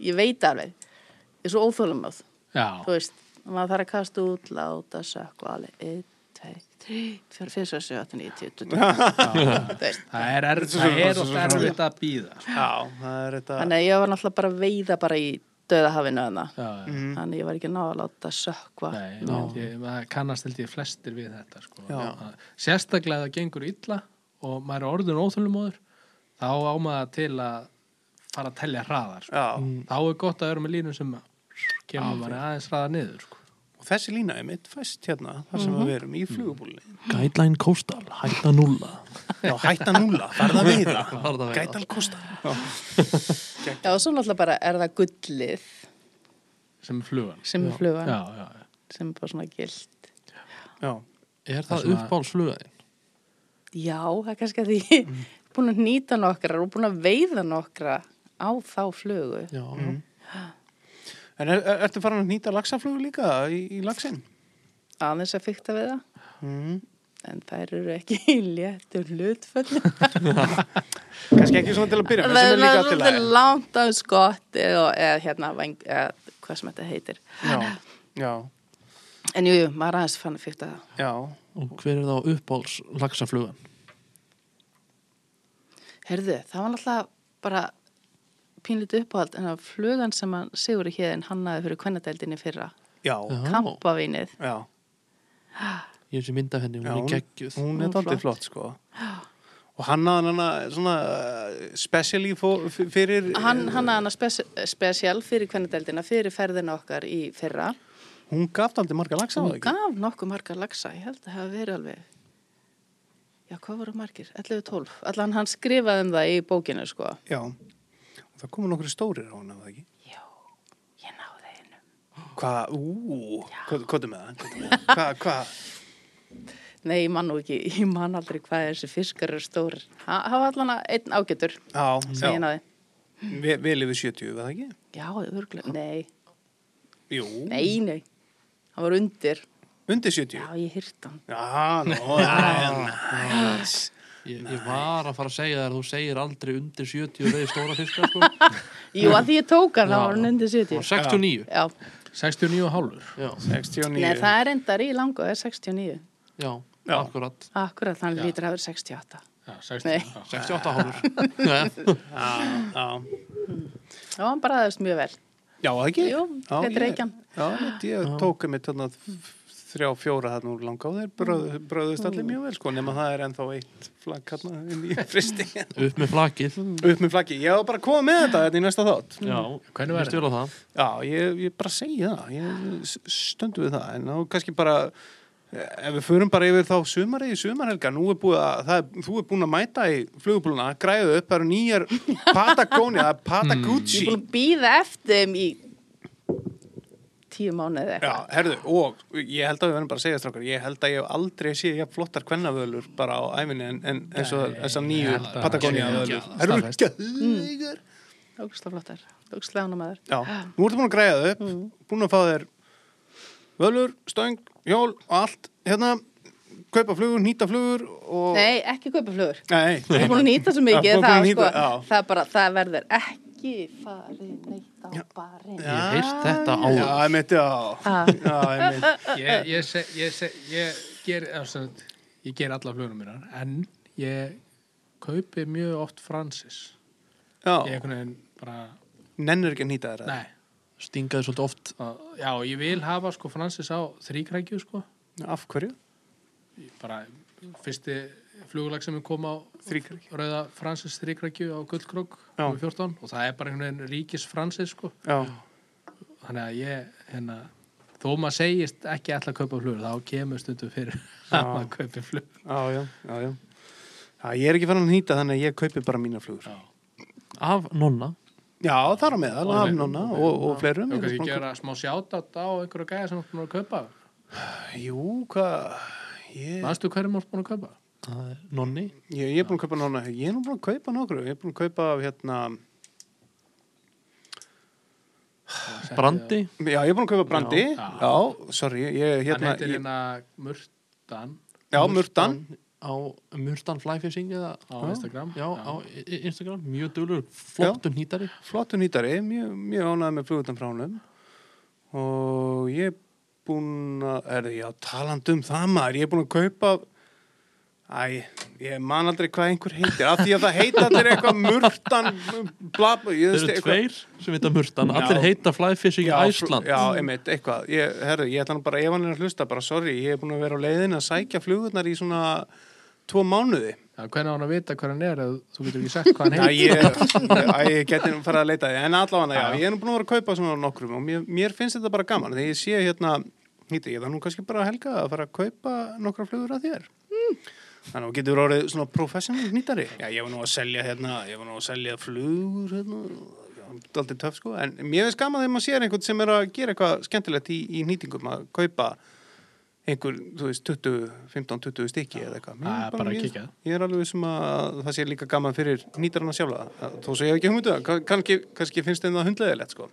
Speaker 4: ég veit alveg, ég er svo óþólumáð. Þú
Speaker 2: já,
Speaker 4: veist, maður þarf að kasta út, láta, sökku, alveg, 1, 2, 3, 4, 5, 6, 7, 8, 9, 10, 20. Þú veist,
Speaker 2: það er, er, það er og erfitt að sko. býða
Speaker 1: já, það er þetta.
Speaker 4: Þannig að ég var náttúrulega bara að veiða bara í döðahafinu hana.
Speaker 2: já, já
Speaker 4: Þannig að ég var ekki að ná að láta sökva.
Speaker 2: Nei, ég, maður kannast held ég flestir við þetta sko.
Speaker 1: Já.
Speaker 2: Að- Sérstaklega ef það gengur illa og maður er orðin óþölumóður þá á maður til að fara að telja hraðar sko.
Speaker 1: Já,
Speaker 2: Þá er gott að vera með línu sem kemur maður aðeins hraðar niður sko.
Speaker 1: og þessi lína er mitt fæst hérna, þar sem við erum í flugubúlinni.
Speaker 3: Guideline Coastal, hætta nulla
Speaker 1: Já, hætta núla, farða við
Speaker 3: Farðu að
Speaker 1: það,
Speaker 3: veiða.
Speaker 1: gætal kosta.
Speaker 4: Já, og svo náttúrulega bara er það gullið
Speaker 2: sem er flugan
Speaker 4: sem er
Speaker 2: já,
Speaker 4: flugan,
Speaker 2: já, já.
Speaker 4: sem er bara svona gilt.
Speaker 1: Já,
Speaker 3: Er
Speaker 2: Það
Speaker 3: það
Speaker 2: svona-
Speaker 3: uppáhaldsflugaðin?
Speaker 4: Já, það er kannski að því
Speaker 2: Mm.
Speaker 4: búin að nýta nokkra og búin að veiða nokkra á þá flugu.
Speaker 3: Já,
Speaker 1: en er, er, ertu farin að nýta laxaflugu líka í, í laxinn?
Speaker 4: Aðeins að fykta við það,
Speaker 1: Mm.
Speaker 4: en þær eru ekki í léttum hlutföllum.
Speaker 1: Kannski ekki svona til að byrja, með,
Speaker 4: Það
Speaker 1: sem
Speaker 4: er
Speaker 1: er líka til
Speaker 4: svolítið
Speaker 1: að...
Speaker 4: langt af skotti og eða hérna, væng, eða, hvað sem þetta heitir.
Speaker 1: Já, já,
Speaker 4: En jú, jú, maður er aðeins fann að fykta það.
Speaker 1: já,
Speaker 3: og hver er þá uppáhaldslagsaflugan?
Speaker 4: Herðu, það var náttúrulega bara pínlítið uppáhald en að flugan sem að Sigur í hérðin hannaði fyrir kvennadeildinni í fyrra,
Speaker 1: já,
Speaker 3: Já.
Speaker 4: kampavínið
Speaker 1: já.
Speaker 3: Ég er sem mynda henni, hún
Speaker 1: Já,
Speaker 3: er geggjuð
Speaker 1: Hún
Speaker 4: Hún
Speaker 1: er
Speaker 4: er
Speaker 1: daldið flott, sko. og hann hafði hana svona eh, specially for, f- fyrir
Speaker 4: Hann hannaði hana spes spesial fyrir kvennadeldina, fyrir ferðina okkar í fyrra.
Speaker 1: eh, hún gaf aldrei marga lagsa
Speaker 4: Hún gaf nokkuð margar lagsa, ég held að það hafa verið alveg, já hvað voru margir? 11-12. Allan hann skrifaði um það í bókinu sko.
Speaker 1: já og það komu nokkru stórir á hana var það ekki
Speaker 4: Já, ég náði einu.
Speaker 1: Hvað, ú, hvað er með það? Hvað, með það? Hvað- hvað,
Speaker 4: Nei, ég man nú ekki, [laughs] ég man aldrei hvað þessi fiskar eru stórir. Ha- Það var allan einn ágætur
Speaker 1: á,
Speaker 4: sem ég
Speaker 1: já,
Speaker 4: náði.
Speaker 1: við, við lifið 70, var það ekki?
Speaker 4: Já, örgulega, nei,
Speaker 1: Jú,
Speaker 4: nei, nei. Hann var undir.
Speaker 1: undir 70.
Speaker 4: Já, ég hýrt hann.
Speaker 1: Já, nú, já, næs.
Speaker 3: Ég, ég var að fara að segja þér að þú segir aldrei undir 70 og leiði stóra fiskar sko.
Speaker 4: Jú, að því ég tók
Speaker 3: Já.
Speaker 4: hann, þá var hann undir
Speaker 3: Það var
Speaker 4: 70.
Speaker 3: 69
Speaker 4: Já,
Speaker 2: 69 hálfur
Speaker 3: Já,
Speaker 1: 69.
Speaker 4: nei, það er endar í langa, það er 69.
Speaker 3: já,
Speaker 1: Já.
Speaker 3: akkurat
Speaker 4: Akkurat, hann lítur að vera 68.
Speaker 2: Já, 69
Speaker 4: Nei.
Speaker 2: já.
Speaker 3: 68 hálfur
Speaker 1: Já, já,
Speaker 4: Já, hann bræðist mjög vel.
Speaker 1: já, það ekki?
Speaker 4: Jú,
Speaker 1: Já,
Speaker 4: þetta
Speaker 1: ég-
Speaker 4: reykjan.
Speaker 1: Já, ég- ég tók um eitt þarna þrjá, fjóra þarna úr langa og þeir bröð, bröðust allir mjög vel, sko, nema það er ennþá eitt flagg hérna inn í fristi.
Speaker 3: Upp með flakið
Speaker 4: Mm.
Speaker 1: Upp með flaggi, ég var bara að koma með þetta þetta í næsta þátt.
Speaker 3: Já,
Speaker 2: Hvernig var
Speaker 3: líst vel á það?
Speaker 1: Já, ég, ég bara segi það, ég s- stundu við það, en þá kannski bara, eh, ef við förum bara yfir þá sumarið í sumarhelga, nú er búið að, það, er- þú er búin að mæta í flugubúluna, græðu upp, það eru nýjar Patagonia, það er
Speaker 4: Ég er
Speaker 1: Patagucci.
Speaker 4: búin að býða eftir þeim í tíu mánuði eitthvað.
Speaker 1: Já, herðu, og ég held að við verðum bara að segja strákar, ég held að ég hef aldrei séð jafn flottar kvennavölur bara á æfinni en, en eins og þessar nýju
Speaker 2: held að-
Speaker 1: Patagonia völur.
Speaker 2: Geggjaðar,
Speaker 1: Það eru
Speaker 2: staðfest.
Speaker 1: gæðlegar.
Speaker 4: Ógislega flottar, ógislega ánum aður.
Speaker 1: Já, nú ertu búin að græða þau upp,
Speaker 4: Mm.
Speaker 1: búin að fá þér völur, stöng, hjól og allt, hérna, kaupa flugur, nýta flugur og...
Speaker 4: Nei, ekki kaupa flugur.
Speaker 1: Nei,
Speaker 4: Ég er búin að nýta svo mikið
Speaker 1: Já,
Speaker 4: að
Speaker 1: búin að
Speaker 4: það,
Speaker 1: nýta,
Speaker 4: sko,
Speaker 1: já.
Speaker 4: það, bara, það verður ekki farið neitt á barinn.
Speaker 1: Já,
Speaker 3: Ég heyrst þetta áður.
Speaker 1: Já, ég mitt, já.
Speaker 4: Ah.
Speaker 1: Já, ég mitt.
Speaker 2: ég, ég, seg, ég, seg, ég ger eftir, ég ger alla flugunum mínar en ég kaupi mjög oft Francis ég
Speaker 1: Já,
Speaker 2: einhvern veginn bara
Speaker 1: nennur ekki að nýta þér það.
Speaker 2: nei,
Speaker 3: Stingaði svolítið oft
Speaker 2: að, já, ég vil hafa sko Francis á þríkrækju sko
Speaker 1: Af hverju?
Speaker 2: Ég bara fyrsti flugulag sem ég kom á
Speaker 1: Þríkrækju.
Speaker 2: rauða Francis þríkrækju á Gullkrók
Speaker 1: Já.
Speaker 2: 14 og það er bara einhvern veginn ríkis Francis sko
Speaker 1: Já,
Speaker 2: þannig að ég hérna, þó maður segist ekki ætla að kaupa flugur þá kemur stundum fyrir að maður kaupi flugur
Speaker 1: já, já, já, já. Já, ég er ekki farin að nýta þannig að ég kaupi bara mína flugur.
Speaker 2: Já.
Speaker 3: af nonna
Speaker 1: Já, þar á meðal, af núna og, og fleirum.
Speaker 2: og kannski gera smá sjátátt á einhverja gæja sem þú ert búin að kaupa
Speaker 1: Jú, hvað... Ég...
Speaker 2: mannstu hverjum þú ert búin að kaupa
Speaker 3: Það er Nonni
Speaker 1: Ég, ég er búin að kaupa nána, ég er nú búin að kaupa nokkru, ég er búin að kaupa af hérna,
Speaker 3: Brandi
Speaker 1: já ég er búin að kaupa brandi, já,
Speaker 3: Ah.
Speaker 2: Já.
Speaker 1: sorry, ég
Speaker 2: hann
Speaker 1: hérna,
Speaker 2: heitir
Speaker 1: ég,
Speaker 2: hérna Murtan
Speaker 1: já, murtan,
Speaker 3: á Murtan Flyfishing eða
Speaker 2: á Instagram
Speaker 3: Já, á I- Instagram, mjög dölur flottur nýtari
Speaker 1: flottu nýtari, mjög, mjög ánægð með flugutan frá honum og ég er búin að, er það, já, talandi um það maður, ég er búin að kaupa, æ, ég man aldrei hvað einhver heitir, af því að það heita allir eitthvað murtan, bla, bla, ég
Speaker 3: Þeir eru tveir sem heita Murtan Allir
Speaker 1: Já.
Speaker 3: heita Flyfishing
Speaker 1: Já,
Speaker 3: Æsland
Speaker 1: Já, einmitt, eitthvað ég, herru, ég ætla nú bara, ef hann er að hlusta, bara sorry ég hef búin að vera á leiðin að sækja flugurnar í svona tvo mánuði
Speaker 2: Já, hvernig á hann að vita hver hann er eða þú getur ekki sagt hvað hann
Speaker 1: Já,
Speaker 2: heitir
Speaker 1: ég, já, ég geti nú farið að leita því en allavega, já, ég er nú búin að vera að kaupa svona nokkrum og mér, mér finnst þetta bara gaman þegar ég sé hérna, hýtti, ég það nú kannski bara að helga að fara að kaupa nokkra flugur að þér Þannig að þú getur orðið svona professional nýtari. Já, ég var nú að selja hérna, ég var nú að selja flugur hérna, aldrei töf sko, en mér finnst gaman þegar maður sér einhvern sem er að gera eitthvað skemmtilegt í, í nýtingum að kaupa einhver, þú veist, 20, 15, 20 stykki eða eitthvað. Mér
Speaker 2: Það
Speaker 1: finnst
Speaker 2: er bara að
Speaker 1: mér-
Speaker 2: kíkja.
Speaker 1: Ég er alveg vissum að það sé líka gaman fyrir nýtarana sjálfa, Að- þó sem ég hef ekki hugmyndu, kannski, kannski finnst þeim það hundleðilegt sko.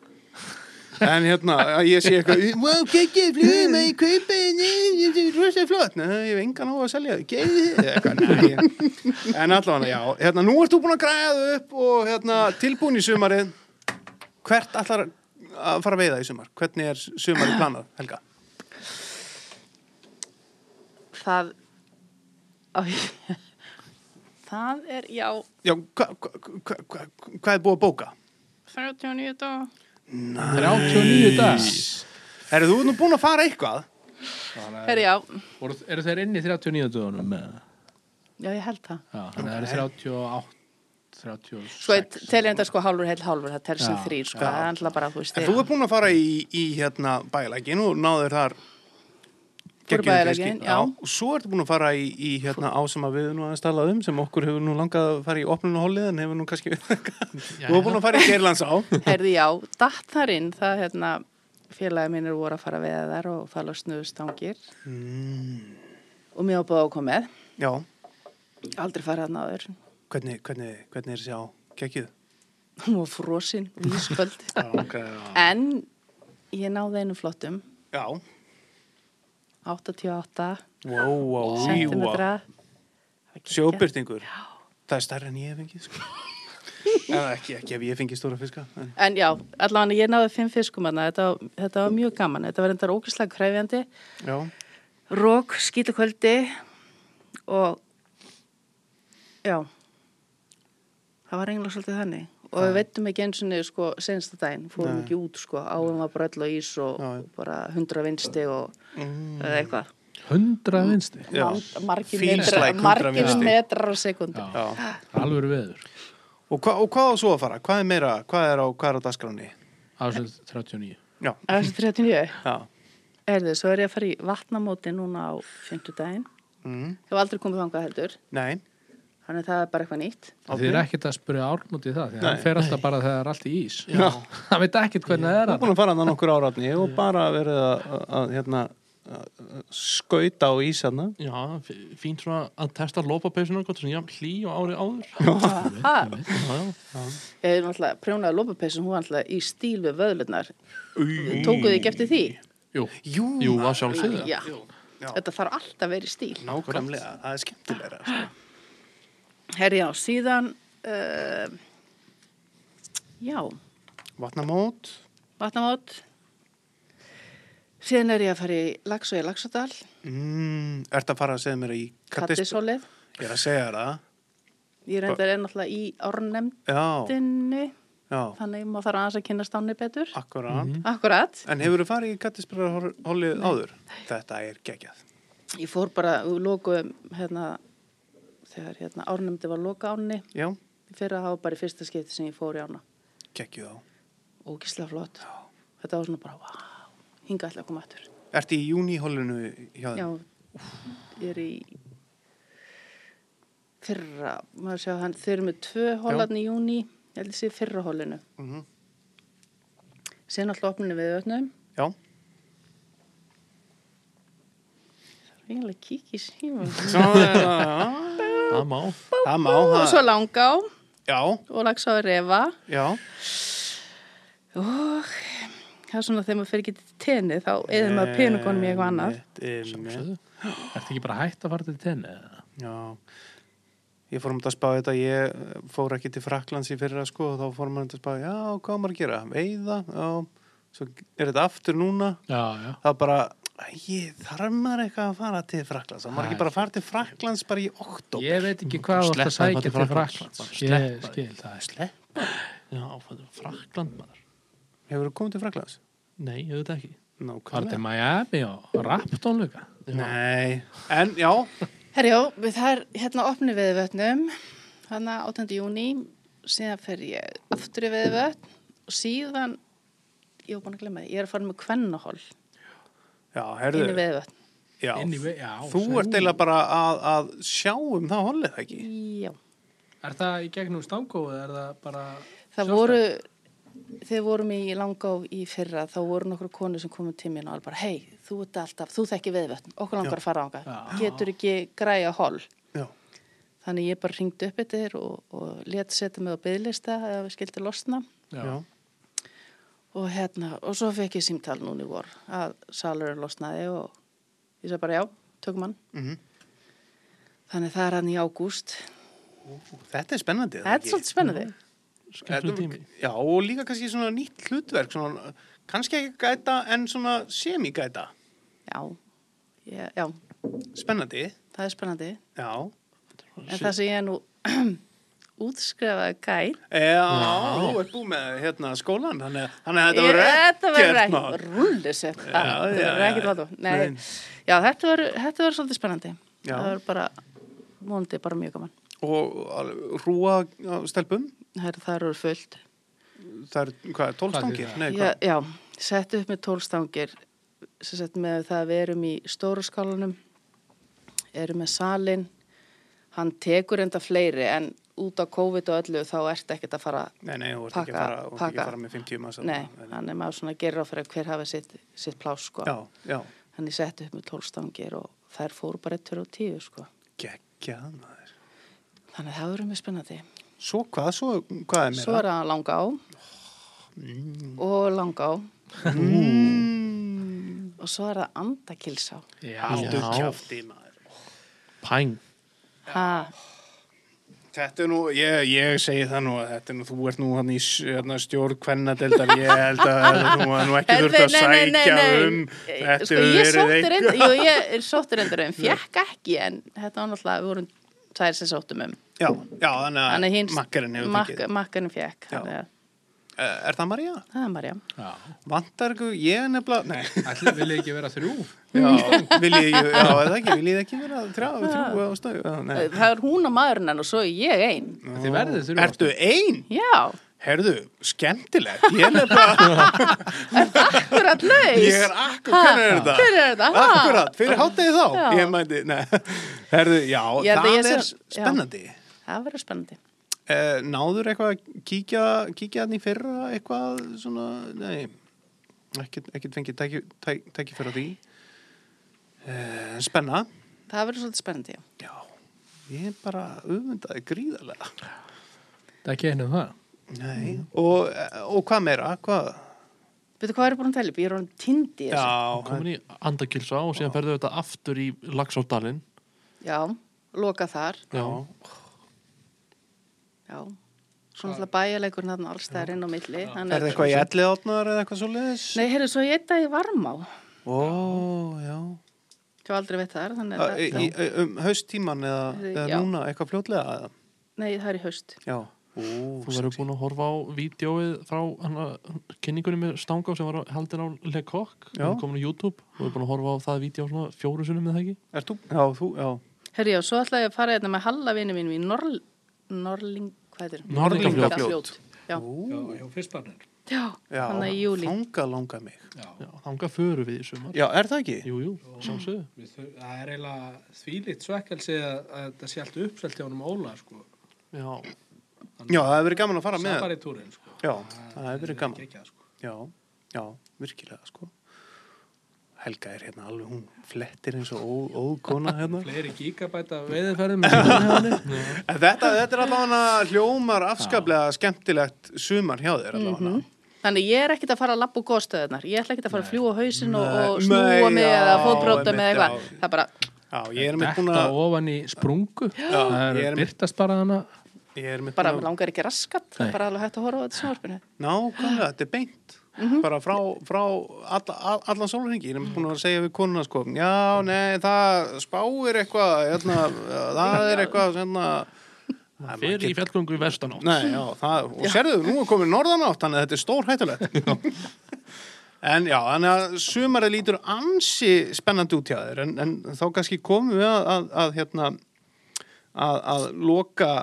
Speaker 1: En hérna, að ég sé eitthvað Wow, geggið flugum að ég kaupi Nei, þetta er rosa flott Nei, ég hef engan á að selja þau Geggið eða eitthvað, nei, ég- En allavega, já Hérna, nú ert þú búin að græða þau upp og hérna, tilbúin í sumarið Hvert allar að fara að veiða í sumar? Hvernig er sumarið planað, Helga?
Speaker 4: Það, á, ég- það er, já,
Speaker 1: Já, hvað hva, hva, hva, hva er búið að bóka?
Speaker 4: 39 dag.
Speaker 2: 39 dag
Speaker 1: Herru, þú ert nú búin að fara eitthvað
Speaker 4: Herri, já,
Speaker 2: Voru- eru þeir inn í 39 dagunum með
Speaker 4: Já, ég held það.
Speaker 2: Já, þannig að það eru 38, 36.
Speaker 4: Sko, ég tel enda sko hálfur heill hálfur, það tel sem
Speaker 2: Já,
Speaker 4: þrýr, sko,
Speaker 1: já.
Speaker 4: það er alltaf bara, þú veist,
Speaker 1: En
Speaker 4: ég-
Speaker 1: þú er búin að fara í, í hérna bælækin og náður þar geggjuðum
Speaker 4: bæjarlækinn,
Speaker 1: fiski.
Speaker 4: já.
Speaker 1: og Svo ertu búin að fara í, í hérna á sem að við nú aðeins talað um sem okkur hefur nú langað að fara í opnunuhólið en hefur nú kannski [laughs] Þú er búin að fara í Geirlands á
Speaker 4: Herði já, datt þar inn það hérna félagi mínir voru að fara að veða þar og það losnuðu stangir
Speaker 1: Mm.
Speaker 4: og mér var búið að koma með
Speaker 1: Já,
Speaker 4: aldrei farað þarna áður
Speaker 1: hvernig, hvernig, hvernig er þessi á geggjuð?
Speaker 4: hún var frosin og ísköld
Speaker 1: Já, okay, já.
Speaker 4: en ég náði einu flottum
Speaker 1: já.
Speaker 4: 88
Speaker 1: Wow, wow, wow.
Speaker 4: centimetra
Speaker 1: Sjóbyrtingur Það er starra en ég hef fengið
Speaker 4: [laughs]
Speaker 1: sko. Eða ekki, ekki ef ég fengi stóra fiska en,
Speaker 4: En já, allavega ég náði fimm fiskum þarna, þetta, var- þetta var mjög gaman, þetta var endar ógæslega kræfjandi
Speaker 1: Já,
Speaker 4: rók, skýtukvöldi og já það var eiginlega svolítið þannig og við veitum ekki eins og niður sko sensta daginn, fórum
Speaker 1: Nei.
Speaker 4: ekki út sko áum var bara öll á ís og
Speaker 1: Já, já.
Speaker 4: bara hundra vinsti og eða eitthvað
Speaker 2: 100 vinsti.
Speaker 1: Já.
Speaker 4: Land- margir
Speaker 1: Feels
Speaker 4: metrar,
Speaker 1: like 100
Speaker 4: margir
Speaker 1: vinstri.
Speaker 4: metrar á sekundu
Speaker 2: Já,
Speaker 1: já
Speaker 2: alveg veður.
Speaker 1: Og, hva, og hvað á svo að fara? Hvað er meira? Hvað er á, hvað er á dagskráni?
Speaker 2: Ásins 39.
Speaker 1: Já.
Speaker 4: þessi 39
Speaker 1: Já.
Speaker 4: erðu, svo er ég að fara í vatnamóti núna á fymtudaginn
Speaker 1: Mm.
Speaker 4: ég hef aldrei komið þangað heldur
Speaker 1: Nei.
Speaker 4: þannig að það er bara eitthvað nýtt
Speaker 2: Þið er ekkert að spyrja árnúti það, því að
Speaker 1: Nei.
Speaker 2: hann fer alltaf bara þegar það er allt í ís. [laughs] hann veit ekkert hvernig það er
Speaker 1: Þú er
Speaker 2: hann.
Speaker 1: búin að fara hann nokkur áratni og bara verið að, að, að hérna, að- að skauta á hérna. ísanna.
Speaker 3: Já, f- fínt svona að testa lópapeysuna gott sem ég hlý og árið
Speaker 1: [laughs]
Speaker 3: áður
Speaker 4: ha,
Speaker 3: Já, já,
Speaker 4: ég hef náttúrulega prjónaði lópapeysun hún var náttúrulega í stíl við vöðlunar
Speaker 1: Mm.
Speaker 4: tókuðu þið ekki eftir því
Speaker 3: jú,
Speaker 1: Jú,
Speaker 3: jú að sjálfsögðu
Speaker 4: já.
Speaker 1: Já.
Speaker 4: þetta þarf alltaf að vera í stíl
Speaker 1: nákvæmlega. Það er skemmtilega. Sko.
Speaker 4: herri já, síðan uh, já,
Speaker 1: Vatnamót.
Speaker 4: vatnamót síðan er ég að fara í Laxó í Laxódal
Speaker 1: Mm, ert að fara að segja mér í kattis...
Speaker 4: Kattisólið
Speaker 1: Ég er að segja þér það.
Speaker 4: ég reyndar er náttúrulega í árnemdinni
Speaker 1: Já, já,
Speaker 4: þannig maður þarf aðeins að kynast ánni betur
Speaker 1: akkurat.
Speaker 4: akkurat,
Speaker 1: En hefur þú farið í kattisbrarhólið áður? Þetta er geggjað.
Speaker 4: ég fór bara og lokuðum hérna þegar hérna árnemdi var loka ánni
Speaker 1: Já,
Speaker 4: fyrir að hafa bara í fyrsta skipti sem ég fór í ána
Speaker 1: geggjuð á.
Speaker 4: ógislega flott þetta var svona bara, wow, hinga ætla að koma aftur
Speaker 1: Ertu í júnihólinu hjá þeim?
Speaker 4: já, ég er í fyrra maður sjá hann, þeir eru með tvö hólarni í júni, ég held að sé fyrra hólinu
Speaker 1: Mhm.
Speaker 4: síðan alltaf opninu við öfnum
Speaker 1: Já.
Speaker 4: eiginlega kíkja í síma
Speaker 1: Já, já, já, já.
Speaker 3: Það má
Speaker 1: Það má,
Speaker 4: og svo
Speaker 1: það,
Speaker 4: langá
Speaker 1: já,
Speaker 4: og lags á refa
Speaker 1: já,
Speaker 4: og það er svona þegar maður fyrir getið tenni þá eða maður peningunum í eitthvað annað
Speaker 1: Einmitt, einmitt.
Speaker 2: Ertu ekki bara hægt að fara til tenni? eða?
Speaker 1: Já, ég fór um þetta að spá þetta, ég eh, fór ekki til Fraklands í fyrra sko og þá fór maður að spá, já, hvað á maður að gera, veiða, já, svo er þetta aftur núna,
Speaker 2: Já, já.
Speaker 1: það bara, ég þarf maður eitthvað að fara til Fraklands, það maður ekki bara að fara til Fraklands bara í oktober.
Speaker 2: Ég veit ekki hvað þú ætti að
Speaker 3: Sleppa
Speaker 2: sækja
Speaker 3: til
Speaker 2: til
Speaker 3: Frakklands.
Speaker 2: Fraklands.
Speaker 3: Sleppa
Speaker 2: Ég
Speaker 3: því.
Speaker 2: skil það. ekki.
Speaker 3: Já, áfæður, Frakland maður
Speaker 1: Hefur þú komið til Fraklands?
Speaker 3: Nei, auðvitað ekki
Speaker 2: Var þetta
Speaker 1: Nákvæmlega.
Speaker 2: Miami og Rapton líka?
Speaker 1: Nei, en já,
Speaker 4: Herjó, við það er hérna opni við vötnum, þannig að 8. júni, síðan fer ég aftur við vötn og síðan, ég var búin að glemma því, ég er að fara með kvennahól
Speaker 1: já,
Speaker 4: inn í
Speaker 1: herðu,
Speaker 4: við vötn.
Speaker 1: já,
Speaker 2: Inn í við- já,
Speaker 1: þú
Speaker 2: sæl.
Speaker 1: ert eiginlega bara að, að sjá um það hollið ekki.
Speaker 4: Já,
Speaker 2: Er það í gegnum stangó eða er það bara...
Speaker 4: það voru, þegar vorum í langá í fyrra, þá voru nokkru konu sem komum til mér og alveg bara, hei, þú ert alltaf, þú þekki við vötn, okkur langar að fara ánga,
Speaker 2: Já.
Speaker 4: getur ekki græja hól.
Speaker 1: Já,
Speaker 4: Þannig ég bara ringdi upp yfir og, og let setja mig á byðlista eða við skildi losna.
Speaker 2: Já.
Speaker 1: já,
Speaker 4: og hérna, og svo fekk ég símtal núna í vor að salurinn losnaði og ég sagði bara já, tökum hann
Speaker 1: Mhm.
Speaker 4: þannig það er hann í ágúst
Speaker 1: þetta er spennandi. eða
Speaker 4: það er
Speaker 1: ekki?
Speaker 4: svolítið spennandi
Speaker 3: Skemmtum tími
Speaker 1: Já, og líka kannski svona nýtt hlutverk, svona, kannski ekki gæta en svona semigæta.
Speaker 4: já, ég, já,
Speaker 1: Spennandi,
Speaker 4: það er spennandi
Speaker 1: já.
Speaker 4: en það sem ég er nú [clears throat] útskrefaði gæt
Speaker 1: Já, þú ert búið með hérna, skólan, þannig að- þannig að þetta
Speaker 4: Ég-
Speaker 1: verður
Speaker 4: þetta verður
Speaker 1: ekkert
Speaker 4: ekki
Speaker 1: mál. Já,
Speaker 4: rullisett Ah, þetta
Speaker 1: já,
Speaker 4: verður
Speaker 1: já.
Speaker 4: ekkert vatnum
Speaker 1: Nei.
Speaker 4: já, þetta verður þetta verður svolítið spennandi
Speaker 1: Já.
Speaker 4: það verður bara vonandi bara mjög gaman.
Speaker 1: og alveg rúa á stelpum
Speaker 4: Það eru- þar eru fullt.
Speaker 1: það er, hvað er, tólfstangir?
Speaker 2: Hvað er
Speaker 1: Nei,
Speaker 4: Já,
Speaker 1: hvað?
Speaker 4: já sett upp með tólstangir sem sett með það að við erum í stóru skálanum erum með salin hann tekur enda fleiri en út á COVID og öllu þá ertu ekkert að fara
Speaker 1: Nei, nei, þú ert ekki
Speaker 4: Pakka-
Speaker 1: að fara, þú ert ekki
Speaker 4: pakka.
Speaker 1: að fara með 50 massa.
Speaker 4: nei, hann er maður svona að gera á fyrir hver hafa sitt, sitt plás sko
Speaker 1: Já, já,
Speaker 4: hann er sett upp með tólstangir og þær fóru bara ettur og tíu sko
Speaker 1: geggjað maður.
Speaker 4: þannig að það verður mjög spennandi
Speaker 1: Svo hvað, svo hvað er meira? Mm.
Speaker 4: svo er það langa á og langa á og svo er það andakilsá
Speaker 1: Haldu
Speaker 3: Já.
Speaker 1: kjáfti maður.
Speaker 3: Pæng.
Speaker 4: ha,
Speaker 1: Þetta er nú, ég, ég segi það nú að þetta er nú, þú ert nú hann í s- hérna, stjórn kvennadeldar, ég held að þetta nú, að nú ekki
Speaker 4: Heyrðu,
Speaker 1: þurft að
Speaker 4: nei, nei, nei,
Speaker 1: sækja
Speaker 4: nei.
Speaker 1: um þetta
Speaker 4: sko,
Speaker 1: hefur
Speaker 4: ég
Speaker 1: verið
Speaker 4: sótti
Speaker 1: einhver-
Speaker 4: reyndar, jú, ég er sóttur reyndar um, fjekk ekki, en þetta var náttúrulega, við vorum tvær sem sóttum um.
Speaker 1: Já, já, þannig
Speaker 4: Þannig
Speaker 1: að
Speaker 4: hins,
Speaker 1: makkarinn hefur
Speaker 4: mak-
Speaker 1: tekið.
Speaker 4: Makkarinn fjekk,
Speaker 1: Já.
Speaker 4: þannig að
Speaker 1: Eh, Er það Marja?
Speaker 4: það er Marja.
Speaker 2: Já.
Speaker 1: Vantar ykkur, ég er nefnilega, nei,
Speaker 2: Ætli vil ekki vera þrjú.
Speaker 1: [laughs] já, viljið, já, er það ekki, viljið þið ekki vera þrjá, þrjú á snau, já, nei.
Speaker 4: Það er hún að maðurinn henn og svo er ég einn.
Speaker 2: Þið verðið þrjú.
Speaker 1: Ertu einn?
Speaker 4: Já,
Speaker 1: Herðu, skemmtilegt, ég er nefnilega,
Speaker 4: [laughs] akkurat laus.
Speaker 1: ég er akkur, hvernig er þetta?
Speaker 4: Hver er þetta? Ha?
Speaker 1: Akkurat, fyrir hátegi þá,
Speaker 4: Já.
Speaker 1: ég mæti, nei, herðu, já,
Speaker 4: Ég held að
Speaker 1: það
Speaker 4: ég sé-
Speaker 1: er
Speaker 4: já.
Speaker 1: spennandi.
Speaker 4: Það verður spennandi.
Speaker 1: Eh, náður eitthvað að kíkja, kíkja hann í fyrra eitthvað svona, nei, ekkert, ekkert fengið tæki, tæk, tæki fyrir því. Eh, spenna,
Speaker 4: Það verður svolítið spennandi, já.
Speaker 1: já, ég er bara umvöndaði gríðarlega.
Speaker 2: Það er ekki einu um það.
Speaker 1: Nei, og, og hvað meira, hvað?
Speaker 4: Veitu hvað er búin að tella upp? Ég er orðin tindi í þessu.
Speaker 1: Já,
Speaker 3: Komin í andakilsa og síðan ferðu þetta aftur í Laxárdalinn.
Speaker 4: Já, loka þar.
Speaker 3: Já.
Speaker 4: Já. Svo náttúrulega bæjarleikurinn hann allstæðar inn á milli. hann
Speaker 1: er það eitthvað í elli átnar eða eitthvað svo leiðis?
Speaker 4: Nei, heyrðu, svo ég eitt dag í Varmá.
Speaker 1: Ó, já.
Speaker 4: Ég var aldrei veit það er, þannig
Speaker 1: Æ,
Speaker 4: að það,
Speaker 1: í, í- um hausttíman eða, eða
Speaker 4: Já.
Speaker 1: núna, eitthvað fljótlega eða?
Speaker 4: nei, það er í haust.
Speaker 1: Já. Ó,
Speaker 3: Þú verður búin að horfa á vídjóið frá hana, kynningunni með Stangá sem var á- haldin á Le Coq.
Speaker 1: Já.
Speaker 3: Hún er komin á YouTube. Þú verður búin að horfa á það vídjó svona fjóru sunnum eða ekki.
Speaker 1: er þú? Já, þú, já.
Speaker 4: Herri, já, svo ætla ég að fara hérna með Hallavinu mínum í Norl, Norling, hvað heitir?
Speaker 3: Norðlingafljót.
Speaker 4: Já,
Speaker 1: Ó,
Speaker 2: Já, fyrstbarnir.
Speaker 4: já,
Speaker 1: Já,
Speaker 4: hann er í júli.
Speaker 1: þanga langar mig.
Speaker 2: Já.
Speaker 3: Já, þangað förum við í sumar.
Speaker 1: Já, er það ekki?
Speaker 3: Jú, jú, sjálfsögðu.
Speaker 2: Við þur- Það er eiginlega þvílít svekkelsi að, að þetta sé allt uppselt hjá honum Óla, sko.
Speaker 3: Já.
Speaker 1: Já, það hefur verið gaman að fara með.
Speaker 2: Safari túrin, sko.
Speaker 1: Já, það hefur verið gaman.
Speaker 2: Ekki að, sko.
Speaker 1: Já, já, virkilega, sko. Helga er hérna alveg, hún flettir eins og ó- óðkona
Speaker 2: [laughs]
Speaker 1: hérna.
Speaker 2: Fleiri gigabæta
Speaker 1: [laughs]
Speaker 2: veiðiferðum með hjónu.
Speaker 1: En Þetta, þetta er allavega hljómar afskaplega skemmtilegt sumar hjá þér allavega.
Speaker 4: Mhm. Þannig ég er ekkert að fara að labba úr góðstöðunar. Ég ætla ekkert að fara að fljúa hausin og,
Speaker 1: Nei.
Speaker 4: og snúa
Speaker 1: Nei,
Speaker 4: mig
Speaker 1: já,
Speaker 4: eða fótbróta með
Speaker 1: einmitt,
Speaker 4: eitthvað.
Speaker 1: já.
Speaker 4: Það er bara,
Speaker 1: Já, ég er með búin
Speaker 2: Þetta
Speaker 1: að,
Speaker 2: ofan í sprungu. það er
Speaker 1: ég er-
Speaker 2: byrtast bara hana.
Speaker 1: ég er með
Speaker 4: bara
Speaker 1: búin að,
Speaker 4: langar ekki raskat. Það
Speaker 2: Nei.
Speaker 4: er bara alveg hægt að horfa á þetta sjónvarpinu.
Speaker 1: nákvæmlega, þetta er beint. Bara frá, frá alla, all- allan sólurringi, ég er með búin að segja við konuna, sko, já, nei, það spáir eitthvað, hérna, það er eitthvað, hérna, það er
Speaker 3: Fyrir í
Speaker 1: margir-
Speaker 3: fjallgöngu í vestanátt.
Speaker 1: Nei, já, það, og sérðu, nú er komin norðanátt, þannig að þetta er stór hættulegt. en já, þannig að sumarið lítur ansi spennandi út hjá þér, en, en þá kannski komum við að, að, að hérna, að, að loka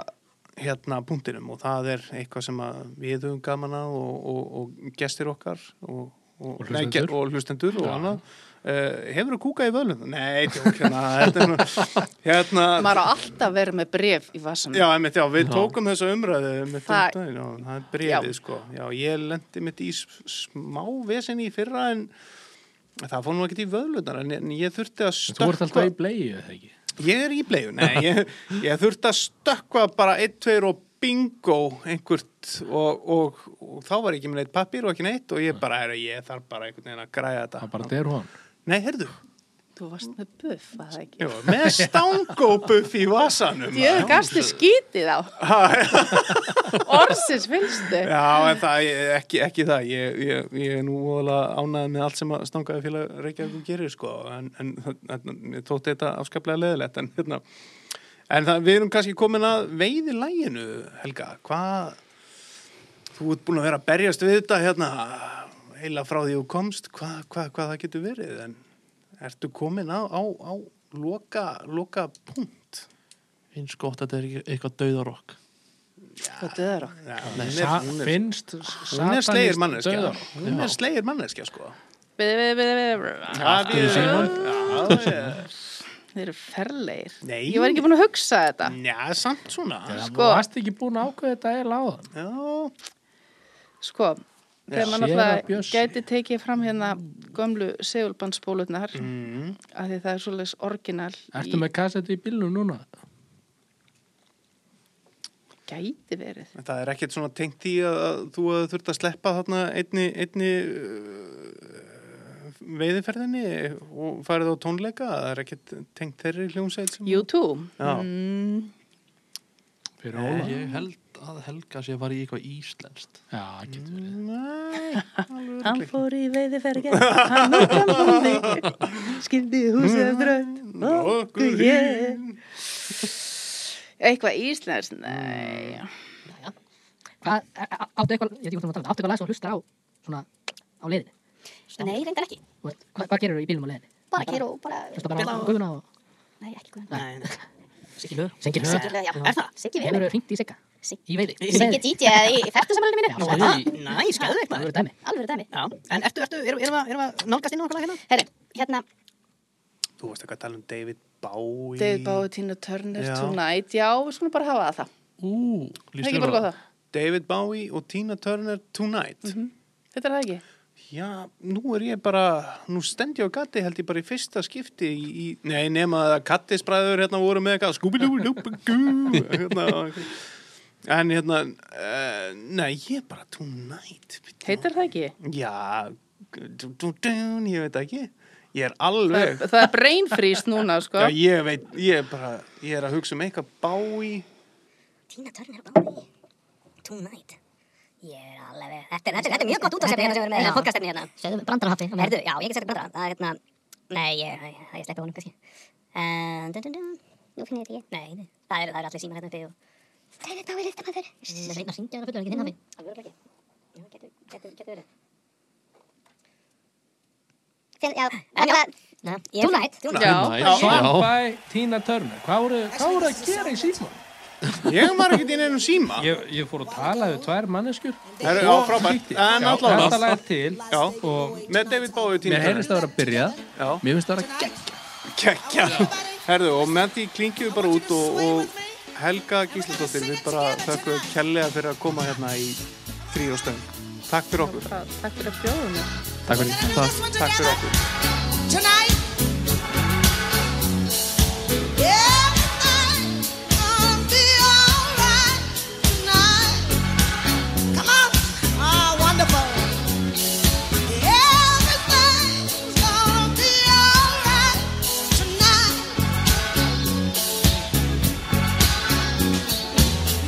Speaker 1: hérna punktinum og það er eitthvað sem að við höfum gaman að og, og, og gestir okkar og, og,
Speaker 2: Og
Speaker 1: nei,
Speaker 2: hlustendur.
Speaker 1: ge- og hlustendur og annað. Uh, hefur þú kúkað í völum? Nei, tjók, hérna, þetta er nú, hérna,
Speaker 4: Maður á alltaf verið með bref í vassanum.
Speaker 1: Já, einmitt, já, við tókum þessa umræðu með
Speaker 4: Það-
Speaker 1: fyrndaginn og það er brefið, sko. Já, ég lendi mitt í s- smá vesen í fyrra en það fór nú ekkert í vöðlunar en, en ég þurfti að
Speaker 2: Þú ert alltaf
Speaker 1: stökkva.
Speaker 2: í bleiðu, eða ekki?
Speaker 1: Ég er í bleiðu, nei, ég, ég þurfti að stökkva bara einn, tveir og bingo einhvert og, og, og þá var ég ekki með neitt pappir og ekki neitt og ég bara, herra, ég þarf bara einhvern veginn að græja þetta.
Speaker 2: Það er bara der hún.
Speaker 1: Nei, heyrðu,
Speaker 4: Þú varst með buff, var það ekki?
Speaker 1: já, með stangóbuff í vasanum.
Speaker 4: Ég gasti skítið á. Orsins finnstu.
Speaker 1: Já, en það, ég- ekki, ekki það, ég, ég, ég er nú ólega ánæðið með allt sem að stangaði félag Reykjavík gerir, sko, en, en, en mér tótti þetta afskaplega leðilegt, en hérna, en það, við erum kannski komin að veiði læginu, Helga, hvað, þú ert búin að vera að berjast við þetta, hérna, heila frá því þú komst, hvað, hvað, hvað það getur verið, en ertu komin á, á, á loka, loka punkt?
Speaker 3: eins gott að þetta er ekki eitthvað dauðarokk
Speaker 4: Hvað döðar okkur?
Speaker 1: Já,
Speaker 3: Nei,
Speaker 1: hún
Speaker 2: Sa
Speaker 1: er- hún er-
Speaker 2: finnst
Speaker 1: hún er slegir manneskja
Speaker 2: dauðarokk.
Speaker 1: hún er slegir manneskja sko
Speaker 4: Bíðu, bíðu, bíðu, bíðu.
Speaker 1: það
Speaker 2: í símann.
Speaker 1: er
Speaker 4: Þeir eru ferlegir.
Speaker 1: Nei.
Speaker 4: Ég var ekki búin að hugsa þetta.
Speaker 1: njá, samt svona
Speaker 2: Sko,
Speaker 4: Sko.
Speaker 2: varst ekki búin að ákveða þetta er láðan
Speaker 1: já,
Speaker 4: Sko, þegar mann
Speaker 2: Séra
Speaker 4: náttúrulega
Speaker 2: Bjössi.
Speaker 4: gæti tekið fram hérna gömlu segulbandsbólutnar
Speaker 1: Mm.
Speaker 4: af því það er svoleiðis orginal
Speaker 2: Ertu með kassetu í bílnum núna?
Speaker 4: gæti verið.
Speaker 1: En það er ekkert svona tengt í að að þú að þurft að sleppa þarna einni, einni uh, veiðiferðinni og farið á tónleika, það er ekkert tengt þeirri hljómsveit sem...
Speaker 4: YouTube?
Speaker 1: Já.
Speaker 4: Mm,
Speaker 2: Fyrir
Speaker 1: Nei.
Speaker 2: Óla?
Speaker 3: ég held að Helga sé að fara í eitthvað íslenskt
Speaker 2: Já, getur verið.
Speaker 1: Nei,
Speaker 4: [laughs]
Speaker 1: alveg
Speaker 4: Hann
Speaker 1: örugglega
Speaker 4: fór í veiðifergja, hann út af bóði, skildi húsið að drönd,
Speaker 1: ekki.
Speaker 4: okkur ég. Eitthvað íslensk, nei.
Speaker 5: Hvað, áttu eitthvað, ég veit ekki hvað þú maður að tala um, áttu eitthvað lag sem þú hlustar á, svona, á leiðinni?
Speaker 6: Nei, reyndar ekki.
Speaker 5: Þú veist, Hvað, hvað gerir þú í bílum á leiðinni?
Speaker 6: Bara kýr og bara...
Speaker 5: Hlusta bara á guðuna og...
Speaker 6: Nei, ekki guðun. Nei, nei.
Speaker 5: Siggi lög. Siggi lög.
Speaker 6: Siggi, já, er það? Siggi
Speaker 5: Hefur
Speaker 6: vinur.
Speaker 5: þú hringt í Sigga?
Speaker 6: Sig-
Speaker 5: Í veiði? Í
Speaker 6: Siggi
Speaker 5: veiði?
Speaker 6: DJ eða í færtusamælunum mínu.
Speaker 5: Já,
Speaker 6: Nú,
Speaker 5: sagði
Speaker 6: það-
Speaker 5: því.
Speaker 6: Næ, skæðu
Speaker 5: Það verður dæmi.
Speaker 6: Alveg dæmi.
Speaker 7: Já, en ertu, ertu, erum, erum, að, erum að nálgast inn á okkur lag hérna?
Speaker 6: Herri, hérna,
Speaker 1: Þú varst eitthvað að tala um David Bowie.
Speaker 4: David Bowie, Tina Turner,
Speaker 1: Já.
Speaker 4: Tonight, já, við skulum bara hafa það.
Speaker 3: ú,
Speaker 4: Það
Speaker 3: líst
Speaker 4: er
Speaker 3: vel á
Speaker 4: ekki bara góð það.
Speaker 1: David Bowie og Tina Turner Tonight.
Speaker 4: Mhm. Þetta er það ekki.
Speaker 1: Já, nú er ég bara, nú stend ég á gatti held ég bara í fyrsta skipti í, í nei, nema að kattisbræður hérna voru með eitthvað skúbilúlúpagú hérna, en hérna uh, nei, ég er bara tonight
Speaker 4: Heitir það ekki?
Speaker 1: Já, dú, dú, dú, ég veit það ekki ég er alveg
Speaker 4: Það, það er brain freeze núna, sko.
Speaker 1: Já, ég veit, ég er bara, ég er að hugsa um eitthvað bái
Speaker 6: Tina Turner Bowie, Tonight. Ég er alveg, þetta er, þetta er, þetta er mjög gott útvarstefni hérna sem við erum með, hérna, podcastefni hérna.
Speaker 5: Segðu brandarhatti.
Speaker 6: Herðu, já, ég get sett upp brandara, það er hérna, nei, ég, ég, ég sleppi honum kannski. Uh, dun, dun, dun. Nú finn ég þetta ekki. Nei, nei, það eru það er allir símar hérna uppi og... Það er þetta á við listum að þeir.
Speaker 5: Það er einn að syngja þarna fullur, ekki þinn
Speaker 6: Mm-hmm.
Speaker 5: hafi.
Speaker 6: Alveg örugglega ekki. Já, getur, getur, getur verið. Finn, já, en það... Tonight. Tonight.
Speaker 4: Já.
Speaker 3: Tonight,
Speaker 2: Song
Speaker 3: já.
Speaker 2: by Tina Turner. Hvað voru, hvað voru að gera í síman?
Speaker 1: Ég var ekkert inn einum síma
Speaker 2: Ég, ég fór að tala við tvær manneskjur.
Speaker 1: Það eru á frábært, en allavega
Speaker 2: Þetta lag er til
Speaker 1: Já.
Speaker 2: og
Speaker 1: með David Bowie og Tina
Speaker 2: mér
Speaker 1: Turner
Speaker 2: heyrðist það vera að byrja.
Speaker 1: Já.
Speaker 2: Mér finnst það vera gegn.
Speaker 1: Kekja. Herðu, og með því klingjum við bara út og, og Helga Gísladóttir, við bara þökkum kellega fyrir að koma hérna í þrýjóstöng. Takk fyrir okkur.
Speaker 4: Það- Takk fyrir að bjóða mér.
Speaker 1: Takk fyrir, takk, takk fyrir okkur.
Speaker 7: Tonight Yeah, I'm gonna be alright tonight Come on, oh wonderful Everything's gonna be alright tonight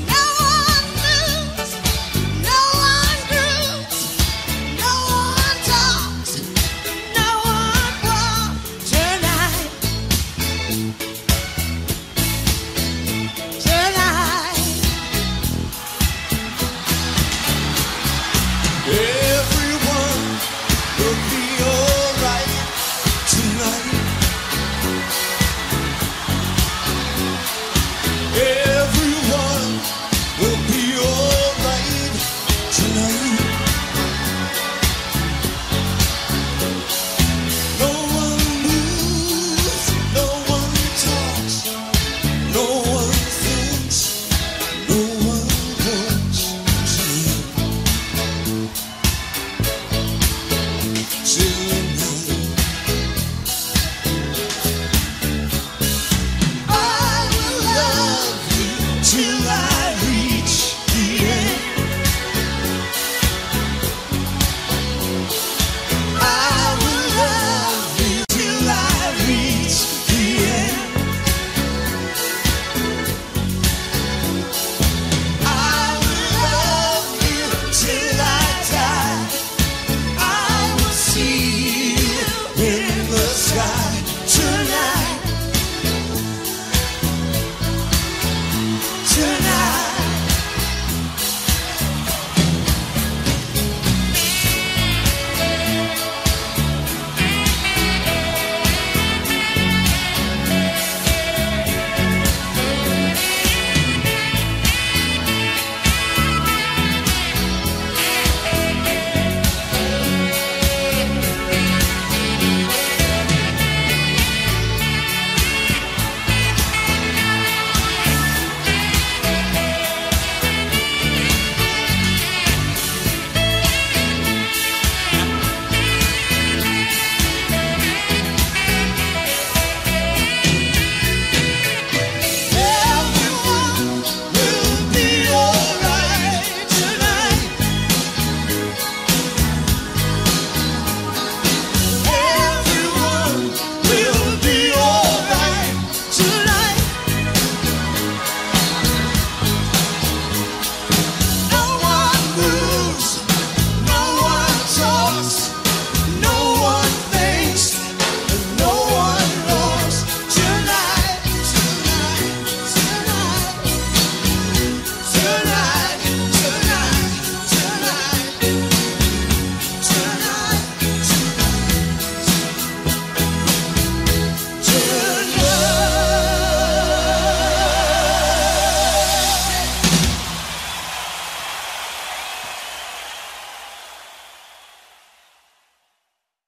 Speaker 7: No one moves, no one grooves, no one talks no one will tonight. Tonight.
Speaker 8: Everyone will be alright tonight. Everyone will be alright tonight. No one moves, no one talks, no one thinks, no one wants tonight. Till